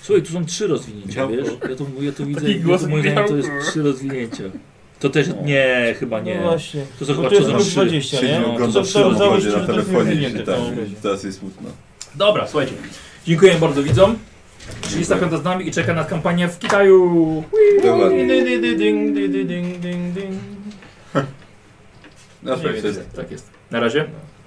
Słuchaj, tu są trzy rozwinięcia,
Michałku.
wiesz? Ja to, ja to widzę,
Taki
ja
głos
to moim zdaniem to jest
Michałku.
trzy rozwinięcia. To też, nie, chyba nie.
No właśnie.
To są chyba
Bo tu jest
trzy
plus
są trzy.
20, nie?
Siedzi
No,
ogląda
to
przy
założyć,
rozwodzie
że
na
to jest
telefonie i
rozwinięty
się
w tym
tam,
okresie.
teraz jest smutno.
Dobra, słuchajcie. Dziękuję bardzo widzom. 35 z nami i czeka nas kampania w Kitaju.
Dobra,
Ding, ding, ding, ding, ding, ding, ding.
na szczęście.
Tak jest. Na razie.
No.